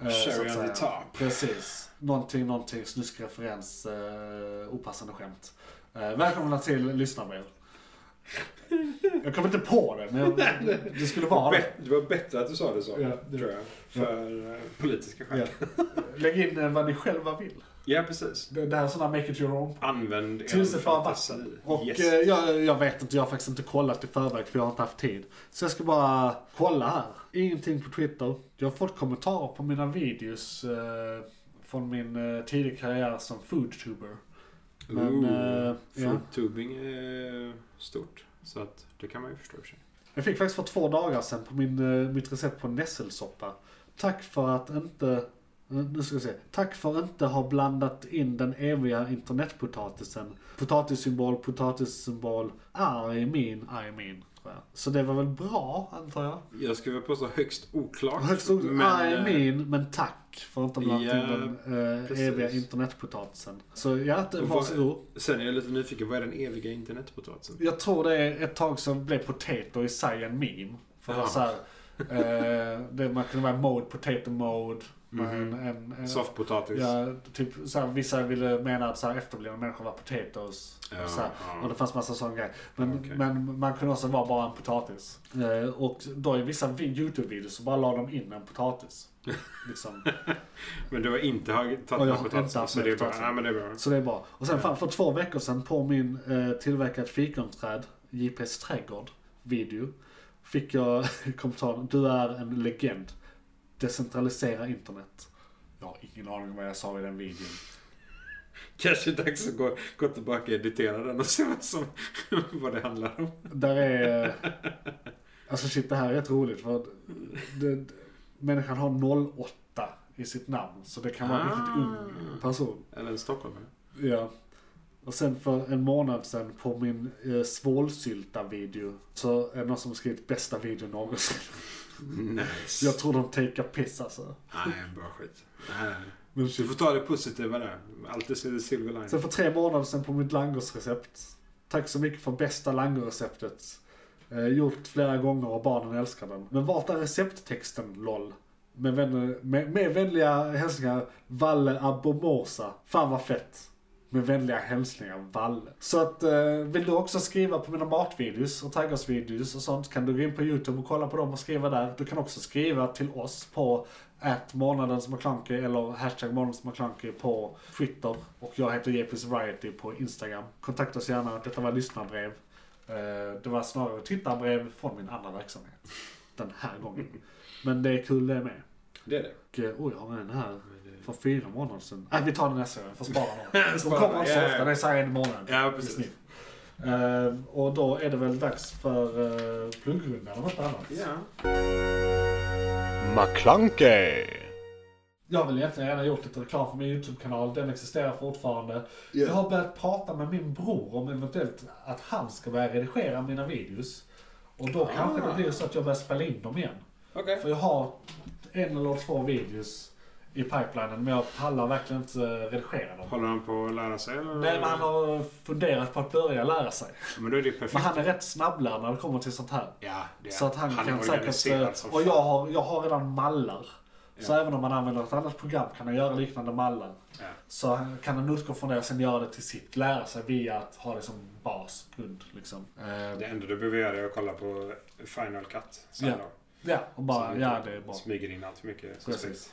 Eh, så att
Cherry on the
säga.
top.
Precis. Någonting, någonting, snuskreferens, eh, opassande skämt. Eh, välkomna till lyssnarbrev. Jag kom inte på det, men jag, det skulle vara det.
Bet- Det var bättre att du sa det så,
Ja, det-
tror jag. För eh, politiska skäl.
Ja.
Ja.
Lägg in eh, vad ni själva vill.
precis.
Det, det här är sådana make it your own.
Använd er
Tusen fan
fantasi.
vatten. Och
Yes.
eh, jag, jag vet inte, jag har faktiskt inte kollat i förväg för jag har inte haft tid. Så jag ska bara kolla här. Ingenting på Twitter. Jag har fått kommentarer på mina videos eh, från min eh, tidiga karriär som foodtuber. Men,
Ooh,
eh, ja.
Foodtubing är stort. Så att det kan man ju förstå i och för sig.
Jag fick faktiskt för två dagar sedan på min, eh, mitt recept på nässelsoppa. Tack för att inte... eh, Nu ska vi se. Tack för att inte ha blandat in den eviga internetpotatisen. Potatissymbol, potatissymbol. Ah, Arg min, arg min. tror jag. Så det var väl bra, antar jag?
Jag skulle vilja påstå högst oklart.
Högst upp,
men, eh,
arg min, men tack för att inte ha blandat
ja,
in den eh,
precis.
eviga internetpotatisen. Så ja, det-
Och vad-
varsågod.
Sen är jag lite nyfiken, vad är den eviga internetpotatisen?
Jag tror det är ett tag sedan blev potato i sig en meme. För det var
Ja.
så här, eh, det, man kunde vara mode, potato mode. men
Mhm.
En, en,
Soffpotatis.
ja, typ, så här, vissa ville mena att så här, efterblivna människor var potatoes.
Ja,
och, så här,
ja.
och det fanns massa sådana grejer. Men,
Okej.
men man kunde också vara bara en potatis. Eh, och då i vissa vi- YouTube-videos så bara la de in en potatis. Liksom.
Men du har inte ha- tagit
jag har
med
inte
potatisen.
haft
Så
med
det är bra.
potatisen.
Ja, men det är bra.
Så det är bra. Och sen fan, för två veckor sedan på min eh, tillverkat fikonträd, JP's trädgård, video, fick jag kommentaren Du är en legend. Decentralisera internet. Jag har ingen aning om vad jag sa i den videon.
Kanske är dags att gå, gå tillbaka och editera den och se vad, som, vad det handlar om.
Där är... eh, Alltså shit, det här är rätt roligt för det, det, människan har 08 i sitt namn. Så det kan vara en riktigt ung person.
Eller en stockholmare.
Ja. Och sen för en månad sen på min eh, svålsylta-video så är det någon som skrivit bästa video någonsin.
Nice.
Jag tror de takear piss alltså.
Nej, bra skit. Nej, nej.
Men
Du
shit.
får ta det positiva där. Alltid se the silver line.
Sen för tre månader sen på mitt langosrecept. Tack så mycket för bästa langosreceptet. Eh, gjort flera gånger och barnen älskar den. Men vart är recepttexten LOL? Med, vän, med, med vänliga hälsningar Valle Abomosa. Fan vad fett. Med vänliga hälsningar Valle. Så att eh, vill du också skriva på mina matvideos och trädgårdsvideos och sånt kan du gå in på YouTube och kolla på dem och skriva där. Du kan också skriva till oss på att månadens McClunky eller hashtag månadens McClunky på Twitter. Och jag heter JP's Variety på Instagram. Kontakta oss gärna. Detta var lyssnarbrev. Eh, Det var snarare tittarbrev från min andra verksamhet. Den här gången. Men det är kul det med.
Det är det.
Och, eh, Oj, jag har en här för fyra månader sedan. Nej, vi tar den nästa gång. Jag får spara dem. De
Spara,
kommer inte så
ja, ja.
ofta. Det är så här en månad.
Ja,
i
precis.
snitt. Eh, och då är det väl dags för uh, pluggrunda eller något annat.
Ja.
McClunkey!
Jag vill egentligen gärna gjort lite reklam för min YouTube-kanal. Den existerar fortfarande. Jag har börjat prata med min bror om eventuellt att han ska börja redigera mina videos. Och då kanske det blir så att jag börjar spela in dem igen.
Okej.
För jag har en eller två videos i pipelinen men jag pallar verkligen inte eh, redigera dem.
Håller han på att lära sig eller?
Nej men han har funderat på att börja lära sig.
Men då är det perfekt.
Men han är rätt snabblärd när det kommer till sånt här.
Ja, det är
Så att han,
är
kan säkert...
organiserad
eh,
som
Och
fan.
jag har, jag har redan mallar. Så
Ja.
även om man använder ett annat program kan han göra liknande mallar.
Ja.
Så han- kan han utgå från det och sen göra det till sitt. Lära sig via att ha det som bas, grund liksom. Eh,
Det enda du behöver göra är att kolla på Final Cut. sen
Ja.
då.
ja, och bara,
Så
ja
inte
det är bra.
Smyger in allt för mycket.
Precis.
suspekt.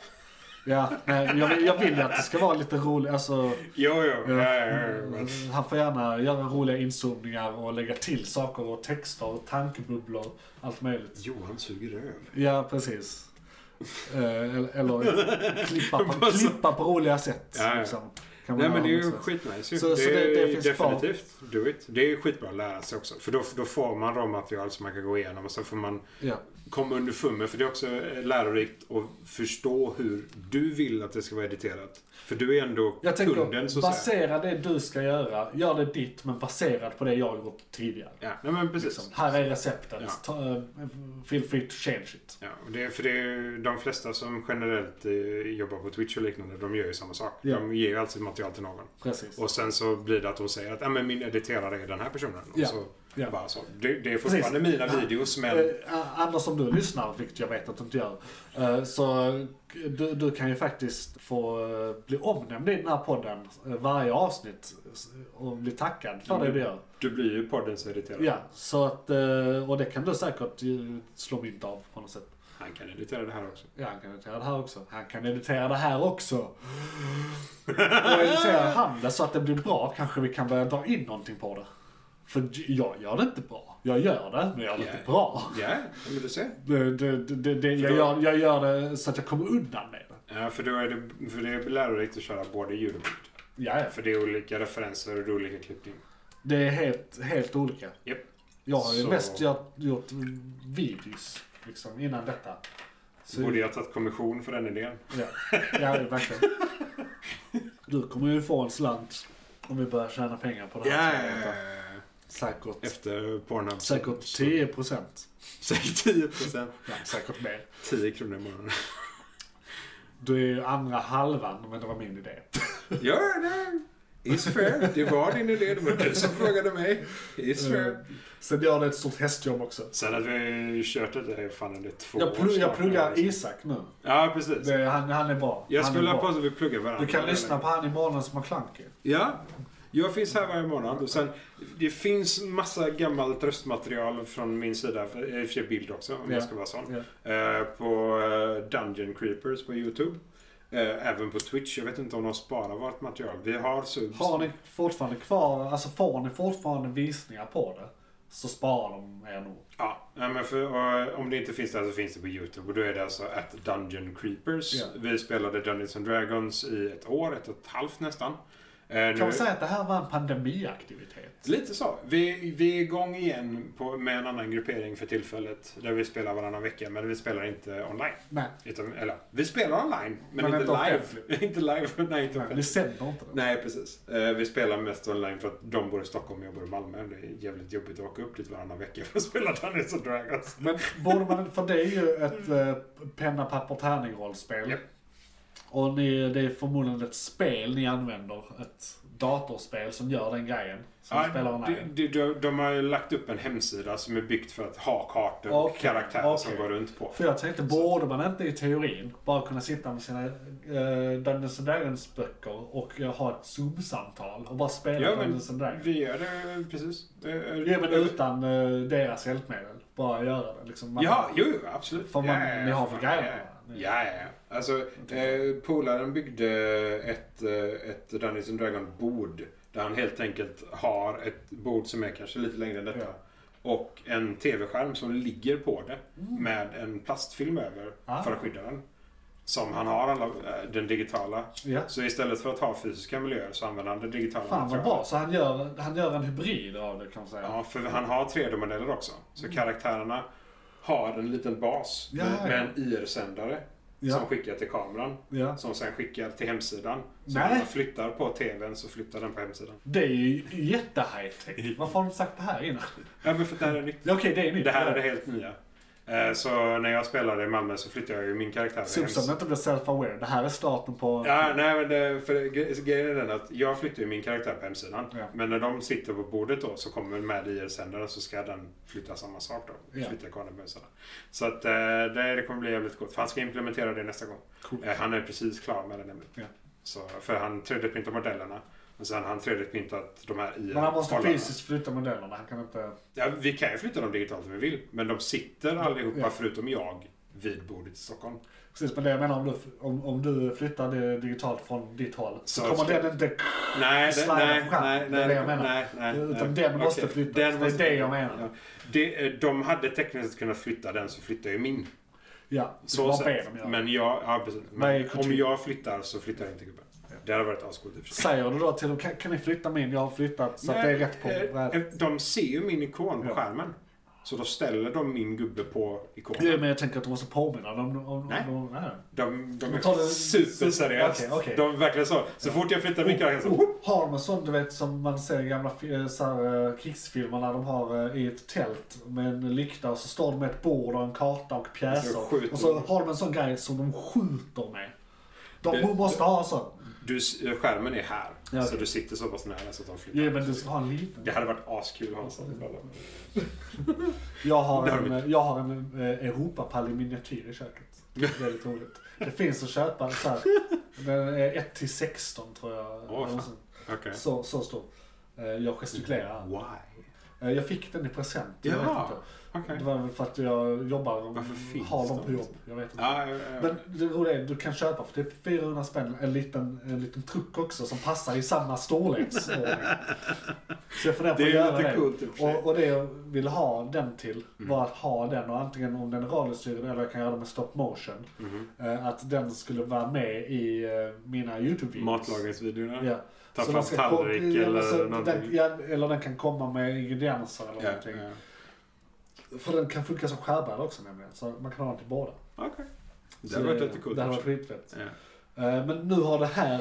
Ja, nej, jag, vill- jag vill ju att det ska vara lite roligt. Alltså,
Jo, jo. Ja, ja, ja, ja. men-
han får gärna göra roliga inzoomningar och lägga till saker och texter och tankebubblor. Allt möjligt.
Johan suger röv.
Ja, precis. Eh, Eller, eller klippa, på, klippa på roliga sätt.
Ja, ja.
Liksom. Kan man
Nej
göra
men det är ju
någonstans.
skitnice ju.
Så-
det,
så det- det
är
finns
definitivt. Do it. Det är ju skitbra att lära sig också. För då, då får man råmaterial som man kan gå igenom och så får man
Ja.
komma underfund med. För det är också eh, lärorikt att förstå hur du vill att det ska vara editerat. För du är ändå
Jag tänker,
kunden så att säga.
basera det du ska göra, gör det ditt men baserat på det jag gjort tidigare.
Ja, nej men precis.
Liksom, här är receptet,
Ja.
Ta, eh, feel free to change it.
Ja, och det, är- för det är de flesta som generellt eh, jobbar på Twitch och liknande, de gör ju samma sak.
Ja.
De ger ju alltid material till någon.
Precis.
Och sen så blir det att hon säger att ah, men min editerare är den här personen. Och
Ja.
så
Ja.
bara så. Det, det är fortfarande
Precis.
mina videos men...
Eh, Anders som du lyssnar, vilket jag vet att du inte gör, eh, så eh, du, du kan ju faktiskt få eh, bli omnämnd i den här podden eh, varje avsnitt eh, och bli tackad för
Mm.
det du gör.
Du blir ju poddens editerare.
Ja, så att, eh, och det kan du säkert ju slå mynt av på något sätt.
Han kan editera det här också.
Ja, han kan editera det här också. Han kan editera det här också. Och editera handen så att det blir bra kanske vi kan börja dra in någonting på det. För jag gör det inte bra. Jag gör det, men jag gör det inte
Ja.
bra.
Ja, men du ser.
Det, det, det, det, jag,
då-
gör, jag gör det så att jag kommer undan med det.
Ja, för, då är det, för det är lärorikt att köra både ljud och bild.
Ja, ja.
För det är olika referenser och det är olika klippning.
Det är helt, helt olika.
Japp.
Jag har ju
Så-
mest gjort, gjort videos liksom, innan detta. Så,
Borde jag tagit kommission för den idén?
ja, ja, verkligen. Du kommer ju få en slant om vi börjar tjäna pengar på det här. Säkert,
Efter Pornhub.
säkert 10%.
Säkert 10 procent.
Ja, säkert mer.
10 kronor i månaden.
Du är ju andra halvan, men det var min idé.
Ja, det is fair. Det var din idé. Det var du som frågade mig. Is
Mm.
fair.
Eh, Sen gör det ett stort hästjobb också.
Sen att vi har kört det där, fan är det två
Jag,
år
plugg,
snart?
jag pluggar Isak nu.
Ja, precis.
Det, han, han är bra.
Jag
han är
skulle
bra.
ha på att vi pluggar varandra.
Du kan lyssna på han i Månadens McKlunky.
Ja, jag finns här varje månad. Och sen, det finns massa gammalt röstmaterial från min sida, för- eh, i och för sig bild också om
Ja.
jag ska vara sån. Eh, på eh, Dungeon Creepers på YouTube. Eh, även på Twitch. Jag vet inte om de sparar vårt material. Vi har subs.
Har ni fortfarande kvar, alltså får ni fortfarande visningar på det så sparar de er nog.
Ja, nej, men för, och, om det inte finns där så finns det på YouTube. Och då är det alltså att Dungeon Creepers.
Ja.
Vi spelade Dungeons and Dragons i ett år, ett och ett halvt nästan. Eh, nu-
Kan man säga att det här var en pandemiaktivitet?
Lite så. Vi, vi är igång igen på, med en annan gruppering för tillfället. Där vi spelar varannan vecka, men vi spelar inte online.
Nej,
Utan, eller, vi spelar online, men, inte,
Men inte
live. inte live. Nej, inte
ni
offentligt.
sänder inte det.
Nej, precis. Eh, Vi spelar mest online för att de bor i Stockholm och jag bor i Malmö. Det är jävligt jobbigt att åka upp dit varannan vecka för att spela Dungeons and Dragons.
Men borde man, för det är ju ett eh, penna, papper, tärning rollspel.
Japp.
Och ni, det är förmodligen ett spel ni använder. Ett datorspel som gör den grejen. Som ni
Ja,
spelar
det-
online.
det- de, de har ju lagt upp en hemsida som är byggt för att ha kartor och
Okej,
karaktärer som
okej.
går runt på.
För jag tänkte, borde man inte i teorin bara kunna sitta med sina eh, Dungeons and Dragons böcker och eh, ha ett Zoom-samtal och bara spela
Ja, men
Dungeons and Dragons?
vi gör det precis. Eh,
Ja, men utan eh, deras hjälpmedel. Bara göra det liksom. Man,
Ja, jo, jo, absolut.
För man-
ja, ja,
ni har
för
väl
fan,
grejer,
Ja,
va?
ja. ja, ja. Alltså, eh, polaren byggde ett, eh, ett Dungeons and Dragon-bord. Där han helt enkelt har ett bord som är kanske lite längre än detta. Och en tv-skärm som ligger på det. Med en plastfilm över
Mm. Ah.
för att skydda den. Som han har alla, eh, den digitala.
Ja.
Så istället för att ha fysiska miljöer så använder han det digitala.
Fan vad
materialet.
bra. Så han gör, han gör en hybrid av det kan man säga.
Ja, för han har 3D-modeller också. Så karaktärerna har en liten bas
Mm. Ja,
med,
ja, ja.
med en IR-sändare
Ja.
som skickar till kameran.
Ja.
Som sen skickar till hemsidan. Så
Nej.
när man flyttar på TVn så flyttar den på hemsidan.
Det är ju jätte-high-tech. Varför har de inte sagt det här innan?
Ja, men för det här är nytt.
Ja, Okej, det är nytt.
Det här är det helt nya. Eh, Så när jag spelade i Malmö så flyttade jag ju min karaktär till
Simpson
hemsidan.
inte blir self-aware. Det här är starten på...
Ja, nej, men det, för gre- grejen är den att jag flyttar ju min karaktär på hemsidan.
Ja.
Men när de sitter på bordet då så kommer med IR-sändaren så ska den flytta samma sak då.
Ja.
Flytta kameran på hemsidan. Så att eh, det, det kommer bli jävligt gott. För han ska implementera det nästa gång.
Coolt.
Eh, han är precis klar med det nämligen.
Ja.
Så, för han 3D-printar modellerna. Och sen har han 3D-printat de här ir
Men han måste
kollarna.
fysiskt flytta modellerna. Han kan inte...
ja, Vi kan ju flytta dem digitalt om vi vill. Men de sitter allihopa
Ja.
förutom jag vid bordet i Stockholm.
Precis, men det jag menar om du, om, om du flyttar det digitalt från ditt håll så,
Så
kommer
ska-
den inte...
Nej, det,
Slida
nej,
på skärm.
nej,
Det är
nej,
det jag menar.
nej, nej,
Utan
nej.
den måste
Okej,
flyttas. Det är det jag menar.
Ja. Det, eh, de hade tekniskt sett kunnat flytta den så flyttar ju min.
Ja,
Så
bara be
sett.
dem göra det.
Men jag, ja, precis.
Vad är
Men
kultur?
om jag flyttar så flyttar inte gubben. Det hade varit ascoolt i och för sig.
Säger du då till dem, kan, kan ni flytta min? Jag har flyttat så att det är rätt på
Eh,
brädan.
eh, De ser ju min ikon på
Ja.
skärmen. Så då ställer de min gubbe på
Jo,
ikonen.
men jag tänker att de måste påminna dem om... om,
Nej.
om, om nej.
De, de
De tar
är
det-
superseriösa.
Okej, okej. Oh,
De är verkligen så. Så fort jag flyttar min karaktär så...
Har de en sån du vet som man ser i gamla fi- eh, så här, eh, krigsfilmer när de har eh, i ett tält med en lykta och så står de med ett bord och en karta och
Så
pjäser.
skjuter
Och så
de.
har de en sån grej som de skjuter med. De
Det-
måste ha en sån.
Du, skärmen är här.
Ja,
Så
okej.
du sitter så pass nära så att de flyttar.
Jo men du ska ha en liten.
Det hade varit askul att ha en sån ibland.
Jag har
Det har
en,
vi.
eh, jag har en eh, Europapall i miniatyr i köket. Det är väldigt roligt. Det finns att köpa så här. Den är 1 till 16 tror jag.
Åh, fan. Okej.
så, så stor. Eh, Jag gestikulerar.
Why?
Eh, Jag fick den i present. Jag vet
Jaha.
inte.
Okej.
Det var väl för att jag jobbar och
Varför finns
har dem
de?
på jobb. Jag vet inte.
Ja, ja, ja.
Men det roliga är att du kan köpa för typ 400 spänn en liten, en liten truck också som passar i samma storleksordning. Så jag funderar på
Det är ju
att göra
lite
det.
coolt i och för sig. Mm.
och, och det jag vill ha den till var att ha den och antingen om den är radiostyrd eller jag kan göra det med stop motion.
Mm-hmm.
eh, Att den skulle vara med i eh, mina YouTube-videos.
Matlagningsvideorna.
Ja.
Ta
Så
fram
den ska
tallrik
kom- ja, men
eller
så
någonting.
Den, ja, eller den kan komma med ingredienser eller
Ja,
någonting.
ja.
För den kan funka som skärbräda också nämligen. Så man kan ha den till båda.
Okej. Det
Så
hade varit lite coolt.
Det hade
i och
varit
för sig.
skitfett.
Ja.
Eh, Men nu har det här...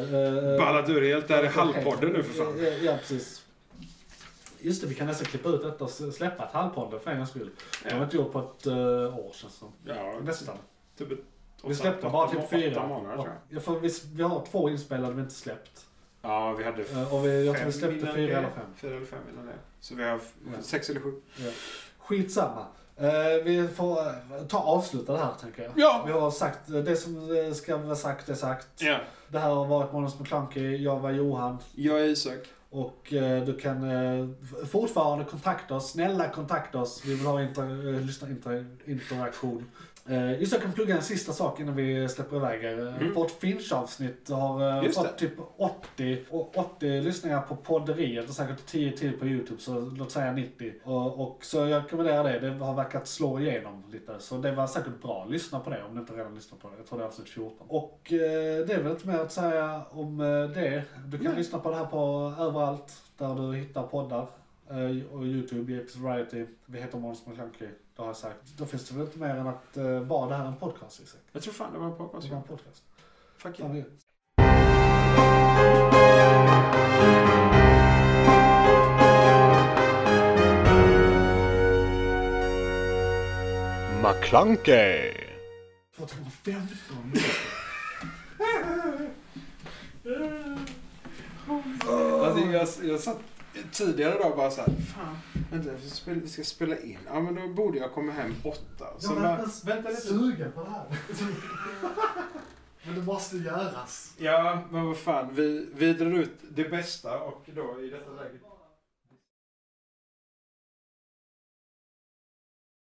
eh,
Ballat ur helt. Det här är
helt-
halvpodden nu för fan.
Ja, ja, precis. Just det, vi kan nästan klippa ut detta och släppa ett halvpodden för en gångs skull. Det har vi inte gjort på ett eh, år känns det som.
Ja,
Nästan.
typ ett-
Vi släppte
åtta-
bara typ
åtta
fyra.
månader tror jag.
Ja, för vi, vi har två inspelade vi inte släppt.
Ja, vi hade
Eh, Och vi, jag tror
fem
vi släppte
innan
fyra
det.
eller fem.
Fyra eller fem innan det. Så vi har f-
Ja.
sex eller sju.
Skitsamma. Eh, vi får eh, ta och avsluta det här tänker jag.
Ja.
Vi har sagt eh, det som eh, ska vara sagt är sagt.
Ja.
Det här har varit Månads McKlunky, jag var Johan.
Jag är Isak.
Och eh, du kan eh, f- fortfarande kontakta oss. Snälla kontakta oss. Vi vill ha inter- eh, lyssna inter- interaktion. Eh, just jag kan plugga en sista sak innan vi släpper iväg er. Mm. Vårt Finch-avsnitt har eh,
Just
fått typ 80, och 80 lyssningar på podderiet och säkert 10 till på YouTube. Så låt säga 90. Och, och så jag rekommenderar det. Det har verkat slå igenom lite. Så det var säkert bra. Lyssna på det om du inte redan lyssnat på det. Jag tror det är avsnitt 14. Och eh, det är väl inte mer att säga om eh, det. Du kan
Nej.
lyssna på det här på överallt där du hittar poddar. Eh, och Youtube, Jeeps Variety. Vi heter Måns McKlunky, det har jag sagt. Då finns det väl inte mer än att eh, vara det här är en podcast Isak?
Jag tror fan det var en
Det
podcast.
var en podcast.
Fuck
Fan,
you.
vad gött.
McClunkey!
2015!
Alltså, jag, jag satt tidigare idag bara såhär, fan, vänta, vi ska, spela, vi ska spela in. Ja, men då borde jag komma hem åtta. Så
Jag var
bara,
inte ens sugen på det här. Men det måste göras.
ja, men vad fan, vi, vi drar ut det bästa och då i detta läget.